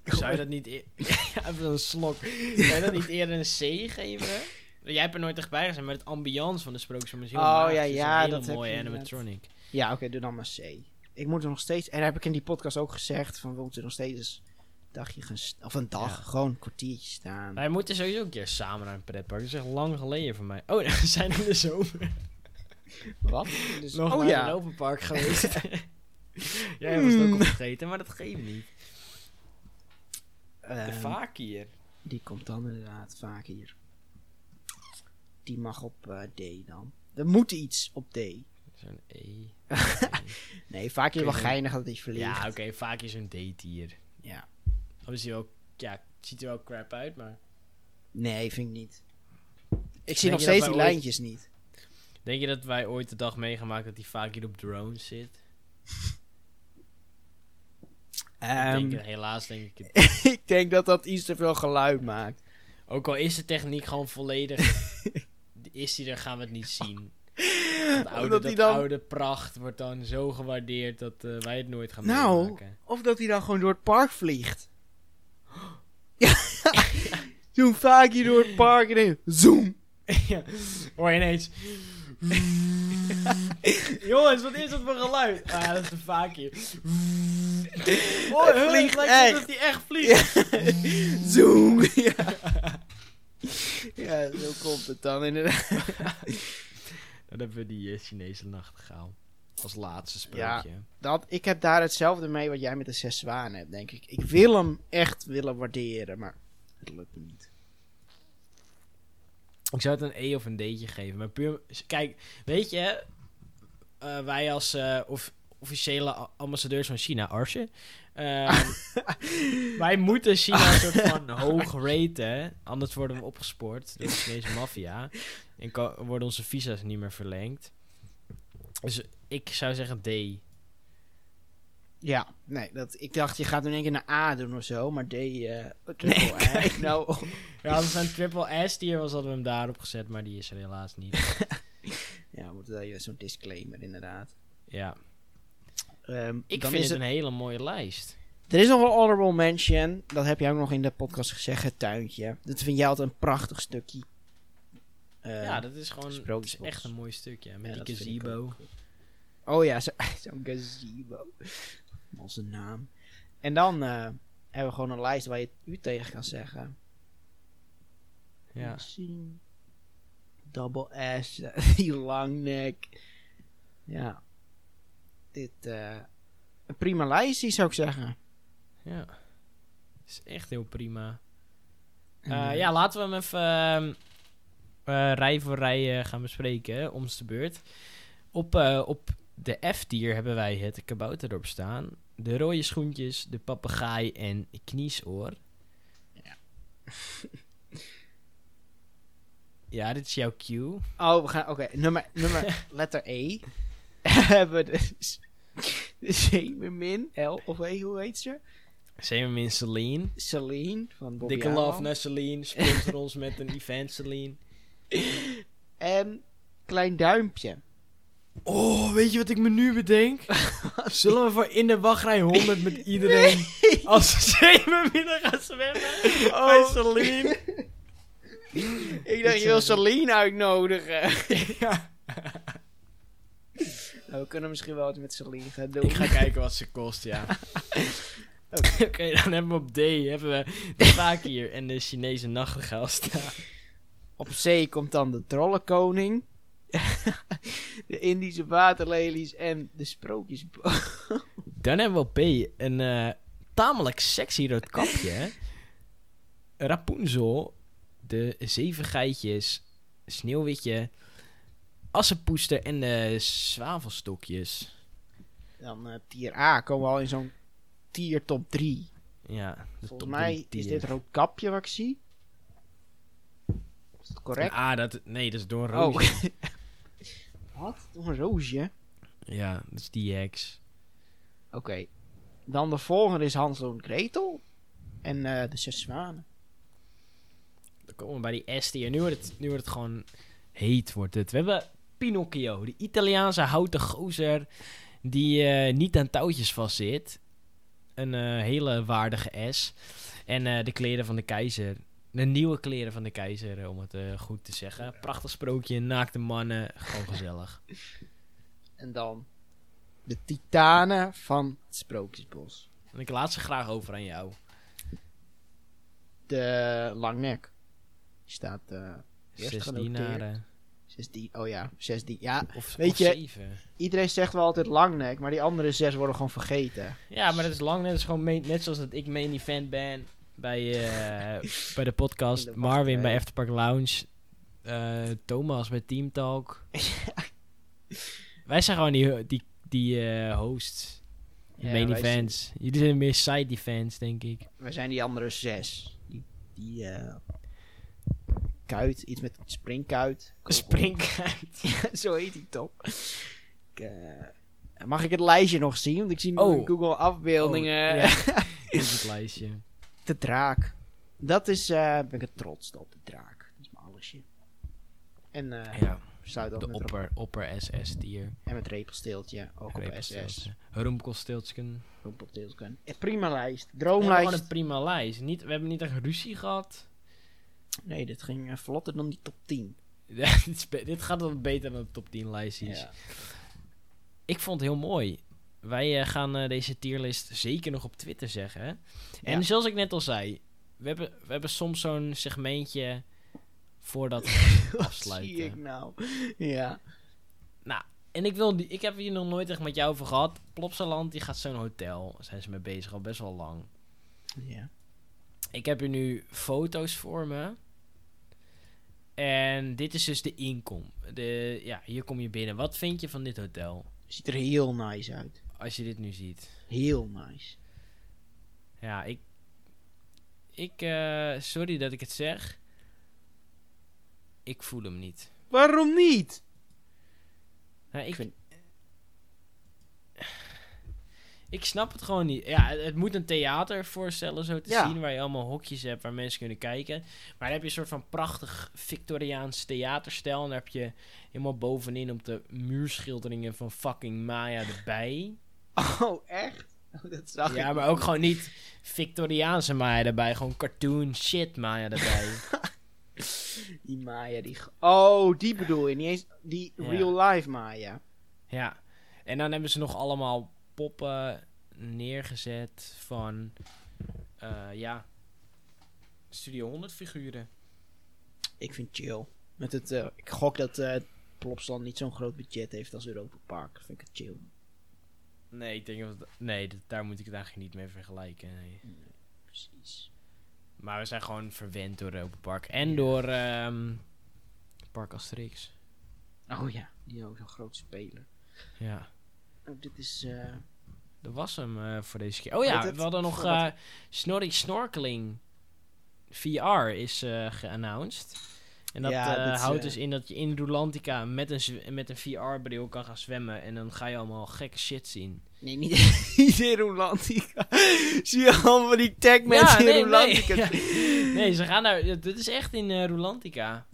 S1: Zou je dat niet... e- Ja, Even een slok. Zou je dat niet eerder een C geven? Jij hebt er nooit echt bij gezien, maar het ambiance van de sprookjesboom is heel
S2: Oh,
S1: magisch.
S2: ja,
S1: Het is
S2: ja,
S1: een hele
S2: dat heb
S1: mooie
S2: je inderdaad.
S1: animatronic.
S2: Ja, oké, doe dan maar C. Ik moet er nog steeds... En heb ik in die podcast ook gezegd... van we moeten nog steeds eens een dagje gaan... st- of een dag,
S1: Ja.
S2: gewoon een kwartiertje staan.
S1: Wij moeten sowieso een keer samen naar een pretpark. Dat is echt lang geleden voor mij. Oh, we zijn in de zomer
S2: Wat? Dus,
S1: nog
S2: oh
S1: naar een
S2: ja. Hmm.
S1: open park geweest. Jij was het ook al vergeten, maar dat geeft niet.
S2: Ehm,
S1: vaak hier.
S2: die komt dan inderdaad vaak hier. Die mag op eh, D dan. Er moet iets op D.
S1: Zo'n E.
S2: Nee, vaak is het wel
S1: Oké.
S2: geinig dat hij verliest.
S1: Ja, oké, vaak is een D-tier.
S2: Ja.
S1: Of is hij ook... Ja, het ziet er wel crap uit, maar...
S2: Nee, vind ik niet. Ik
S1: je
S2: zie nog
S1: dat
S2: steeds
S1: wij
S2: die
S1: ooit-
S2: lijntjes niet.
S1: Denk je dat wij ooit de dag meegemaakt dat hij vaak hier op drones zit? ik
S2: Ehm,
S1: denk, het- helaas denk ik het
S2: ik denk dat dat iets te veel geluid maakt.
S1: Ook al is de techniek gewoon volledig. is die er, gaan we het niet zien. Dat oude,
S2: Omdat
S1: dat
S2: die dan-
S1: oude pracht wordt dan zo gewaardeerd dat eh, wij het nooit gaan
S2: Nou.
S1: meemaken.
S2: Of dat hij dan gewoon door het park vliegt. Ja. Zo'n vaak hier door het park en dan zoom.
S1: Ja. Hoor je ineens. Jongens, wat is dat voor geluid? Ah, ja, dat is een vaak hier. Oh,
S2: Hij
S1: huh, het lijkt
S2: vliegt
S1: net
S2: echt.
S1: dat hij echt vliegt.
S2: Zoom. Ja. ja, zo komt het dan inderdaad.
S1: Dan hebben we die eh, Chinese nachtegaal. Als laatste sprookje.
S2: Dat, ik heb daar hetzelfde mee wat jij met de zes zwanen hebt, denk ik. Ik wil hem echt willen waarderen, maar het lukt me niet.
S1: Ik zou het een E of een D'tje geven. Maar puur... Kijk, weet je... eh, wij als eh, of, officiële a- ambassadeurs van China, Arsje... eh, wij moeten China een soort van hoog raten. Anders worden we opgespoord door de Chinese maffia. En ko- worden onze visa's niet meer verlengd. Dus ik zou zeggen D.
S2: Ja, nee, dat, ik dacht je gaat in één keer naar A doen of zo, maar D... eh nee, kijk nou op.
S1: Ja, dat zijn triple S tier was hadden we hem daarop gezet. Maar die is er helaas niet.
S2: Ja, moet daar juist zo'n disclaimer inderdaad.
S1: Ja.
S2: Ehm,
S1: Ik
S2: dan
S1: vind
S2: is
S1: het een hele mooie lijst.
S2: Er is nog wel honorable mention. Dat heb jij ook nog in de podcast gezegd, het tuintje. Dat vind jij altijd een prachtig stukje. Eh,
S1: ja, dat is gewoon... Het is
S2: Sprookjesbos.
S1: echt een mooi stukje. Met
S2: Ja,
S1: die
S2: dat vind ik
S1: gazebo.
S2: Oh ja, zo- zo'n gazebo. Onze naam. En dan eh, hebben we gewoon een lijst waar je het u tegen kan zeggen.
S1: Ja.
S2: Zien. Double S, die langnek. Ja. Dit, eh, een prima lijstje zou ik zeggen.
S1: Ja. Is echt heel prima.
S2: En,
S1: Eh,
S2: eh,
S1: ja, laten we hem even ehm, eh, rij voor rij eh, gaan bespreken, hè, om de beurt. Op, eh, op de F-tier hebben wij het kabouterdorp staan. De rode schoentjes, de papegaai en kniesoor. Ja. dit is jouw cue.
S2: Oh, we gaan, oké, nummer, nummer, letter E. hebben we dus de zeemermin, L, of E, hoe heet ze?
S1: Zeemermin Celine.
S2: Celine van Bobby
S1: Dikke
S2: Aalman.
S1: love naar Celine. Sponsor ons met een event, Celine.
S2: En Klein Duimpje.
S1: Oh, weet je wat ik me nu bedenk? Zullen we voor in de wachtrij 100 met iedereen als ze zeven binnen gaan zwemmen? Oh, bij Celine.
S2: Ik dacht, je wil Celine uitnodigen.
S1: Ja.
S2: Nou, we kunnen misschien wel wat met Celine gaan doen.
S1: Ik ga kijken wat ze kost, ja. Oké, dan hebben we op D hebben we de vakier en de Chinese nachtegaal staan.
S2: Op zee komt dan de trollenkoning. de Indische waterlelies en de sprookjesboom.
S1: Dan hebben we op B een eh, tamelijk sexy rood kapje. hè. Rapunzel, de zeven geitjes, sneeuwwitje, assenpoester en de zwavelstokjes.
S2: Dan eh, tier A komen we al in zo'n tier top 3.
S1: Ja, de
S2: Volgens
S1: top
S2: mij
S1: drie
S2: is
S1: tier.
S2: dit roodkapje wat ik zie. Is dat correct?
S1: Ah, dat, nee, dat is door een
S2: Oh.
S1: roosje.
S2: wat? Een roosje?
S1: Ja, dat is die heks.
S2: Oké. Dan de volgende is Hansel en Gretel. En eh, de zes zwanen.
S1: Dan komen we bij die S-tier. Nu, wordt het- nu wordt het gewoon heet. Wordt het. We hebben Pinocchio, die Italiaanse houten gozer die eh, niet aan touwtjes vastzit. Een eh, hele waardige S. En eh, de kleren van de keizer. De nieuwe kleren van de keizer, eh, om het eh, goed te zeggen. Prachtig sprookje, naakte mannen. Gewoon gezellig.
S2: En dan de titanen van het Sprookjesbos.
S1: En ik laat ze graag over aan jou.
S2: De langnek. Staat eh eerst
S1: Zes
S2: genoteerd.
S1: dienaren.
S2: Zes di- oh ja, zes die. Ja,
S1: Of,
S2: Weet
S1: of
S2: je-
S1: zeven.
S2: iedereen zegt wel altijd langnek, maar die andere zes worden gewoon vergeten.
S1: Ja, maar dat is lang net. Dat is gewoon main- net zoals dat ik main event ben bij, eh, bij de podcast.
S2: In de
S1: Marvin bij
S2: wachtrij.
S1: Afterpark Lounge. eh, Thomas bij Team Talk. Wij zijn gewoon die, die, die eh, hosts.
S2: Ja,
S1: main
S2: wij
S1: events. Jullie zijn meer side events, denk ik.
S2: We zijn die andere zes. Die, die eh, kuit, iets met springkuit.
S1: Springkuit.
S2: Zo heet die top. Ik, eh, mag ik het lijstje nog zien? Want ik zie nu
S1: Oh.
S2: in Google afbeeldingen.
S1: Oh, ja. Dit is het lijstje.
S2: De draak. Dat is, eh ben ik het trots op, de draak. Dat is mijn allesje. En eh
S1: Ja,
S2: sluit af
S1: de
S2: met, Rob-
S1: opper, opper SS-tier.
S2: en met repelsteeltje, ook op SS.
S1: Roemkostiltsken.
S2: Rompelteeltje. Eh, Prima lijst,
S1: We hebben gewoon
S2: droomlijst.
S1: een prima lijst. Niet, we hebben niet echt ruzie gehad.
S2: Nee, dit ging eh, vlotter dan die top 10.
S1: Ja, dit, is be- dit gaat wel beter dan de top 10 lijstjes.
S2: Ja.
S1: Ik vond het heel mooi. Wij eh, gaan eh, deze tierlist zeker nog op Twitter zeggen. hè? En
S2: Ja.
S1: zoals ik net al zei, we hebben, we hebben soms zo'n segmentje voordat we het
S2: Wat zie ik
S1: afsluiten.
S2: nou? Ja.
S1: Nou, en ik, wil, die- ik heb hier nog nooit echt met jou over gehad. Plopsaland, die gaat zo'n hotel. Daar zijn ze mee bezig al best wel lang.
S2: ja.
S1: Ik heb hier nu foto's voor me. En dit is dus de inkom. De, ja, hier kom je binnen. Wat vind je van dit hotel?
S2: Ziet er heel nice uit.
S1: Als je dit nu ziet.
S2: Heel nice.
S1: Ja, ik. Ik. eh, sorry dat ik het zeg. Ik voel hem niet.
S2: Waarom niet?
S1: Nou, ik,
S2: Ik vind-
S1: ik snap het gewoon niet. Ja, het, het moet een theater voorstellen, zo te
S2: Ja.
S1: zien. Waar je allemaal hokjes hebt waar mensen kunnen kijken. Maar dan heb je een soort van prachtig Victoriaans theaterstijl. En dan heb je helemaal bovenin op de muurschilderingen van fucking Maya erbij.
S2: Oh, echt? Oh, dat zag
S1: ja,
S2: ik.
S1: maar ook gewoon niet Victoriaanse Maya erbij. Gewoon cartoon shit Maya erbij.
S2: Die Maya, die... ge- Oh, die bedoel je. Niet eens die
S1: Ja.
S2: real life Maya.
S1: Ja, en dan hebben ze nog allemaal poppen neergezet van eh, ja, Studio 100 figuren.
S2: Ik vind chill. Met het, eh, ik gok dat eh Plopsland niet zo'n groot budget heeft als Europa Park. Vind ik het chill.
S1: Nee, ik denk dat... het- Nee, dat- daar moet ik het eigenlijk niet mee vergelijken, nee.
S2: Precies.
S1: Maar we zijn gewoon verwend door Europa Park. En door ehm, Park Asterix.
S2: Oh ja, die ook zo'n groot speler.
S1: Ja.
S2: Oh, dit is. eh,
S1: Dat was hem eh, voor deze keer. Oh
S2: Weet
S1: ja,
S2: het?
S1: we hadden nog
S2: Voor wat?
S1: eh Snorri Snorkeling VR is eh geannounced. En dat
S2: Ja,
S1: eh,
S2: dat is,
S1: houdt
S2: eh,
S1: dus in dat je in Rolantica met een, zw- met een VR-bril kan gaan zwemmen. En dan ga je allemaal gekke shit zien.
S2: nee, niet, niet in Rolantica. Zie je allemaal die tag mensen in Rolantica?
S1: Nee. Ja. Nee, ze gaan naar... ja, Dit is echt in eh Rolantica.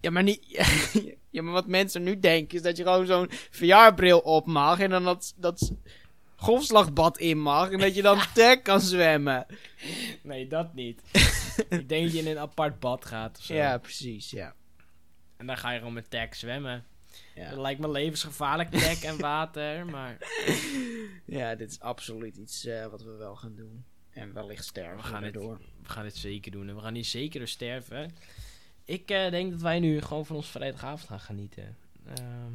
S2: Ja, maar niet. ja, maar wat mensen nu denken is dat je gewoon zo'n VR-bril op mag. En dan dat, dat golfslagbad in mag. En dat je dan tag kan zwemmen.
S1: Nee, dat niet. Ik denk dat je in een apart bad gaat of zo.
S2: Ja, precies, ja.
S1: En dan ga je gewoon met tech zwemmen.
S2: Ja.
S1: Dat lijkt me levensgevaarlijk, tech en water. Maar
S2: Ja, dit is absoluut iets eh, wat we wel gaan doen. En wellicht sterven
S1: We
S2: we
S1: gaan
S2: gaan
S1: het-
S2: erdoor.
S1: we gaan dit zeker doen. En we gaan hier zeker door sterven. Ik eh, denk dat wij nu gewoon van ons vrijdagavond gaan genieten. Ehm,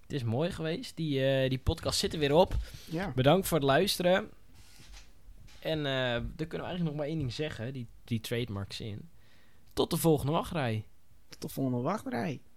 S1: het is mooi geweest. Die, eh, die podcast zit er weer op.
S2: Ja.
S1: Bedankt voor het luisteren. En eh daar kunnen we eigenlijk nog maar één ding zeggen. Die, die trademarks in. Tot de volgende wachtrij.
S2: Tot de volgende wachtrij.